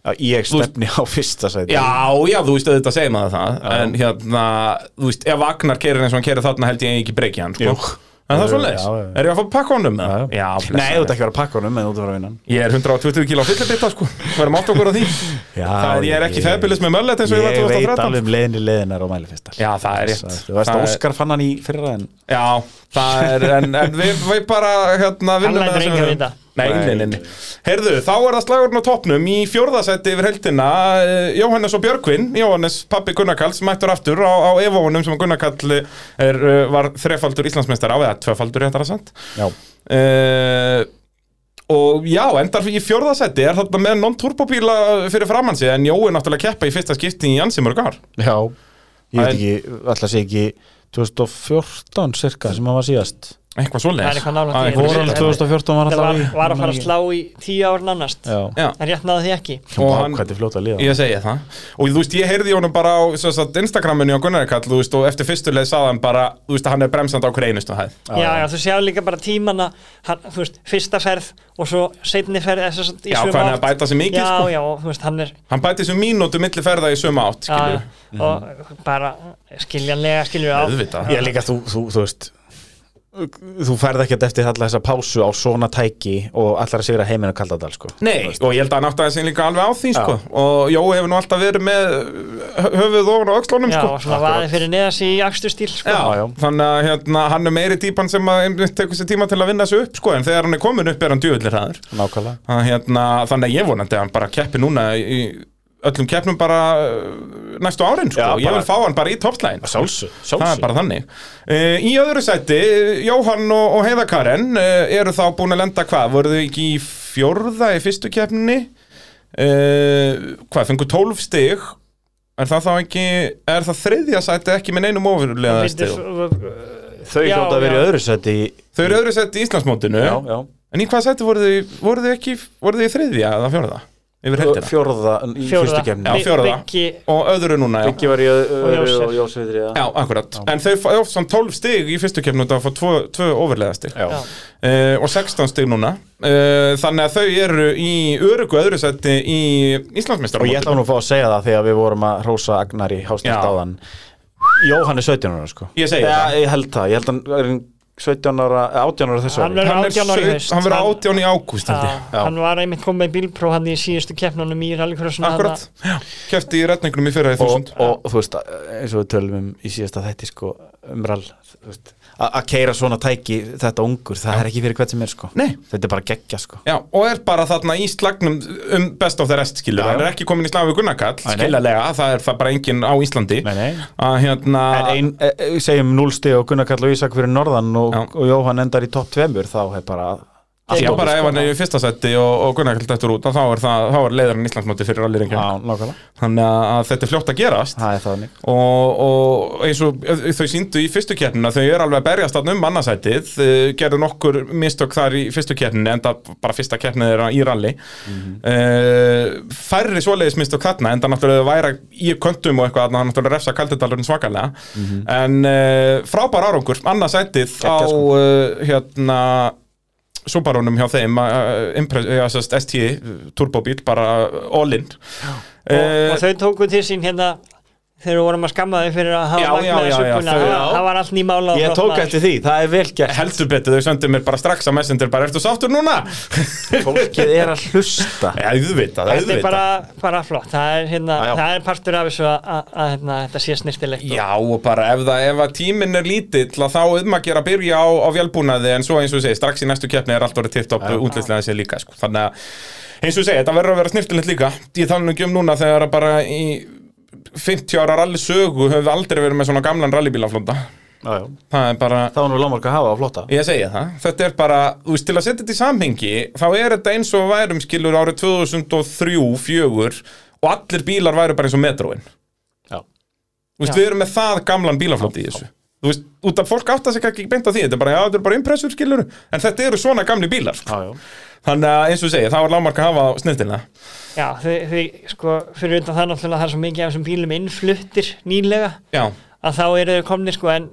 Speaker 2: Já, ég stefni á fyrsta sæti
Speaker 1: Já, já, þú veist, auðvitað segir maður það En hérna, þú veist, ef Agnar kerir eins og hann kerir þarna held ég ekki breykja hann, sko
Speaker 2: Jú.
Speaker 1: En það er
Speaker 2: Jú,
Speaker 1: svo
Speaker 2: já, já.
Speaker 1: Er ég að fá að pakka honum með það? Já,
Speaker 2: Nei, þú
Speaker 1: blessaður.
Speaker 2: ert ekki að vera að pakka honum, en þú ert að fara að vinna hann.
Speaker 1: Ég er 120 kíl á fyllibita, sko Verðum átt okkur á því
Speaker 2: Já,
Speaker 1: Það er, ég er ekki feðbílis með möllet eins og ég var
Speaker 2: Ég veit
Speaker 1: 2013
Speaker 2: alveg um leiðin í leiðinar á sko. mælifestar
Speaker 1: Já, það er rétt
Speaker 2: Þú veist,
Speaker 1: Það er-
Speaker 2: Óskar fann hann í fyrra en
Speaker 1: Já, það er, en, en við, við bara hérna, vinnum
Speaker 3: lætur
Speaker 1: það sem
Speaker 3: engan
Speaker 1: við-
Speaker 3: vita.
Speaker 1: Nei, nei, nei, nei Herðu, þá er það slagurinn á topnum í fjórðasætti yfir heldina eh, Jóhannes og Björkvin, Jóhannes pappi Gunnarkalls mættur aftur á, á evóunum sem Gunnarkall er, eh, var þrefaldur Íslandsmeistar á eða tvefaldur réttar að sant
Speaker 2: Já,
Speaker 1: uh, Og já, endar í fjórðasætti er þarna með non-turbóbíla fyrir framansi en Jói náttúrulega keppa í fyrsta skipti í ansi mörg ár
Speaker 2: já Ég
Speaker 1: En-
Speaker 2: veit ekki, alltaf sé ekki 2014 cirka sem hann var síðast
Speaker 1: Eitthvað svoleiðis
Speaker 3: Það er eitthvað nálægt
Speaker 1: Að
Speaker 3: því.
Speaker 1: einhverju
Speaker 2: Voran
Speaker 1: leyti.
Speaker 2: 2014 var
Speaker 3: það
Speaker 2: alltaf
Speaker 3: var, var að fara að slá í tíu ár nánast
Speaker 2: Já,
Speaker 1: Já,
Speaker 3: en rétt náði því ekki
Speaker 1: og
Speaker 2: og
Speaker 1: hann-
Speaker 2: hann Hvað er fljóta að liða
Speaker 1: Ég segi það Og þú veist, ég heyrði í honum bara á sem sagt, Instagraminu á Gunnar Kall Þú veist, og eftir fyrstu leið sagði hann bara Þú veist, að hann er bremsand á hverju einustu hæð
Speaker 3: já, já, þú séu líka bara tímana hann, þú veist, fyrsta ferð og svo setni ferð eða sem sagt í
Speaker 1: Já,
Speaker 3: sömu
Speaker 1: hvað hann er
Speaker 3: átt.
Speaker 1: að bæta sig mikið,
Speaker 3: já,
Speaker 1: sko.
Speaker 3: já, og þú veist, hann er
Speaker 1: Hann bæti þessu mínútu milli ferða í sömu átt
Speaker 3: já,
Speaker 1: skilju.
Speaker 3: og bara skiljanlega skilur á
Speaker 1: Auðvitað
Speaker 2: Ég líka, þú, þú, þú veist þú færð ekkert eftir alla þessa pásu á svona tæki og allar að sigra heiminn að kalla þetta sko.
Speaker 1: Nei, og ég held að hann átti að þessi líka alveg á því sko. og Jói hefur nú alltaf verið með uh, höfuð ofan á öxlunum
Speaker 3: Já,
Speaker 1: sko.
Speaker 3: svona vaðið fyrir neðas í aksturstýl sko.
Speaker 2: Já, já.
Speaker 1: Þannig að hérna, hann er meiri típan sem að einmitt tekur sér tíma til að vinna sig upp sko, en þegar hann er komin upp er hann djöfullir hraður
Speaker 2: nákvæmlega
Speaker 1: Að, hérna, Þannig að ég vonandi að hann bara keppi núna í öllum keppnum bara uh, næstu árin sko.
Speaker 2: Já,
Speaker 1: Ég
Speaker 2: bara-
Speaker 1: vil fá hann bara í toppslægin
Speaker 2: Sjálfsög,
Speaker 1: Það er bara þannig. Uh, í öðru sæti, eh, Jóhann og, og Heiða Karen uh, eru þá búin að lenda hvað? Voru þau ekki í fjórða í fyrstu keppninni? Uh, hvað, fengu 12 stig? Er það þá ekki, er það þriðja sæti ekki með neinum ofurlega
Speaker 3: Bíddu,
Speaker 1: stig?
Speaker 2: Þau
Speaker 3: Já,
Speaker 2: hljóta að vera í
Speaker 3: já.
Speaker 2: öðru seti í...
Speaker 1: Þau eru í öðru sæti í Íslandsmótinu,
Speaker 2: Já, já
Speaker 1: en í hvað sæti voru þau, voru þau ekki, voru þau í þriðja eða fjórða? Yfir heldina.
Speaker 2: Fjórða í fyrstu
Speaker 3: Fjórða
Speaker 2: kemni
Speaker 1: Já, fjórða.
Speaker 3: Biggi,
Speaker 1: Og öðru núna, já.
Speaker 2: Ekki var í öðru
Speaker 3: Jósef.
Speaker 2: og Jósef í þriða
Speaker 1: Já, akkurat. En þau fá samt 12 stig í fyrstu keppnum og það fá tvo, tvö ofurlega stig.
Speaker 2: Já.
Speaker 3: já,
Speaker 1: uh, og 16 stig núna uh, þannig að þau eru í örugu öðru seti í Íslandsmeistar
Speaker 2: Og ég ætla nú að fá að segja það þegar við vorum að hrósa Agnar í hásnætt
Speaker 1: Já.
Speaker 2: áðan Jóhann er 17 ára sko
Speaker 1: Ég segi
Speaker 2: Já,
Speaker 1: það.
Speaker 2: Ég held það, ég held hann er 17 ára, eh, 18 ára þessu
Speaker 3: Hann
Speaker 2: ári
Speaker 3: verður
Speaker 1: hann, er
Speaker 3: 18 ára í
Speaker 1: saut-
Speaker 3: haust.
Speaker 1: hann verður
Speaker 3: Hann-
Speaker 1: átján í ágúst held
Speaker 3: já,
Speaker 1: ég.
Speaker 2: Já.
Speaker 3: hann var einmitt komið með bílpróf hann í síðustu keppnunum í rallycrossuna
Speaker 1: akkurat, kefti í retningunum í fyrra í
Speaker 2: og,
Speaker 1: þúsund
Speaker 2: og þú veist, eins og við tölum um í síðasta þætti sko, um rall þú veist, að að keira svona tæki þetta ungur, það er ekki fyrir hvert sem er sko
Speaker 1: Nei.
Speaker 2: þetta er bara geggja sko
Speaker 1: Já, og er bara þarna í slagnum um best of the rest skilur,
Speaker 2: Já.
Speaker 1: hann er ekki komin í slag við Gunnarkall
Speaker 2: Nei, nei.
Speaker 1: skiljalega, það er það bara enginn á Íslandi
Speaker 2: Nei, nei.
Speaker 1: að hérna
Speaker 2: en ein, e, e, segjum 0 stig og Gunnar Karl og Ísak fyrir norðan og,
Speaker 1: Já.
Speaker 2: og Jóhann endar í topp 2 þá er bara
Speaker 1: ég
Speaker 2: allt sko.
Speaker 1: bara
Speaker 2: opið,
Speaker 1: ef hann er í fyrsta seti og, og Gunnarkall dættur út, að þá er, það, þá er leiðarinn Íslandsmóti fyrir allir
Speaker 2: já,
Speaker 1: einhverjum,
Speaker 2: nákvæmlega,
Speaker 1: þannig að- að þetta er fljótt að gerast
Speaker 2: það er þannig
Speaker 1: og, og eins og eh, þau síndu í fyrstu keppnina, þau eru alveg að berjast þarna um mannarsætið, eh, gerðu nokkur mistök þar í fyrstu keppninu, enda bara fyrsta keppnið þeirra í ralli mm færri svoleiðis mistök þarna enda náttúrulega þau væra í köntum og eitthvað þarna náttúrulega refsa kaldindalurinn svakalega en uh, frábær árangur mannarsætið á
Speaker 2: Gekkja, sko.
Speaker 1: uh, hérna Subarunum hjá þeim uh, impres, uh, sest, ST turbobíl bara eh, all-in Eh,
Speaker 3: og, og þau tóku til sín hérna þegar við vorum að skamma þau fyrir að
Speaker 1: Já,
Speaker 3: hafa magnaði
Speaker 1: já, já, já,
Speaker 3: sökuna
Speaker 1: þau-
Speaker 3: það það var allt nýmála
Speaker 2: ég tók eftir því, það er vel gert
Speaker 1: heldur betur, þau söndu mér bara strax að messenger bara, ertu sáttur núna?
Speaker 2: fólkið er að hlusta
Speaker 1: Já, auðvitað,
Speaker 3: þetta er
Speaker 1: auðvitað
Speaker 3: bara, bara flott það er, hérna,
Speaker 2: Já, já.
Speaker 3: það er partur af þessu að, að, að hérna, þetta sé snirtilegt og-
Speaker 1: Já, og bara ef, það, ef að tíminn er lítill að þá um að gera að byrja á, á vélbúnaði en svo eins og ég segi, strax í næstu keppni er allt orðið tilt upp útlýslega sér líka sko. þannig að eins og ég segi, þetta verður að vera snirtilegt líka ég tala nú ekki um núna þegar að bara í 50 ára rally sögu höfum við aldrei verið með svona gamlan rallybílaflóta
Speaker 2: já, já.
Speaker 1: það er bara
Speaker 2: þá er nú lámark að hafa á flotta
Speaker 1: Ég segi það, þetta er bara, þú veist, til að setja þetta í samhengi þá er þetta eins og værum skilur árið 2003-04 og allir bílar væru bara eins og metróin Þú
Speaker 2: já.
Speaker 1: veist,
Speaker 3: Já.
Speaker 1: við erum með það gamlan bílaflóti í þessu Þú veist, út af fólk átt að segja ekki beint á því þetta er bara, já, þetta eru bara impressur skilur en þetta eru svona gamli bílar sko.
Speaker 2: Já, já.
Speaker 1: þannig að eins og segja, það var lámark að hafa á snirtina
Speaker 3: já, þau, þau, sko, fyrir undan það náttúrulega það er svo mikið af þessum bílum innfluttir nýlega
Speaker 1: Já,
Speaker 3: að þá eru þau komni sko, en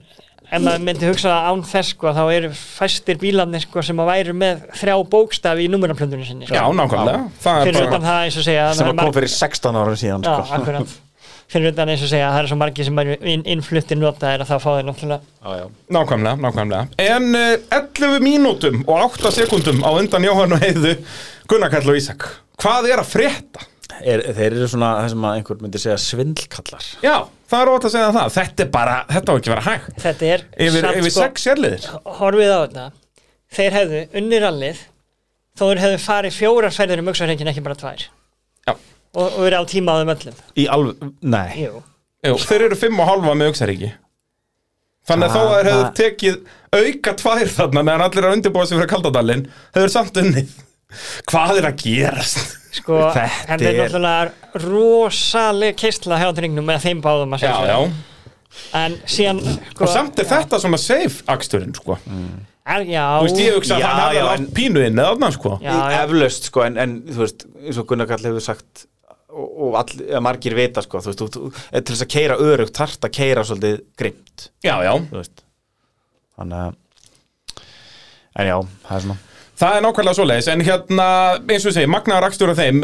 Speaker 3: ef maður myndi hugsa það án þess sko, þá eru fæstir bílarnir sko, sem að væri með þrjá bókstafi í numeraplöndunum sinni
Speaker 1: já,
Speaker 3: sko.
Speaker 1: nákvæmlega Það er
Speaker 3: fyrir
Speaker 1: bara,
Speaker 3: utan það eins og segja það
Speaker 2: sem
Speaker 3: eru
Speaker 2: að kom
Speaker 3: marg-
Speaker 2: fyrir 16 ára síðan
Speaker 3: Já,
Speaker 2: sko.
Speaker 3: akkurat Fyrir utan eins og segja, það er svo margir sem er inn, innfluttir notaðir að það fá þeir náttúrulega
Speaker 2: já, já.
Speaker 1: nákvæmlega, nákvæmlega En uh, 11 mínútum og 8 sekundum á undan Jóhann og Heiðu Gunnar Karl og Ísak Hvað er að frétta?
Speaker 2: er, þeir eru svona það sem að einhver myndi segja svindlkallar
Speaker 1: Já, það er ótt að segja það Þetta er bara, þetta á ekki að vera hægt
Speaker 3: Þetta er
Speaker 1: Yfir,
Speaker 3: samt,
Speaker 1: yfir
Speaker 3: sko,
Speaker 1: sex sérliðir
Speaker 3: Horfið á þetta Þeir hefðu unnir allið þó þeir hefðu farið fjórar ferðir um auksarhengin ekki bara tvær
Speaker 1: Já.
Speaker 3: og, og verið á tíma á þeim öllum
Speaker 2: í alveg, nei
Speaker 3: Jú.
Speaker 1: Jú, Þeir eru fimm og halva með auksaríki Þannig að þó að
Speaker 2: Ah,
Speaker 1: þeir hefðu
Speaker 2: það-
Speaker 1: tekið auka tvær þarna meðan allir eru að undirbúa sig fyrir kaldadalinn hefur samt unnið Hvað er að gerast?
Speaker 3: Sko,
Speaker 2: Þetta
Speaker 3: en þeir
Speaker 2: er-
Speaker 3: náttúrulega rosaleg keistla hjá drengnum með þeim báðum að
Speaker 1: Já,
Speaker 3: segja
Speaker 1: já
Speaker 3: En síðan sko,
Speaker 1: Og samt er þetta svona safe aksturinn, sko
Speaker 3: er, Já,
Speaker 1: Þú veist, ég hugsa að
Speaker 2: Já,
Speaker 1: hann hefði
Speaker 2: já,
Speaker 1: látt
Speaker 2: en-
Speaker 1: pínu inn eða þarna, sko
Speaker 3: Já, já.
Speaker 2: eflaust sko en, en þú veist, eins og Gunnar Kall hefur sagt og, og all, eða margir vita sko þú veist, þú, þú, eh, til þess að keira örugt þarft að keira svolítið grimt
Speaker 1: Já, já
Speaker 2: þú veist þannig að en já, það er svona
Speaker 1: Það er nákvæmlega svoleiðis, en hérna, eins og ég segi, magnaðar rakstur af þeim,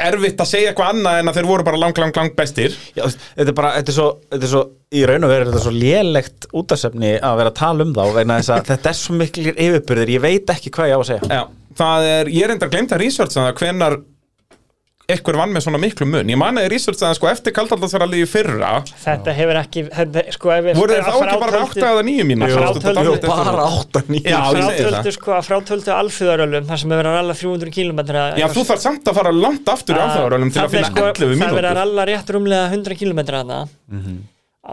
Speaker 1: erfitt að segja eitthvað annað en að þeir voru bara lang, lang, lang bestir.
Speaker 2: Já, þú veist, þetta er bara, þetta er svo, þetta er svo í raun og veru er þetta svo lélegt útasefni að vera að tala um þá vegna þess að þetta er svo miklir yfirbyrðir, ég veit ekki hvað ég á að segja
Speaker 1: Já, það er, ég er enda glemt að researcha það hvenar eitthvað vann með svona miklu mun. Ég man að ég researcha það sko eftir kaldaldarsarallið í fyrra,
Speaker 3: Þetta hefur ekki, þetta, sko, ef við-
Speaker 1: voru þeir
Speaker 3: að
Speaker 1: þá ekki bara með
Speaker 3: frátöldu-
Speaker 1: 8 eða 9 mínu?
Speaker 3: Jú, frátöldu-
Speaker 2: Jú, bara
Speaker 1: Já,
Speaker 2: 8-9
Speaker 1: ég segi það.
Speaker 3: frátöldu, sko, að frátöldu alfjöðarölum þar sem hefur að ralla 300 km
Speaker 1: Já, þú þarf samt að fara langt aftur í alþjóðarölum til að finna 11
Speaker 3: sko, það verður að
Speaker 1: mínútur.
Speaker 3: ralla rétt rúmlega 100 km þarna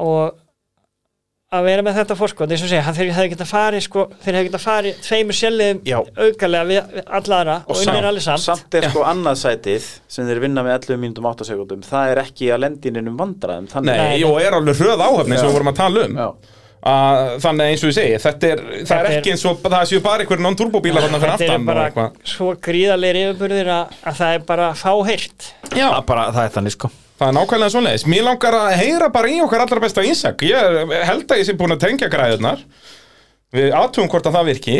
Speaker 3: og að vera með þetta fórskot eins og segja, hann- þeir hefði geta farið sko, þeir hefði geta farið tveimur sjálfum
Speaker 2: Já.
Speaker 3: aukalega við, við alla aðra og,
Speaker 2: Og
Speaker 3: og unnir
Speaker 1: samt-
Speaker 3: allir samt,
Speaker 2: Samt er sko annað sætið sem þeir vinna með 11 mínútum 8 sekundum það er ekki að lendininum vandræðum þannig
Speaker 1: Nei, og er alveg hröð áhöfni eins og við vorum að tala um.
Speaker 2: Já.
Speaker 1: Að, þannig að eins og ég segi, þetta er, það er
Speaker 3: Þetta er-
Speaker 1: ekki eins og það séu bara einhverjum non-turbóbílar þarna fyrir
Speaker 3: þetta eru
Speaker 1: aftan og
Speaker 3: bara
Speaker 1: eitthvað.
Speaker 3: svo gríðarleir yfirburðir að, að það er bara fáheyrt
Speaker 1: Já,
Speaker 2: Það er bara, það er þannig sko
Speaker 1: það er nákvæmlega svoleiðis. Mér langar að heyra bara í okkar allra besta ísak. Ég er- held að ég sé búin að tengja græðurnar. Við aðtugum hvort að það virki.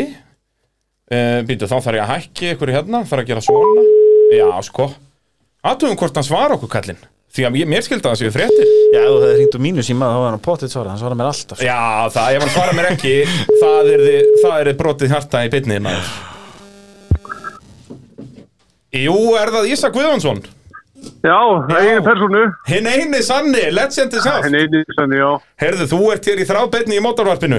Speaker 1: Uh, Býtu, þá þarf ég að hækki ykkur hérna, þarf að gera svona. Já, sko. Aðtugum hvort hann svara okkur kallinn. Því að ég- mér skildi að það séu fréttir.
Speaker 2: Já, ef þú hefði hringt um úr mínu síma þá var hann á potið svara, hann svara mér alltaf sko.
Speaker 1: Já, það, ef hann svarar mér ekki það er, það er brotið hjarta í bytnið maður Jú, er það Ísa Guðjónsson?
Speaker 4: Já, það er einu personu,
Speaker 1: Hinn eini sanni, legendið sátt
Speaker 4: en einu sann, já.
Speaker 1: Herðu, þú ert hér í þrábetni í mótarvarpinu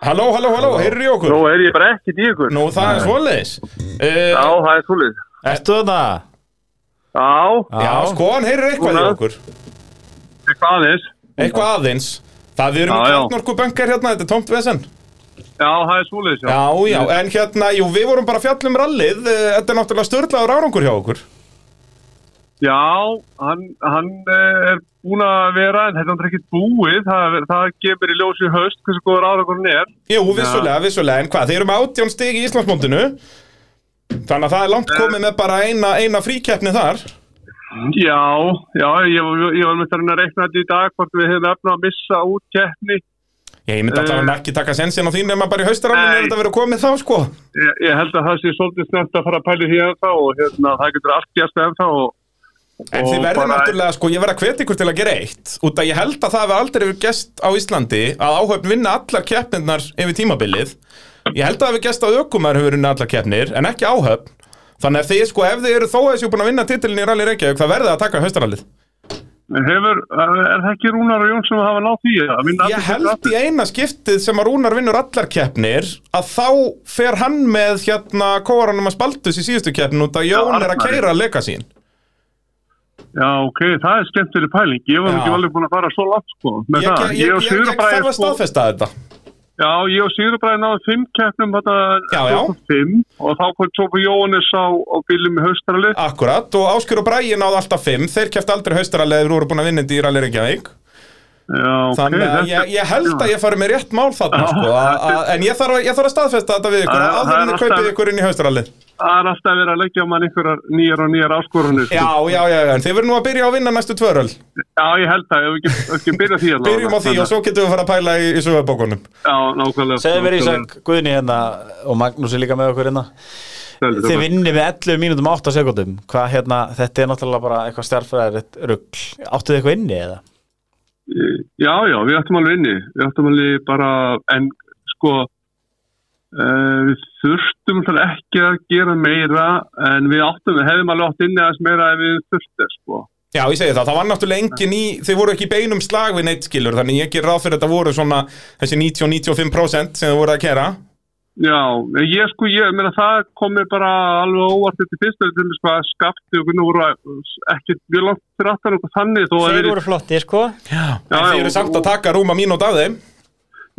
Speaker 1: Halló, halló, halló, heyrðu í okkur
Speaker 4: Nú er ég bara ekkert í ykkur.
Speaker 1: Nú, það er svoleiðis
Speaker 4: Já,
Speaker 1: uh,
Speaker 4: það er svolítið.
Speaker 2: Ertu það?
Speaker 4: Já,
Speaker 1: Já, sko, hann heyrðu eitthvað í
Speaker 4: Núna.
Speaker 1: okkur
Speaker 4: eitthvað aðeins.
Speaker 1: Eitthvað aðeins Það við erum
Speaker 4: Já, já.
Speaker 1: kjartnorku bankar hérna, þetta er tómt vesen
Speaker 4: Já, það er svolítið, já.
Speaker 1: Já, já, en hérna, jú, við vorum bara að fjalla um rallið, eh, þetta er náttúrulega störlaður árangur hjá okkur.
Speaker 4: Já, hann, hann eh, er búin að vera, en þetta er ekki búið. Það, það gefur í ljós í höst hversu góður árakurinn er.
Speaker 1: Jú, vissulega, vissulega, en hvað, þeir eru með átján stig í Íslandsmóndinu, þannig að það er
Speaker 4: Eh.
Speaker 1: langt komið með bara eina, eina fríkeppni þar.
Speaker 4: Já, já, ég, ég, ég var með þarna að reikna þetta í dag hvort við hefum efna að missa út keppni.
Speaker 1: Já, ég myndi alltaf ekki taka sensin á þín nema bara í haustarálinu
Speaker 4: Eh. Nei.
Speaker 1: er þetta verið komið þá, sko.
Speaker 4: Ég, ég held að það sé svolítið snert að fara að pæli því ennþá og hérna, það getur allt gæst ennþá og
Speaker 1: En
Speaker 4: Og
Speaker 1: þið verður
Speaker 4: bara-
Speaker 1: náttúrulega, sko, ég verð að hvetja ykkur til að gera eitt, út að ég held að það hefur aldrei verið gest á Íslandi að áhöfn vinna allar keppnirnar yfir tímabilið. Ég held að það hefur gest að ökumar hefur vinnað allar keppnir, en ekki áhöfn. Þannig að þið, sko, ef þið eru þó að þessu búin að vinna titilin í Rally Reykjavík, það verðið að taka haustarallið.
Speaker 4: Hefur, er það ekki Rúnar og Jón sem hafa nátt því? að vinna
Speaker 1: Ég
Speaker 4: allir
Speaker 1: held
Speaker 4: aftur?
Speaker 1: í eina skiptið sem að Rúnar vinnur allar keppnir að þá fer hann með hérna kóranum að spaltus í síðustu keppnin út að Jón er að
Speaker 4: Arnar.
Speaker 1: keira legacy-in.
Speaker 4: Já, ok, það er skemmtileg pæling. Ég var
Speaker 1: Já.
Speaker 4: ekki alveg búin að fara svo langt, sko. Með
Speaker 1: Ég, ég,
Speaker 4: það,
Speaker 1: ég, ég, ég,
Speaker 4: og
Speaker 1: ég
Speaker 4: Sigurbræði,
Speaker 1: þarf að
Speaker 4: sko,
Speaker 1: staðfesta þetta.
Speaker 4: já, ég og Sigurbræði náðu fimm keppnum þetta
Speaker 1: Já, já.
Speaker 4: 2005 og þá kom Tópa Jóhannes á, á bílum í haustrali.
Speaker 1: Akkurat, og Áskjör og Bræi náðu alltaf 5 Þeir kæft aldrei haustaralið eða voru búin að vinna þetta í Rally Reykjavík
Speaker 4: Já, ok.
Speaker 1: Þannig að
Speaker 4: þetta-
Speaker 1: ég, ég held að ég fari með rétt mál þarna
Speaker 4: Já.
Speaker 1: sko, a, a, En ég þarf, að- ég þarf að staðfesta þetta við ykkur
Speaker 4: Já,
Speaker 1: Áður
Speaker 4: það
Speaker 1: en
Speaker 4: er
Speaker 1: þið kaupið
Speaker 4: alltaf-
Speaker 1: ykkur inn í haustaralið
Speaker 4: Það er alltaf verið að leggja á mann einhverjar nýjar og nýjar áskorunir.
Speaker 1: Já, já, já, já, en þið verður nú að byrja á að vinna næstu tvöröl
Speaker 4: já, ég held það. Ef við ekki, ekki byrja því. allavega.
Speaker 1: Byrjum á því og svo getum við að fara að pæla í, í sögabókunum
Speaker 4: Já, nákvæmlega.
Speaker 2: Segðu mér Ísak, Guðni hérna og Magnús er líka með okkur hérna Þið
Speaker 4: Nákvæmlega.
Speaker 2: vinnir með 11 mínútum og 8 sekundum Hvað hérna, þetta er náttúrulega bara eitthvað stærfræðaritt rugl Áttu þið eitthvað inni eða?
Speaker 4: Já, já, við ættum alveg inni. Við ættum alveg bara, en sko, uh, við þurftum alltaf ekki að gera meira, en við áttum, við hefðum alveg átt inni aðeins meira ef við þurftum, sko.
Speaker 1: Já, ég segi það, það var náttúrulega engin í, þið voru ekki í beinum slag við neitt skilur, þannig ég ger ráð fyrir að þetta voru svona þessi 90-95% sem þið voru að kera.
Speaker 4: Já, en ég sko, ég meina það komi bara alveg óvart eftir fyrst, þetta er sko að skapti og hvernig voru að- ekkert mjög langt fyrir aftan okkur þannig þó að
Speaker 3: þeir
Speaker 4: verið-
Speaker 3: voru flottir sko
Speaker 1: En þið eru samt að taka rúma mínút af þeim.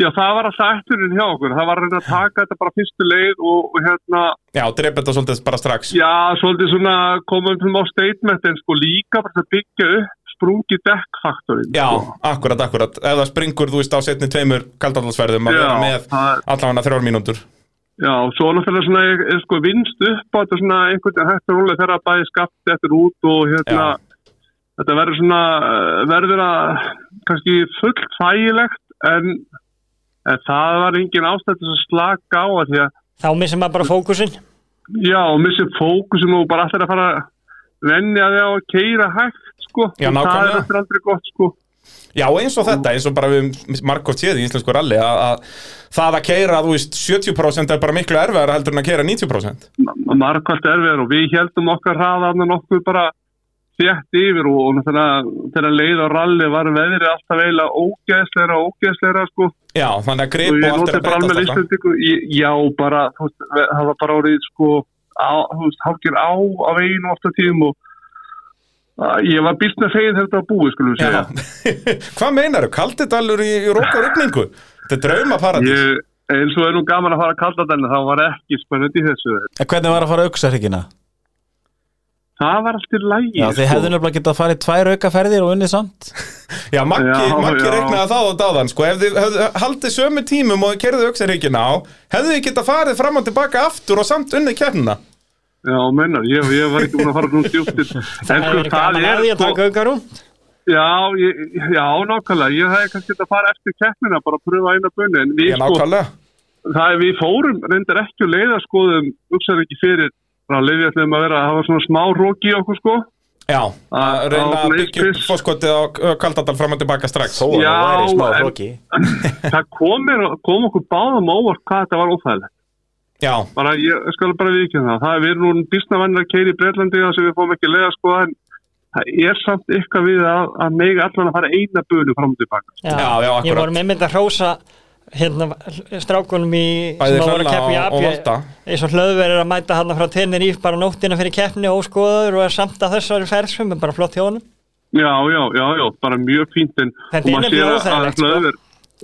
Speaker 4: Já, það var alltaf eftirinn hjá okkur, það var að reyna að taka þetta bara fyrstu leið og, og hérna,
Speaker 1: Já, drepa þetta svolítið bara strax.
Speaker 4: Já, svolítið svona komum til á statement en sko líka bara til að byggja upp sprungi dekkfaktorinn.
Speaker 1: Já,
Speaker 4: Sko.
Speaker 1: akkurat, akkurat. Ef það springur, þú veist, á setni tveimur kaldallarsverðum að
Speaker 4: Já,
Speaker 1: vera með
Speaker 4: það er-
Speaker 1: allavega þrjár mínútur.
Speaker 4: Já, og svo náttúrulega svona er, er sko vinst upp á þetta svona einhvern veginn hægt og rólega þegar að bæði skapt eftir út og hérna
Speaker 1: Já.
Speaker 4: þetta verður svona, eh, verður að kannski fullt þægilegt en en það var engin ástæð til að slaka á að því að
Speaker 3: Þá missum maður bara fókusin
Speaker 4: já, og missi fókusum og bara allir að fara að venja því á að keira hægt sko,
Speaker 1: Já,
Speaker 4: og það
Speaker 1: nákvæmlega.
Speaker 4: er eftir aldrei gott sko
Speaker 1: Já, eins og þetta, eins og bara við margótt séð í íslensku ralli að, að það að keira, þú veist, 70% er bara miklu erfiðar heldur en að keira 90%
Speaker 4: ma- margkvæmt erfiðar og við heldum okkar hraðan og nokkuð bara þétt yfir og, og náttúrulega þegar leið á ralli var veðrið alltaf eiginlega ógeðsleira og ógeðsleira sko
Speaker 1: Já, þannig að
Speaker 4: og
Speaker 1: grip
Speaker 4: ég
Speaker 1: og allt er
Speaker 4: notið
Speaker 1: að
Speaker 4: bara alveg
Speaker 1: breytast alltaf.
Speaker 4: lístendingu já bara þú veist, það var bara orðið sko á, þú veist, hálkir á á veginu ofta tíðum og að, ég var býst með fegin þegar þetta var búið skulum við
Speaker 1: Já.
Speaker 4: segja
Speaker 1: Hvað meinaru? Kaldidalur í, í rók og rigningu? Þetta er draumaparadís.
Speaker 4: ég, eins og er nú gaman að fara að kalla þannig það var ekki spennandi í þessu
Speaker 2: En hvernig var að fara auksarhyggina?
Speaker 4: það var allt í sko. lægi
Speaker 2: Já, þið hefðu nefnilega getað að fara í tvær aukaferðir og unnið samt
Speaker 1: Já, Maggi,
Speaker 4: Já,
Speaker 1: Maggi
Speaker 4: já.
Speaker 1: regnaði það og dáðan, sko, ef þið hefðu haldið sömu tímum og þið kerðu auksarhyggjuna á, hefðu þið getað farið fram og tilbaka aftur og samt unnið kemna.
Speaker 4: já menna ég, ég var ekki búin að fara nú djúptir en
Speaker 3: Það
Speaker 4: sko
Speaker 3: er
Speaker 4: það
Speaker 3: gaman að
Speaker 4: er
Speaker 3: því að
Speaker 4: sko
Speaker 3: taka aukarúnd
Speaker 4: já, ég, já nákvæmlega ég hefði kannski þetta að fara eftir keppnina bara að pröfa eina bunni en við
Speaker 1: Ég
Speaker 4: sko
Speaker 1: nákvæmlega.
Speaker 4: það er við fórum reyndar ekki og leiða skoðum hugsaðum ekki fyrir að leiði ætlum að vera að hafa svona smá róki í okkur sko
Speaker 1: Já, að reyna
Speaker 4: á
Speaker 1: að byggja upp
Speaker 4: Blitz.
Speaker 1: fóskotið á uh, Kaldadal fram og tilbaka strax.
Speaker 2: Þó að
Speaker 4: Já,
Speaker 2: það væri smá
Speaker 4: en-
Speaker 2: hróki
Speaker 4: það kom, mér, kom okkur báðum á óvart hvað þetta var óþægilegt
Speaker 1: Já,
Speaker 4: bara ég skal bara vikið það það er við erum nú bísnavannir að keira í Breitlandi þar sem við fórum ekki leiða sko en það er samt eitthvað við að, að mega allan að fara eina bunu fram og tilbaka
Speaker 3: Já,
Speaker 1: Já, já,
Speaker 3: Ég
Speaker 1: akkurat.
Speaker 3: voru með mynd að hrósa hérna strákunum í
Speaker 1: Bæði
Speaker 3: sem að voru að
Speaker 1: Hrönn
Speaker 3: keppa í
Speaker 1: og- og Volta.
Speaker 3: apja eins og hlöðverið að mæta hann frá tennir íf bara nóttina fyrir keppni og skoðaður og er samt að þessari ferðsum en bara flott hjá honum
Speaker 4: já, já, já, já, bara mjög fínt en
Speaker 3: Þetta
Speaker 4: og
Speaker 3: er
Speaker 4: maður
Speaker 3: nefnilega
Speaker 4: sér
Speaker 3: óþægilegt,
Speaker 4: að- að
Speaker 3: sko.
Speaker 4: hlöðver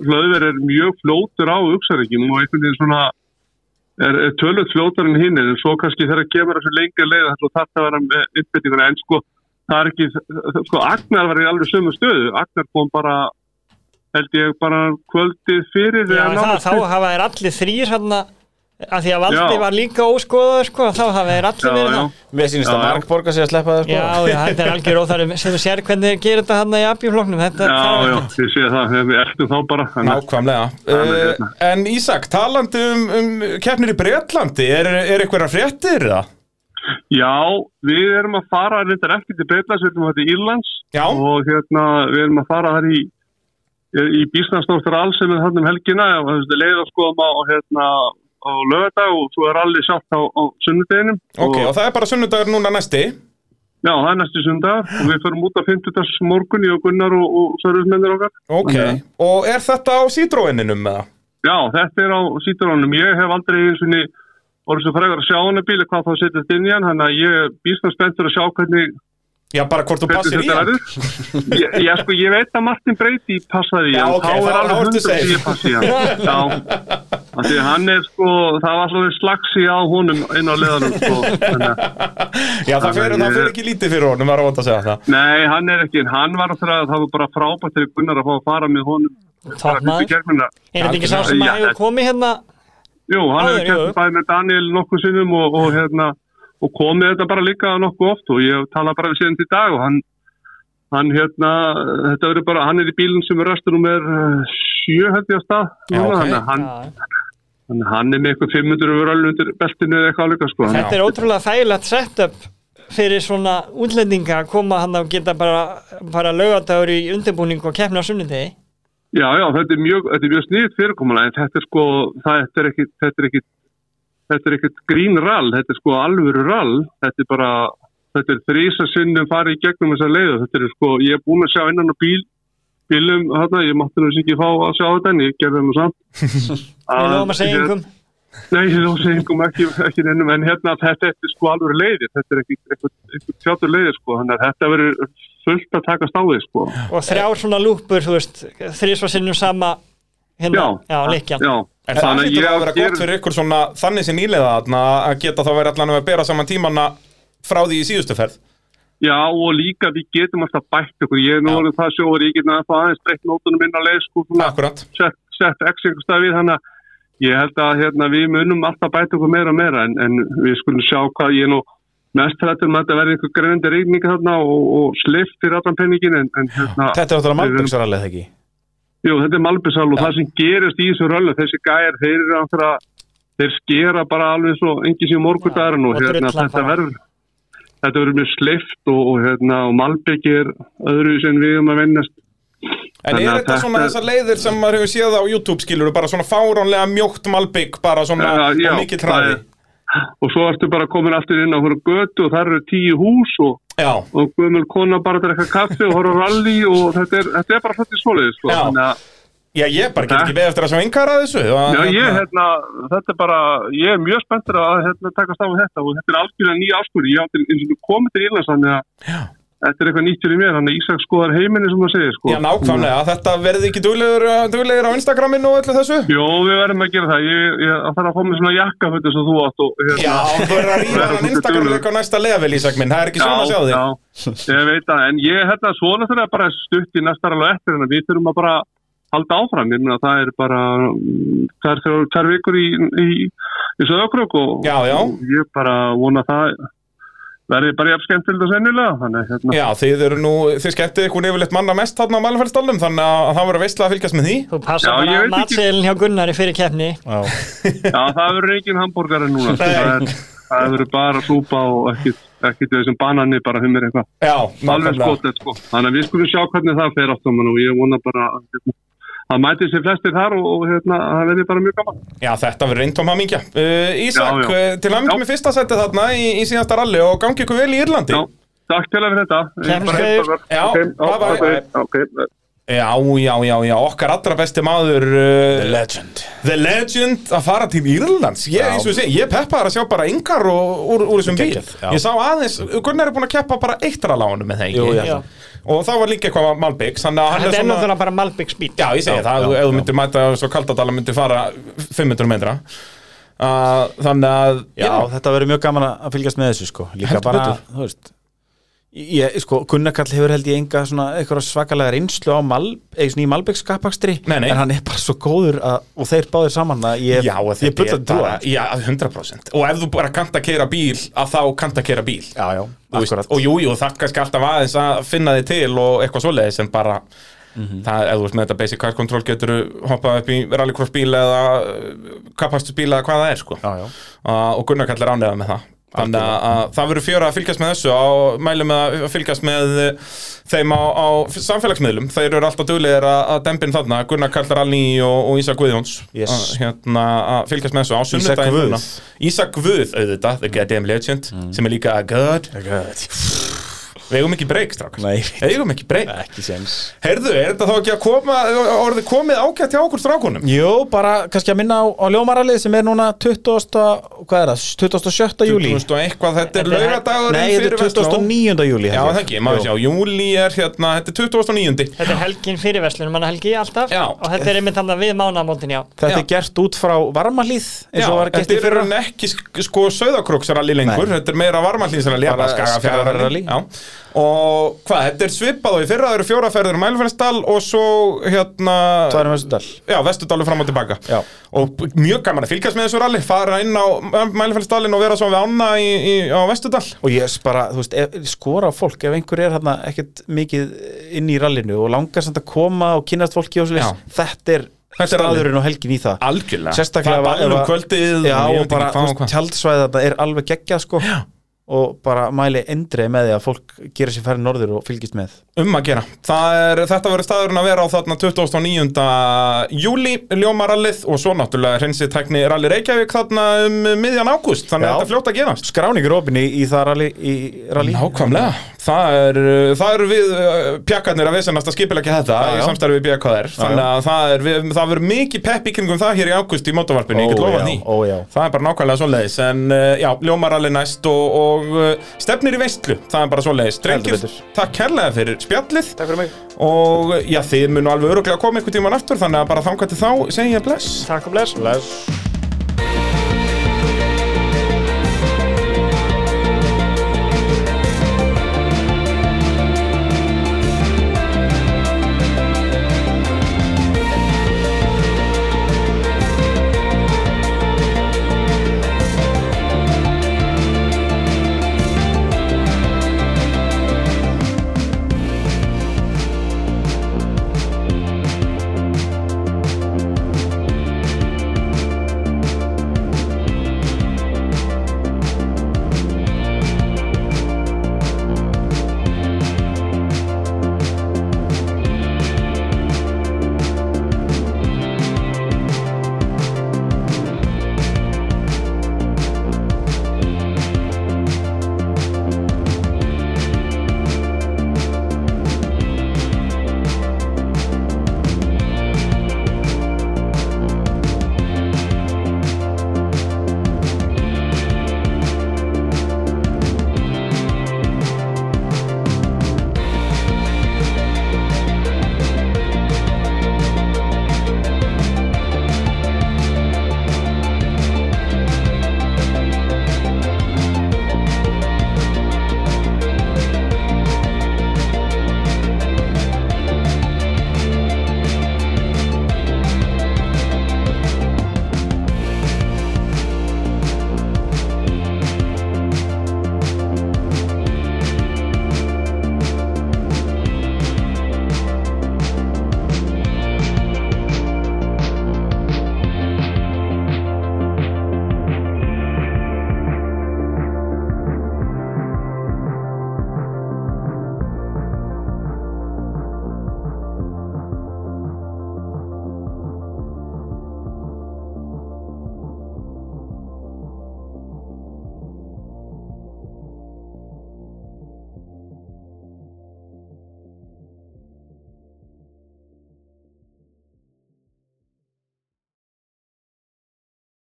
Speaker 4: hlöðver er mjög flótur á hugsaðingjum og einhvern veginn svona er, er tölvöld flótar en hinn en svo kannski þegar það kemur þessu lengra leið þá þarf það að vera með uppbyttinguna en sko það er ekki, sko Agnar var í alveg sömu stöðu, Agnar kom bara held ég bara kvöldið fyrir
Speaker 3: Já,
Speaker 4: eða
Speaker 3: það,
Speaker 4: nánast
Speaker 3: þá
Speaker 4: fyrir.
Speaker 3: hafa þeir allir þrýr hérna að því að Valdi
Speaker 4: Já.
Speaker 3: var líka óskoðaður sko, þá hafa þeir allir
Speaker 4: já,
Speaker 3: verið
Speaker 4: já,
Speaker 3: það
Speaker 2: Mér sýnist að
Speaker 4: Já, já.
Speaker 2: Mark borga sig að sleppa það sko.
Speaker 3: Já, já, þetta er algjör óþarfi sem þú sér hvernig þeir gerir þetta hann í apjúfloknum þetta
Speaker 4: já,
Speaker 3: þarf
Speaker 4: já,
Speaker 3: ekkert.
Speaker 4: ég sé það við ertum þá bara þannig.
Speaker 1: nákvæmlega.
Speaker 4: er
Speaker 1: Uh, en Ísak, talandi um, um keppnir í Breitlandi, er, er eitthvað fréttir það?
Speaker 4: Já, við erum að fara reyndar ekki til Breitlands, við erum að fara til Írlands
Speaker 1: Já.
Speaker 4: og hérna, við erum að fara þar í í Bísnarsdóttur all sem er hann um helgina og það er leið að skoðum á hérna, á lögadag og svo er allir sjátt á, á sunnudeginum
Speaker 1: Ok, og það er bara sunnudagur núna næsti.
Speaker 4: já, það er næstu sundag og við förum út á 50. morgun í og Gunnar og, og Sörðusmennir okkar
Speaker 1: Ok,
Speaker 4: Þannig að-
Speaker 1: og er þetta á sídróininum með það?
Speaker 4: Já, þetta er á síturónum. Ég hef aldrei eins og niður orðið svo frægur að sjá hana bíli hvað þá setjast inn í hann, þannig að ég er býstum spenntur að sjá hvernig
Speaker 1: Já, bara hvort þú
Speaker 4: hvernig
Speaker 1: passir í
Speaker 4: þetta
Speaker 1: hann.
Speaker 4: verður Ég- Já, sko, ég veit að Martin Brady passaði í
Speaker 1: Já,
Speaker 4: hann,
Speaker 1: ok,
Speaker 4: þá
Speaker 1: þá-
Speaker 4: er
Speaker 1: þá
Speaker 4: alveg
Speaker 1: ertu
Speaker 4: hundur
Speaker 1: safe.
Speaker 4: sem ég passi í hann Já, af því að hann er sko það var alveg slagsí á honum inn á leðanum sko, þannig að
Speaker 1: Já, það fyrir,
Speaker 4: Þannig að
Speaker 1: það fyrir
Speaker 4: ég-
Speaker 1: ekki lítið fyrir honum, var að vant að segja það.
Speaker 4: Nei, hann er ekki, en hann var að það var bara frábært þegar Gunnar að fá að fara með honum bara
Speaker 3: Topp
Speaker 4: fyrstu
Speaker 3: maður.
Speaker 4: germina
Speaker 3: Er þetta ekki sá sem
Speaker 4: Já,
Speaker 3: að hefur
Speaker 4: þetta-
Speaker 3: komið hérna
Speaker 4: Jú, hann
Speaker 3: Áður,
Speaker 4: hefur kert
Speaker 3: jú.
Speaker 4: bæði með Daniel nokkuð sinnum og, og, hérna, og komið þetta bara líka nokkuð oft og ég tala bara við síðan til dag og hann, hann hérna, þetta verður bara, hann er í bílinn sem er röstunum er sjö held ég á stað.
Speaker 1: Já,
Speaker 4: núna,
Speaker 1: ok.
Speaker 4: þannig að hann,
Speaker 3: Já,
Speaker 4: hann, hann er með eitthvað 500 og röll undir beltinu eða eitthvað líka sko.
Speaker 3: Þetta er ótrúlega þægilegt setup fyrir svona útlendinga að koma hann og geta bara, bara lögadagur í undirbúning og keppna á sunnudegi
Speaker 4: Já, já, þetta er mjög, þetta er mjög sniðt fyrirkomulega en þetta er sko, það, þetta er ekkit, þetta er ekkit, þetta er ekkit grín rall, þetta er sko alvöru rall, þetta er bara, þetta er þrísa sinnum farið í gegnum þessa leiðu, þetta er sko, ég er búin að sjá innan á bíl, bílum, þarna, ég mátti náttúrulega ekki fá að sjá þetta en ég gerði það nú samt.
Speaker 3: Við lofum að segja yngum
Speaker 4: Nei, ég lofum að segja yngum ekki, ekki nefnum, en hérna þetta er sko alvöru leiði, þetta er ekkit, eitthvað, eitthvað tjátur leiði sko, þannig að þetta verður fullt að taka stáðið sko.
Speaker 3: og þrjár svona lúpur, þú veist þrísvar sinnum sama
Speaker 4: Já,
Speaker 3: hérna, já, leikjan
Speaker 4: já.
Speaker 1: En það
Speaker 4: Þannig að
Speaker 1: hlýtur
Speaker 4: ég
Speaker 1: að vera
Speaker 4: gera-
Speaker 1: gott fyrir ykkur svona þannig sem nýlega þarna að geta þá verið allan að bera saman tímanna frá því í síðustu ferð.
Speaker 4: Já og líka við getum alltaf bætt okkur, ég er nú
Speaker 1: Já.
Speaker 4: orðin það sjóður, ég get náttúrulega aðeins breytt nótunum inn á leið sko, svona,
Speaker 1: Akkurat.
Speaker 4: sett, sett x einhver stað við, þannig að ég held að hérna, við munum alltaf bætt okkur meira og meira en, en við skulum sjá hvað ég er nú mest hættur um að þetta verði einhver greinandi reyninga þarna og, og slift fyrir allan penningin en, en hérna,
Speaker 2: Þetta er náttúrulega
Speaker 4: við erum-
Speaker 2: Malbyggsarallið ekki
Speaker 4: Jú, þetta er Malbisal og það sem gerist í þessu röllu, þessi gæjar, þeir eru náttúrulega, þeir skera bara alveg svo engi síðan morgundagurinn
Speaker 3: Já, og
Speaker 4: og hérna,
Speaker 3: drulla
Speaker 4: þetta
Speaker 3: bara.
Speaker 4: verður, þetta verður mjög sleift og, og hérna, og Malbygg er öðru sem við um að vinnast.
Speaker 1: En
Speaker 4: Þannig
Speaker 1: er
Speaker 4: að
Speaker 1: þetta svona
Speaker 4: þetta-
Speaker 1: þessar leiðir sem maður hefur séð á YouTube skilur bara svona fáránlega mjókt malbygg bara svona
Speaker 4: Já, já,
Speaker 1: og mikið
Speaker 4: það
Speaker 1: træði
Speaker 4: er- Og svo ertu bara komin aftur inn á hverju götu og þar eru tíu hús og,
Speaker 1: Já,
Speaker 4: og guðmur kona bara drekka kaffi og horfa á rally og þetta er, þetta er bara svolítið svoleiðis, sko.
Speaker 1: Já.
Speaker 4: Þannig að,
Speaker 1: já, ég bara get ekki beðið eftir að sjá engar að þessu og,
Speaker 4: já, ég,
Speaker 1: hérna,
Speaker 4: hérna, þetta er bara, ég er mjög spenntur að hérna, takast á við þetta og þetta er algjörlega nýja áskur. Ég átti eins og þú komið til Írlands, þannig að
Speaker 1: Já.
Speaker 4: þetta er eitthvað nýtt fyrir mér, þannig að Ísak skoðar heiminni sem það segir, sko.
Speaker 1: Já, nákvæmlega, þetta verði ekki duglegur, duglegur á Instagraminu og öllu þessu
Speaker 4: Jó, við verðum að gera það. Ég, ég þarf að fá mig svona jakka fyrir þess að þú átt og hérna.
Speaker 1: Já, þú verður að ríða
Speaker 4: Verður
Speaker 1: hann
Speaker 4: svolítið
Speaker 1: Instagram
Speaker 4: duglegur.
Speaker 1: eitthvað á næsta level, Ísak minn, það er ekki svona að sjá þig
Speaker 4: Já, ég veit það, en ég hérna svona þurfa bara stutt í næsta alveg eftir en við þurfum að bara halda áfram, ég meina það er bara mm, það er þrjár tvær vikur í, í, í söðokrök og
Speaker 1: Já, já.
Speaker 4: og ég bara vona að það verði bara jafn skemmtilegt og sennilega, þannig að, hérna,
Speaker 1: Já, þið eru nú, þið skemmtið ykkur yfirleitt manna mest þarna á Mælumfællstallum, þannig að það verður veistlega að fylgjast með því.
Speaker 3: Þú passa
Speaker 4: Já, ég
Speaker 3: bara
Speaker 4: veit ekki.
Speaker 3: matseðilin hjá Gunnari fyrir kefni
Speaker 4: já, það verður engin hambúrgari núna, sko, það er- það verður bara súpa og ekkit, ekkit þessum banani bara humir eitthvað,
Speaker 1: Já,
Speaker 4: alveg
Speaker 1: nákvæmlega.
Speaker 4: skotið sko, þannig að við skulum sjá hvernig það fer átt saman og ég vona bara að hérna, að mæti sér flestir þar og, og hérna, það verði bara mjög gaman
Speaker 1: Já, þetta verður reyndum hamingja. Uh, Ísak,
Speaker 4: Já, já.
Speaker 1: uh, til hamingja
Speaker 4: Já.
Speaker 1: með fyrsta setið þarna í, í síðasta ralli og gangi ykkur vel í Írlandi.
Speaker 4: Já, takk til að fyrir þetta. Ég
Speaker 3: Kemst
Speaker 4: bara
Speaker 3: niður.
Speaker 4: heilsa þér.
Speaker 1: Já,
Speaker 4: Ok,
Speaker 1: bye
Speaker 4: ok,
Speaker 1: bye.
Speaker 4: ok.
Speaker 1: Já, já, já, já, okkar allra besti maður uh, The Legend The Legend að fara til Írlands Ég, eins og ég segi, ég peppaði að sjá bara yngar og, úr, úr þessum bíl
Speaker 2: Geggjað, já.
Speaker 1: Ég sá aðeins, Gunnar er búin að keppa bara eittra lánum með það ekki
Speaker 2: Jú, já.
Speaker 3: Já.
Speaker 1: Og það var líka eitthvað Malbyggs Þetta
Speaker 3: Þetta er náttúrulega bara Malbygg spýt
Speaker 1: Já, ég segi
Speaker 2: Já,
Speaker 1: það,
Speaker 2: já,
Speaker 1: ef þú
Speaker 2: já.
Speaker 1: myndir mæta svo kaldadala myndir fara 500 metra uh, Þannig að
Speaker 2: Já, þetta verður mjög gaman að fylgjast með þessu sko Líka
Speaker 1: Heldur
Speaker 2: bara,
Speaker 1: betur.
Speaker 2: þú veist ég, sko, Gunnarkall hefur held ég enga svona eitthvað svakalega reynslu á Mal, eða svona í Malbyggs kappakstri
Speaker 1: Nei, nei.
Speaker 2: en hann er bara svo góður að, og þeir báðir saman að ég,
Speaker 1: Já, og
Speaker 2: ég
Speaker 1: þetta
Speaker 2: bulla
Speaker 1: er
Speaker 2: trúa
Speaker 1: bara, já, 100% Og ef þú bara kannt að keira bíl, að þá kannt að keira bíl
Speaker 2: Já, já,
Speaker 1: Þú veist,
Speaker 2: akkurat
Speaker 1: og jú, jú, það er kannski alltaf aðeins að finna þig til og eitthvað svoleiðis en bara
Speaker 2: Mhm.
Speaker 1: það, ef þú veist með þetta basic car control getur hoppað upp í rallycross bíl eða kapastus bíl eða hvað það er sko.
Speaker 2: Já, já.
Speaker 1: Uh, og Gunnar kallar ánæða með það þannig að, að það verður fjöra að fylgjast með þessu og mælum að fylgjast með uh, þeim á, á samfélagsmiðlum þeir eru alltaf duglegir að, að dembin þarna Gunnar kallar Alni og, og Ísak Guðjóns
Speaker 2: Yes.
Speaker 1: að, hérna, að fylgjast með þessu á
Speaker 2: Ísak
Speaker 1: sunnudaginn
Speaker 2: Guð. Mm.
Speaker 1: núna. Ísak Guð, auðvitað, the goddamn legend sem er líka a god Við eigum ekki breyk, strákar
Speaker 2: Nei.
Speaker 1: Við eigum ekki breyk
Speaker 2: Ekki séns
Speaker 1: Heyrðu, er þetta þá ekki að koma orðið komið ágætt hjá okkur strákunum?
Speaker 2: Jú, bara kannski að minna á, á ljómaralið sem er núna 20. hvað er það, 27. júli
Speaker 1: 2000 og eitthvað, þetta er
Speaker 3: Þetta er-
Speaker 1: laugardagurinn
Speaker 2: Nei, þetta
Speaker 1: fyrir
Speaker 2: er
Speaker 1: Vestló.
Speaker 2: 29. júli
Speaker 1: Já, það ekki, maður sjá, júli er hérna, þetta er 2009
Speaker 3: Þetta er helgin fyrir verslunum, manna helgi alltaf
Speaker 1: Já.
Speaker 3: Og þetta er einmitt þannig við mánamótin, já
Speaker 2: Þetta
Speaker 1: Já.
Speaker 2: er gert út frá varmalíð
Speaker 1: Já,
Speaker 2: eins og var gert
Speaker 1: þetta
Speaker 2: í
Speaker 1: er
Speaker 2: fyrra
Speaker 1: raunin ekki sk- sko söðakróksaralli lengur,
Speaker 2: Nei.
Speaker 1: þetta er meira varmallýsaralli,
Speaker 2: Bara
Speaker 1: bara skagafjörðaralli
Speaker 2: Skagafjarðarrally.
Speaker 1: Og hvað, þetta er svipað og í fyrra, það eru fjóraferður mælferðsdal og svo hérna
Speaker 2: Tværum þessu dal
Speaker 1: Já, Vesturdalur fram og tilbaka
Speaker 2: Já.
Speaker 1: Og mjög gaman að fylgjast með þessu ralli Fara inn á Mælifellsdalinn og vera svo við ána í, í, á Vesturdal
Speaker 2: og ég s- bara, þú veist, ef, skora á fólk ef einhver er hérna ekkert mikið inn í rallinu og langar samt að koma og kynast fólki og svolítið, þetta er
Speaker 1: Þetta er rallið.
Speaker 2: staðurinn og helgin í það
Speaker 1: Algjörlega
Speaker 2: sérstaklega
Speaker 1: Það er
Speaker 2: ef
Speaker 1: ballum
Speaker 2: að-
Speaker 1: kvöldið og
Speaker 2: já,
Speaker 1: ég
Speaker 2: og
Speaker 1: veit ekki
Speaker 2: bara,
Speaker 1: hvað
Speaker 2: þú
Speaker 1: og
Speaker 2: veist,
Speaker 1: hvað.
Speaker 2: tjaldsvæði þetta er alveg geggjað sko já. og bara mæli endrið með því að fólk gera sér færið norður og fylgist með
Speaker 1: Um að gera Það er, Þetta verður staðurinn að vera á þarna 29. júli Ljómarallið og svo náttúrulega hreinsi tækni Ralli Reykjavík þarna um miðjan ágúst Þannig
Speaker 2: Já.
Speaker 1: að þetta er fljótt að gerast
Speaker 2: skráningur opinni í það rally, í rally.
Speaker 1: Nákvæmlega, það er, uh, það er við uh, pjakkarnir að vissanast að skipilegja þetta
Speaker 2: Já, já.
Speaker 1: í samstarfi við BKR þannig að það, er, við, það verður mikið pepp í kringum það hér í águst í mótavarpinu, ég get
Speaker 2: Ó,
Speaker 1: lofað
Speaker 2: já,
Speaker 1: því
Speaker 2: ó, já.
Speaker 1: það er bara nákvæmlega svoleiðis en uh, já, ljómar alveg næst og, og uh, stefnir í veistlu, það er bara svoleiðis drengir,
Speaker 2: betur.
Speaker 1: takk kærlega fyrir spjallið
Speaker 2: Takk fyrir mig
Speaker 1: og uh, já, þið munu alveg öruglega koma einhvern tíman aftur þannig að bara þangat til þá segja bless
Speaker 3: Takk og bless
Speaker 2: Bless